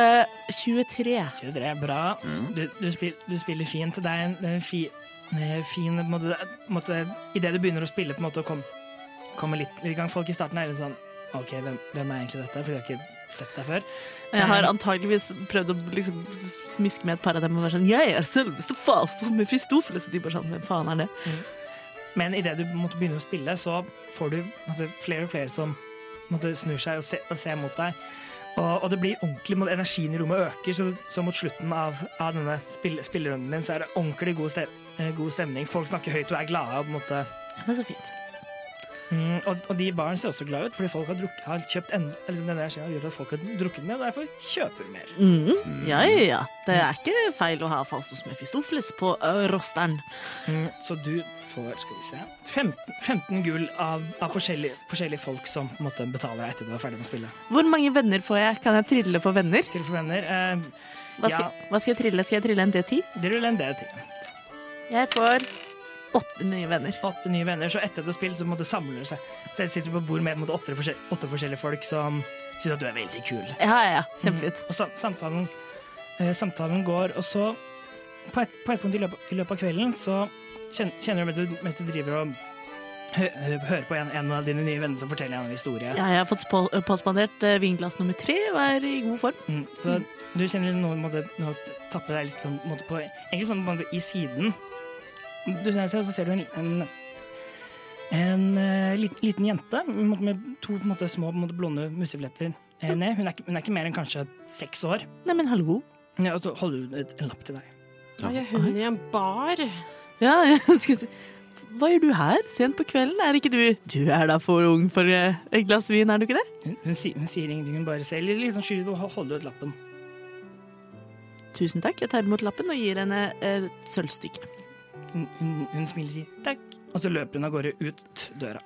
Eh, 23. 23 er bra. Du, du, spil, du spiller fint. Det er en, det er en fi, eh, fin på en måte, det er- på en måte, Idet du begynner å spille, på en måte, og kom, kommer litt i gang Folk i starten er litt sånn OK, hvem, hvem er egentlig dette? For de har ikke sett deg før. Jeg har antageligvis prøvd å liksom smiske med et par av dem og være sånn Jeg er selveste Falfo Mefistofeles. Og de bare sånn Hvem faen er det? Men idet du på en måte, begynner å spille, så får du på en måte, flere og flere som på en måte, snur seg og, se, og ser mot deg. Og, og det blir ordentlig, på en måte, energien i rommet øker, så, så mot slutten av, av denne spill, spillerunden din så er det ordentlig god, ste, eh, god stemning. Folk snakker høyt og er glade. og på en måte Men så fint. Mm, og, og de barn ser også glad ut, fordi folk har, drukket, har kjøpt en, liksom denne energien har gjort at folk har drukket mer, og derfor kjøper de mer. Mm. Ja, ja, ja. Det er ikke feil å ha Falsos Mefistofeles på ø, rosteren. Mm, så du får skal vi se, 15, 15 gull av, av forskjellige, forskjellige folk som på en måte, betaler deg etter du er ferdig med å spille. Hvor mange venner får jeg? Kan jeg trille for venner? Til for venner, eh, Hva skal, ja, hva skal jeg trille? Skal jeg trille en D10? det ruller en del til. Jeg får åtte nye venner. Åtte nye venner, så etter at du har spilt, så på en måte samler det seg. Så jeg sitter på bord med på en måte, åtte, forskjell, åtte forskjellige folk som synes at du er veldig kul. Mm. Ja, ja, ja. Kjempefint. Og sam samtalen, eh, samtalen går, og så på et, på et punkt i løpet, i løpet av kvelden så kjen- kjenner du mens du, mens du driver og hø, hø, hører på en, en av dine nye venner som forteller en historie. Jeg har fått spa- påspandert eh, vinglass nummer tre og er i god form. Mm, så du kjenner noen måte nå tapper deg litt sånn, på en måte, på Egentlig sånn på en måte i siden. Du ser deg, og så ser du en, en, en eh, lit- liten jente på en måte med to på en måte, små på en måte, blonde musefletter eh, ned. Hun er, ikke- hun er ikke mer enn kanskje seks år. Nei, men hallo. Ja, og så holder hun et- en lapp til deg. Hva gjør hun i en bar? Altså, Ja, jeg skulle si Hva gjør du her sent på kvelden? Er ikke du Du er da for ung for eh, et glass vin, er du ikke det? Hun, hun, si- hun sier ingenting, hun bare ser litt, litt sånn skyv og ho- holder ut lappen. Tusen takk. Jeg tar imot lappen og gir henne eh, et sølvstykke. Hun, hun, hun smiler og sier takk, og så løper hun av gårde ut døra.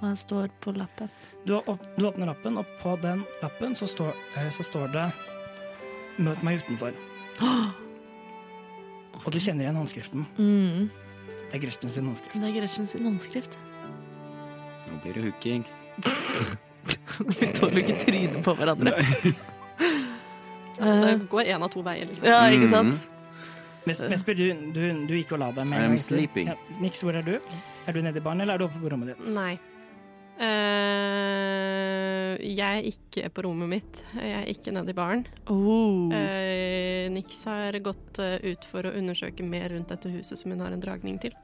Hva står på lappen? Du, har åp du åpner lappen, og på den lappen så står, eh, så står det 'Møt meg utenfor'. Og du kjenner igjen håndskriften. Mm. Det er Gretchen sin håndskrift. Det er Gretchen sin håndskrift. Nå blir det hookings. Vi tåler ikke trynet på hverandre. Altså, det går én av to veier. Liksom. Eh. Ja, ikke sant? Mes- Mesper, du, du, du gikk og la deg med I am egentlig. sleeping. Ja, Nix, hvor er du? Er du nede i baren, eller er du oppe på rommet ditt? Nei. Eh, jeg er ikke på rommet mitt. Jeg er ikke nede i baren. Oh. Eh, Nix har gått eh, ut for å undersøke mer rundt dette huset som hun har en dragning til.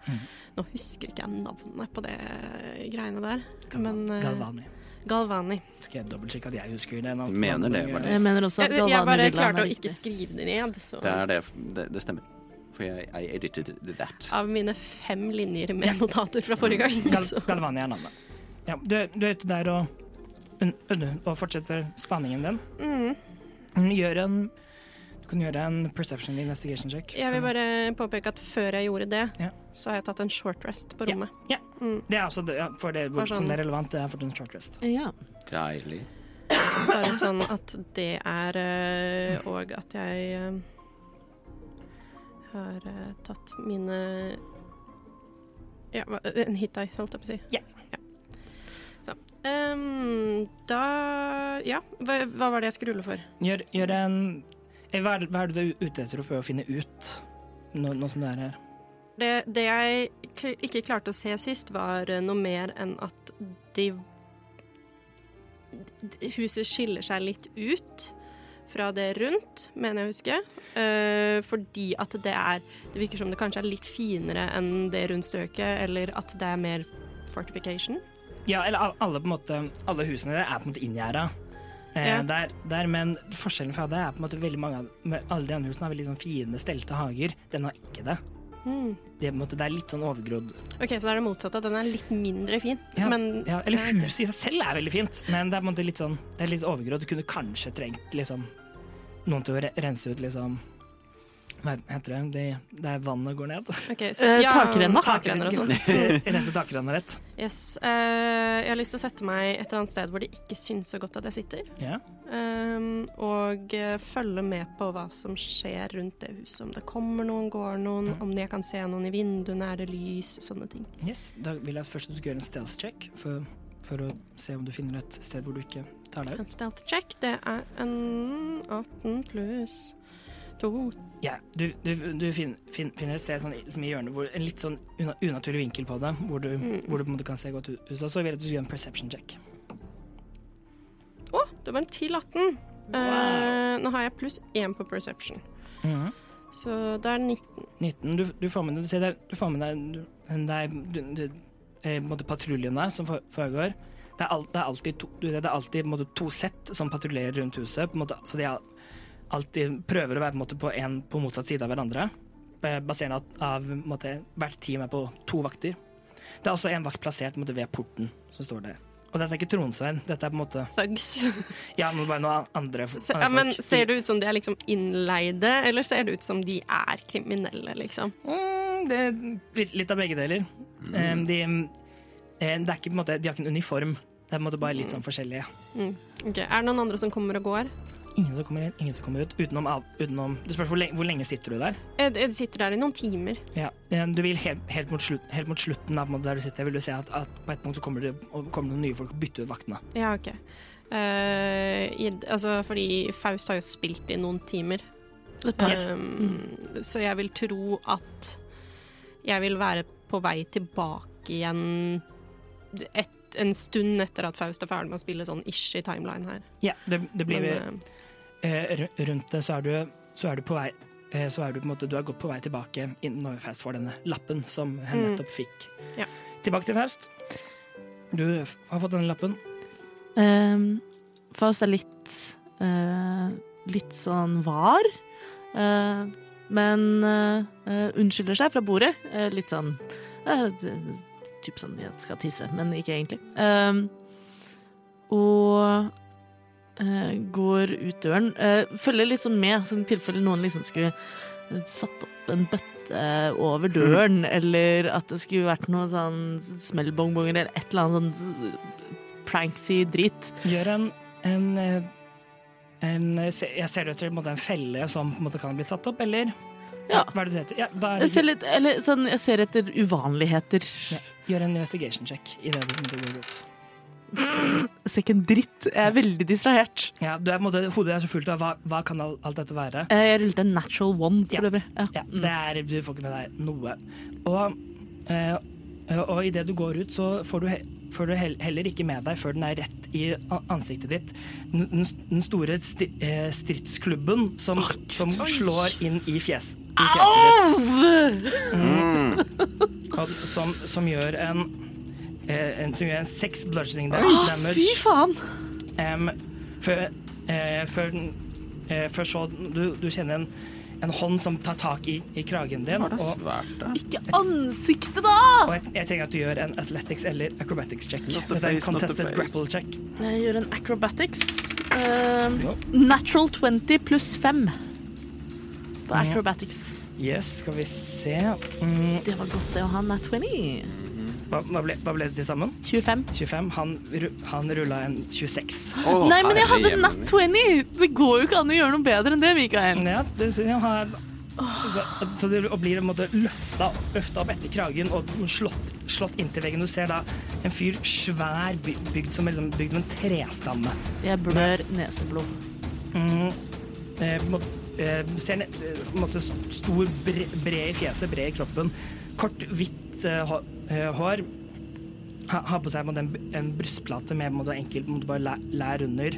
Nå husker ikke jeg navnet på det eh, greiene der, men eh, Galvani. Galvani. Skal jeg dobbeltsjekke at jeg husker det? nå? Mener det, var det. Jeg mener også at Jeg, jeg Galvani bare Villaen klarte er å ikke riktig. skrive det ned, så Det er det. Det, det stemmer. For jeg, I edited that. Ah. av mine fem linjer med notater fra forrige gang. Gal Så. Galvani er navnet. Ja, du, du er ute der og, un- un- og fortsetter spaningen din. Mm. Mm, Gjør en Du kan gjøre en perception investigation check. Jeg vil bare påpeke at før jeg gjorde det, Ja. så har jeg tatt en short rest på Ja. rommet. Ja. Mm. Det er altså det, ja, for det hvor, Bare sånn- som det er relevant, det er for en short rest. Ja. Deilig. Bare sånn at det er øh, Og at jeg øh, har øh, tatt mine Ja, hva- en hittai, holdt jeg på å si. Ja. Så. ehm, da Ja, hva, hva var det jeg skulle rulle for? Gjør, gjør en eh, hva er, det- hva er det du er ute etter å prøve å finne ut, nå, nå som du er her? Det, det jeg kl- ikke klarte å se sist, var øh, noe mer enn at de d- Huset skiller seg litt ut fra det rundt, mener jeg å huske. Eh, fordi at det er Det virker som det kanskje er litt finere enn det rundt strøket, eller at det er mer fortification. Ja, eller al- alle, på en måte, alle husene der er på en måte inngjerda. Eh, Ja. der, der, men forskjellen fra det er på en måte veldig mange av men alle de andre husene har veldig sånn fine, stelte hager. Den har ikke det. Det er, på en måte, det er litt sånn overgrodd. Hmm. OK, så da er det motsatte. Den er litt mindre fin, Ja, men ja, eller jeg vet ikke. huset i seg selv er veldig fint, men det er på en måte litt sånn Det er litt overgrodd. Du kunne kanskje trengt liksom noen til å re rense ut liksom Hva heter det? De, der vannet går ned. Ok, så- Eh, ja, takrenna. Takrenner og sånn. rense takrenna rett. Yes. eh, jeg har lyst til å sette meg et eller annet sted hvor det ikke syns så godt at jeg sitter. Ja. Ehm, og eh, følge med på hva som skjer rundt det huset. Om det kommer noen, går noen, om jeg kan se noen i vinduene, er det lys, sånne ting. Yes, da vil jeg først at du skal gjøre en stealth-check for, for å se om du finner et sted hvor du ikke tar deg ut. En stealth check, det er en 18 pluss 2. Ja, du, du, du fin, fin, finner et sted sånn, i- som i hjørnet hvor en litt sånn una, unaturlig vinkel på det, hvor du, hvor du på en måte kan se godt ut. Så vil jeg at du skal gjøre en perception-check. Å, det var en til 18! Eh, nå har jeg pluss 1 på perception, så det er 19. 19. Du, du får med deg, du ser det, du får med deg, du- den der- du- du- eh, på en måte patruljen der som for- foregår. Det er, alt, det er alltid to, du, ser det er alltid på en måte, to sett som patruljerer rundt huset. På en måte, så de er alltid prøver å være på, en måte, på, en, på motsatt side av hverandre. eh, Baserende av, av på en måte, hvert team er på to vakter. Det er også en vakt plassert på en måte, ved porten, som står der. Og dette er ikke Tronsveien. Dette er på en måte Thugs. Ja, men bare noen andre, Se, andre ja, men folk. ser det ut som de er liksom innleide, eller ser det ut som de er kriminelle, liksom? Mm, det er litt, litt av begge deler. Eh, de, eh, det er ikke på en måte, de har ikke en uniform. Det er på en måte bare litt sånn forskjellige. Ok, Er det noen andre som kommer og går? Ingen som kommer inn, ingen som kommer ut. Utenom, av- utenom Det spørs hvor lenge, hvor lenge sitter du der. Jeg, jeg eh, sitter der i noen timer. Ja. eh, Du vil helt, helt, mot, slutt, helt mot slutten av på en måte, der du sitter, vil du se at, at på et punkt så kommer det, og kommer det noen nye folk og bytter ut vaktene. Ja, OK. Eh, i, altså, fordi Faust har jo spilt i noen timer. Et par. Ehm, Så jeg vil tro at jeg vil være på vei tilbake igjen et, en stund etter at Faust er ferdig med å spille sånn ish i timeline her. Ja, det, det blir Men, eh, ru- Rundt det så er du, så er du på vei eh, så er du på en måte, du er godt på vei tilbake inn når Faust får denne lappen som hen Mm. nettopp fikk. Ja. Tilbake til Faust. Du f- har fått denne lappen. Um, Faust er litt eh, Litt sånn var. eh, men eh, eh, unnskylder seg fra bordet. eh, litt sånn eh, d- Typ sånn 'jeg skal tisse', men ikke egentlig. Um, og eh, går ut døren. eh, følger liksom med, så i tilfelle noen liksom skulle eh, satt opp en bøtte over døren, eller at det skulle vært noen sånn smellbongbonger eller et eller annet sånn pranksy drit. Gjør en, en, eh, en eh, se- Jeg ser det ut til på en måte, en felle som på en måte kan ha blitt satt opp, eller? Ja. Hva er det du heter? Ja, da er Jeg ser, litt, eller, sånn, jeg ser etter uvanligheter. ja. Gjør en investigation check i det du du går ut. Jeg ser ikke en dritt. Jeg er veldig distrahert. Ja, du er, på en måte, hodet er så fullt av hva, hva kan al- alt dette være? Eh, Jeg rullet en natural one, for Ja. øvrig. Ja. Mm. Ja, det er, du får ikke med deg noe. Og, eh, og idet du går ut, så får du, he- får du hel- heller ikke med deg før den er rett i a- ansiktet ditt. Den, den s- den store sti, eh, stridsklubben som, som slår inn i, fjes, i fjeset ditt. Og som, som gjør en eh, en, som gjør en seks bludgeoning da- damage. Fy faen! Em, før, eh, før, den- eh, før så du, du kjenner en, en hånd som tar tak i, i kragen din. Og, Svært, da. Ikke ansiktet, da! og jeg, jeg trenger at du gjør en athletics eller acrobatics check. Not the Dette er en face, not the contested face. grapple check. Jeg gjør en acrobatics. Um, natural 20 pluss 5 på acrobatics. Yes, skal vi se. Mm, Det var godt å se å ha en nat 20. hva, hva, ble, hva ble det til sammen? 25. 25. Han, ru- han rulla en 26. Å, Nei, men jeg herre hadde jemini. nat 20! Det går jo ikke an å gjøre noe bedre enn det, Mikael. Ja, det, så han har så, så det blir på en måte løfta, løfta opp etter kragen og slått, slått inntil veggen. Du ser da en fyr svær, by- bygd som liksom, bygd som en trestamme. Jeg blør neseblod. Eh, på en måte- eh, ser ned, eh, på en måte st- stor, bre, bred i fjeset, bred i kroppen. Kort, hvitt eh, hå- eh, hår. Ha, har på seg på en måte, en, b- en brystplate med på en måte, enkelt på en måte, bare lær, lær under,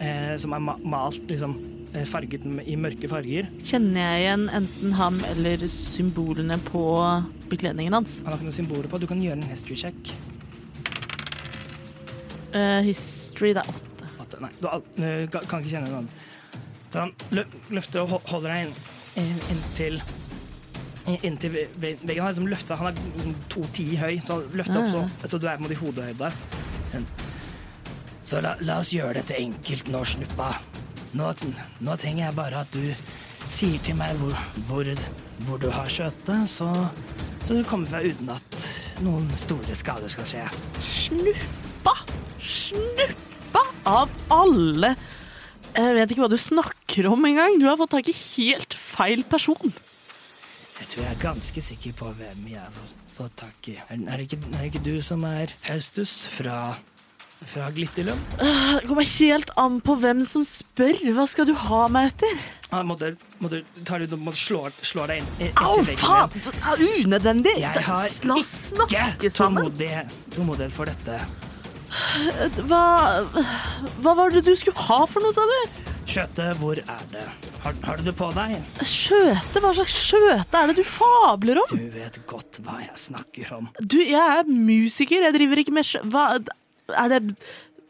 eh, som er ma malt liksom, eh, farget m- i mørke farger. Kjenner jeg igjen enten ham eller symbolene på bekledningen hans? Han har ikke noen symboler på. Du kan gjøre en history check. Eh, history, det er åtte. At, nei, du al- eh, kan kan ikke kjenne den. Så han lø- løfter og ho- holder deg inn, inn, inntil inn- Inntil ve- ve- veggen. Han, er liksom løftet, han er liksom 2,10 høy, så han løfter opp så, så du er mot i hodehøyde. En- Så la, la oss gjøre dette enkelt nå, snuppa. Nå, t- nå trenger jeg bare at du sier til meg hvor, hvor, hvor du har skjøtet, så, så du kommer fra uten at noen store skader skal skje. Snuppa! Snuppa av alle! Jeg vet ikke hva du snakker om engang. Du har fått tak i helt feil person. Jeg tror jeg er ganske sikker på hvem jeg får, får tak i. Er, er, det ikke, er det ikke du som er Faustus fra, fra Glitterløm? Det kommer helt an på hvem som spør. Hva skal du ha meg etter? Han måtte, måtte, tar ut og måtte slå, slå deg inn. inn Au, til veggen faen! din. Det er unødvendig! Jeg har La oss snakke ikke sammen. tålmodighet, tålmodighet for dette. Hva, hva var det du skulle ha for noe, sa du? Skjøte, hvor er det? Har, har du det på deg? Skjøte? Hva slags skjøte er det du fabler om? Du vet godt hva jeg snakker om. Du, jeg er musiker, jeg driver ikke med sjø... Hva, er det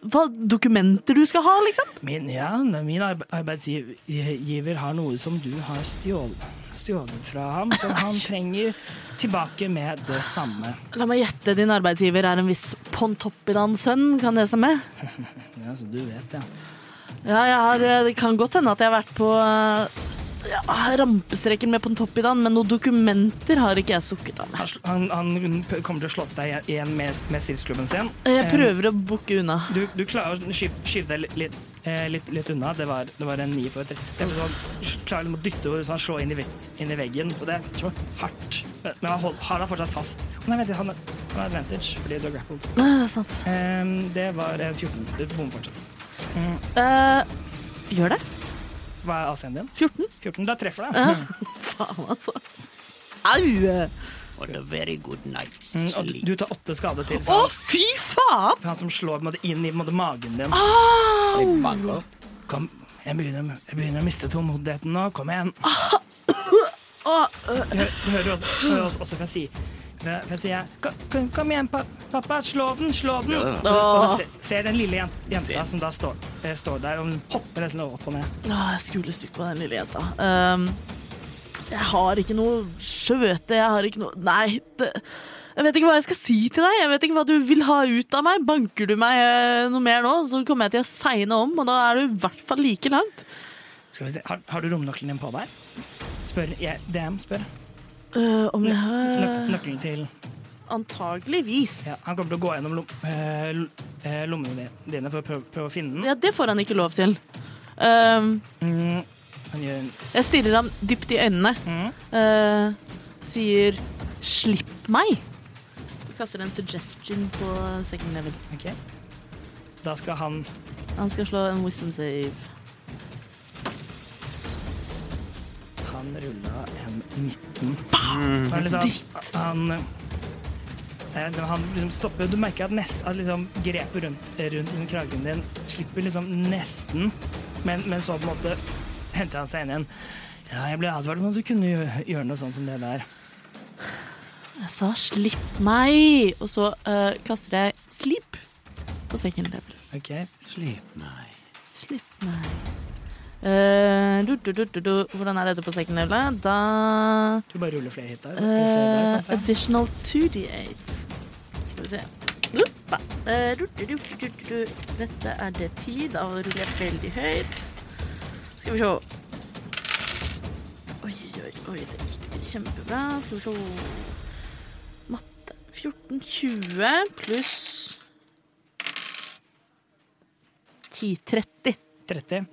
hva, dokumenter du skal ha, liksom? Min, ja, men min arbe- arbeidsgiver har noe som du har stjålet, stjålet fra ham, som han trenger tilbake med det samme. La meg gjette, din arbeidsgiver er en viss Pontoppidan-sønn, kan det stemme? Ja, så du vet, ja. Ja, jeg har, eh, det kan godt hende at jeg har vært på eh, ja, rampestreken med Pontoppidan, men noen dokumenter har ikke jeg sukket av. Han, sl- han, han p- kommer til å slå til deg igjen med, med stridsklubben sin. Eh, Jeg prøver å bukke unna. Du, du klarer å sky- skyve deg litt, litt, eh, litt, litt unna. Det var, det var en ni for et treff. Det er fordi Han klarer liksom å dytte over, så han slår inn i, vegg- inn i veggen. Og det er så hardt. Men han hold, har da fortsatt fast. Å, Nei, vent litt, han, er- han har advantage fordi du har grappled. Ehm, Eh, sant. Em, det var eh, 14. Du bommer fortsatt. Eh, gjør det? Hva er AC-en din? 14? 14. Da treffer det. Faen, altså. Au! What a very good night Mm, og sleep. du tar åtte skade til Å, for, fy faen! for han som slår på en måte, inn i på en måte, magen din. Kom, jeg begynner, jeg begynner å miste tålmodigheten nå. Kom igjen. Du hø- du hører også, hører også, også fra si fra fra sida kom, kom, kom igjen, pa, pappa. Slå den, slå den. Ja. Og da se- ser den lille jen- jenta som da står, eh, står der, og hun hopper nesten opp og ned. Åh, Ah, jeg skulle stykke på den lille jenta. Ehm, jeg har ikke noe skjøte, jeg har ikke noe Nei, det, jeg vet ikke hva jeg skal si til deg. Jeg vet ikke hva du vil ha ut av meg. Banker du meg eh, noe mer nå, så kommer jeg til å segne om, og da er du i hvert fall like langt. Skal vi se, har, har du romnøkkelen din på deg? Spør jeg, DM spør. Eh, om jeg Nøk, har nøkkelen til Antageligvis. ja, Han kommer til å gå gjennom lom, eh, l- eh, lommene dine for å prøve, prøve å finne den. Ja, det får han ikke lov til. Ehm, Mm, han gjør en jeg stirrer ham dypt i øynene. Mhm. Eh, sier 'slipp meg'. Du kaster en suggestion på second level. OK. Da skal han Han skal slå en wisdom save. Han rulla en 19. Så Han, liksom, han, eh, når han liksom stopper. Du merker at, nest, at liksom grepet rundt, rundt under kragen din slipper liksom nesten, men, men så på en måte henter han seg inn igjen. Ja, jeg ble advart om at du kunne gjø- gjøre noe sånn som det der. Jeg sa 'slipp meg', og så eh, kaster jeg 'sleep' på second level. Ok, Slipp meg. Slipp meg. Eh, du, du, du, du, du. Hvordan er dette på second level? Da Du bare ruller flere hit der. Eh, Flere der sant, additional 2D8. Skal vi se. Uppa. Eh, du, du, du, du, du, du. Dette er det tid. Da ruller jeg veldig høyt. Skal vi se. Oi, oi, oi. Det gikk kjempebra. Skal vi se. Matte 14, 20 pluss 10, 30. ja. 30.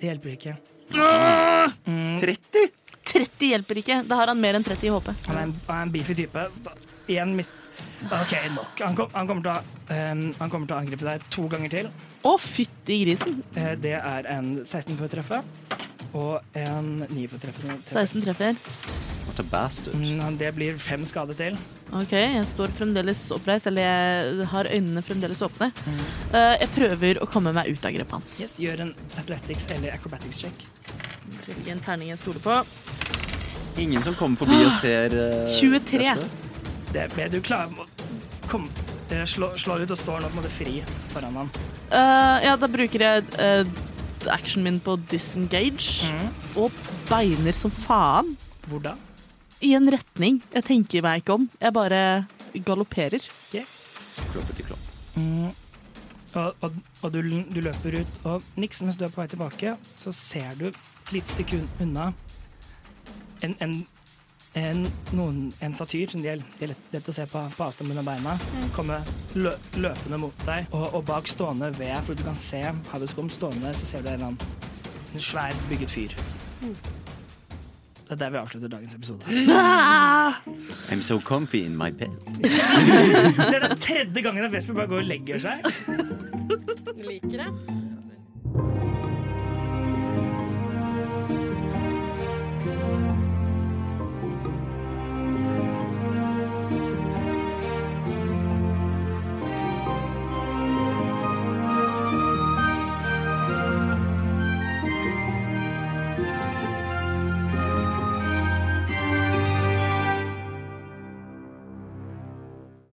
Det hjelper ikke. 30? 30 hjelper ikke. Da har han mer enn 30 i HP. Han er en, han er en beefy type. Så da- Igjen mist... OK, nok. Han, kom, han, kommer til å, eh, han kommer til å angripe deg to ganger til. Å, fytti grisen. Eh, Det er en 16 for å treffe og en 9 for å treffe. som treffer. 16 treffer. What a bastard. Mm, Det blir fem skader til. Ok, jeg står fremdeles oppreist, eller jeg har øynene fremdeles åpne. Eh, jeg prøver å komme meg ut av grepet hans. Yes, gjør en athletics eller acrobatics check. Treffer ikke en terning jeg stoler på. Ingen som kommer forbi Ah. og ser eh, 23. Det ble du klar må- Kom, eh, slå, slår ut og står nå på en måte fri foran han. Eh, ja, da bruker jeg eh, actionen min på disengage, Mm. og beiner som faen Hvor da? i en retning. Jeg tenker meg ikke om, jeg bare galopperer. Kloppet i klopp. Og, og, og du, du løper ut, og niks mens du er på vei tilbake, så ser du et lite stykke un- unna en, en, en, noen, en satyr som de er, de er lett, lett å se på, på avstand mellom beina, komme lø, løpende mot deg, og, og bak stående ved, for du kan se Haviskom stående, så ser du en eller annen en svær bygget fyr. Det er der vi avslutter dagens episode. I'm so comfy in my bed. Det er den tredje gangen at Vesper bare går og legger seg. eh, Liker det.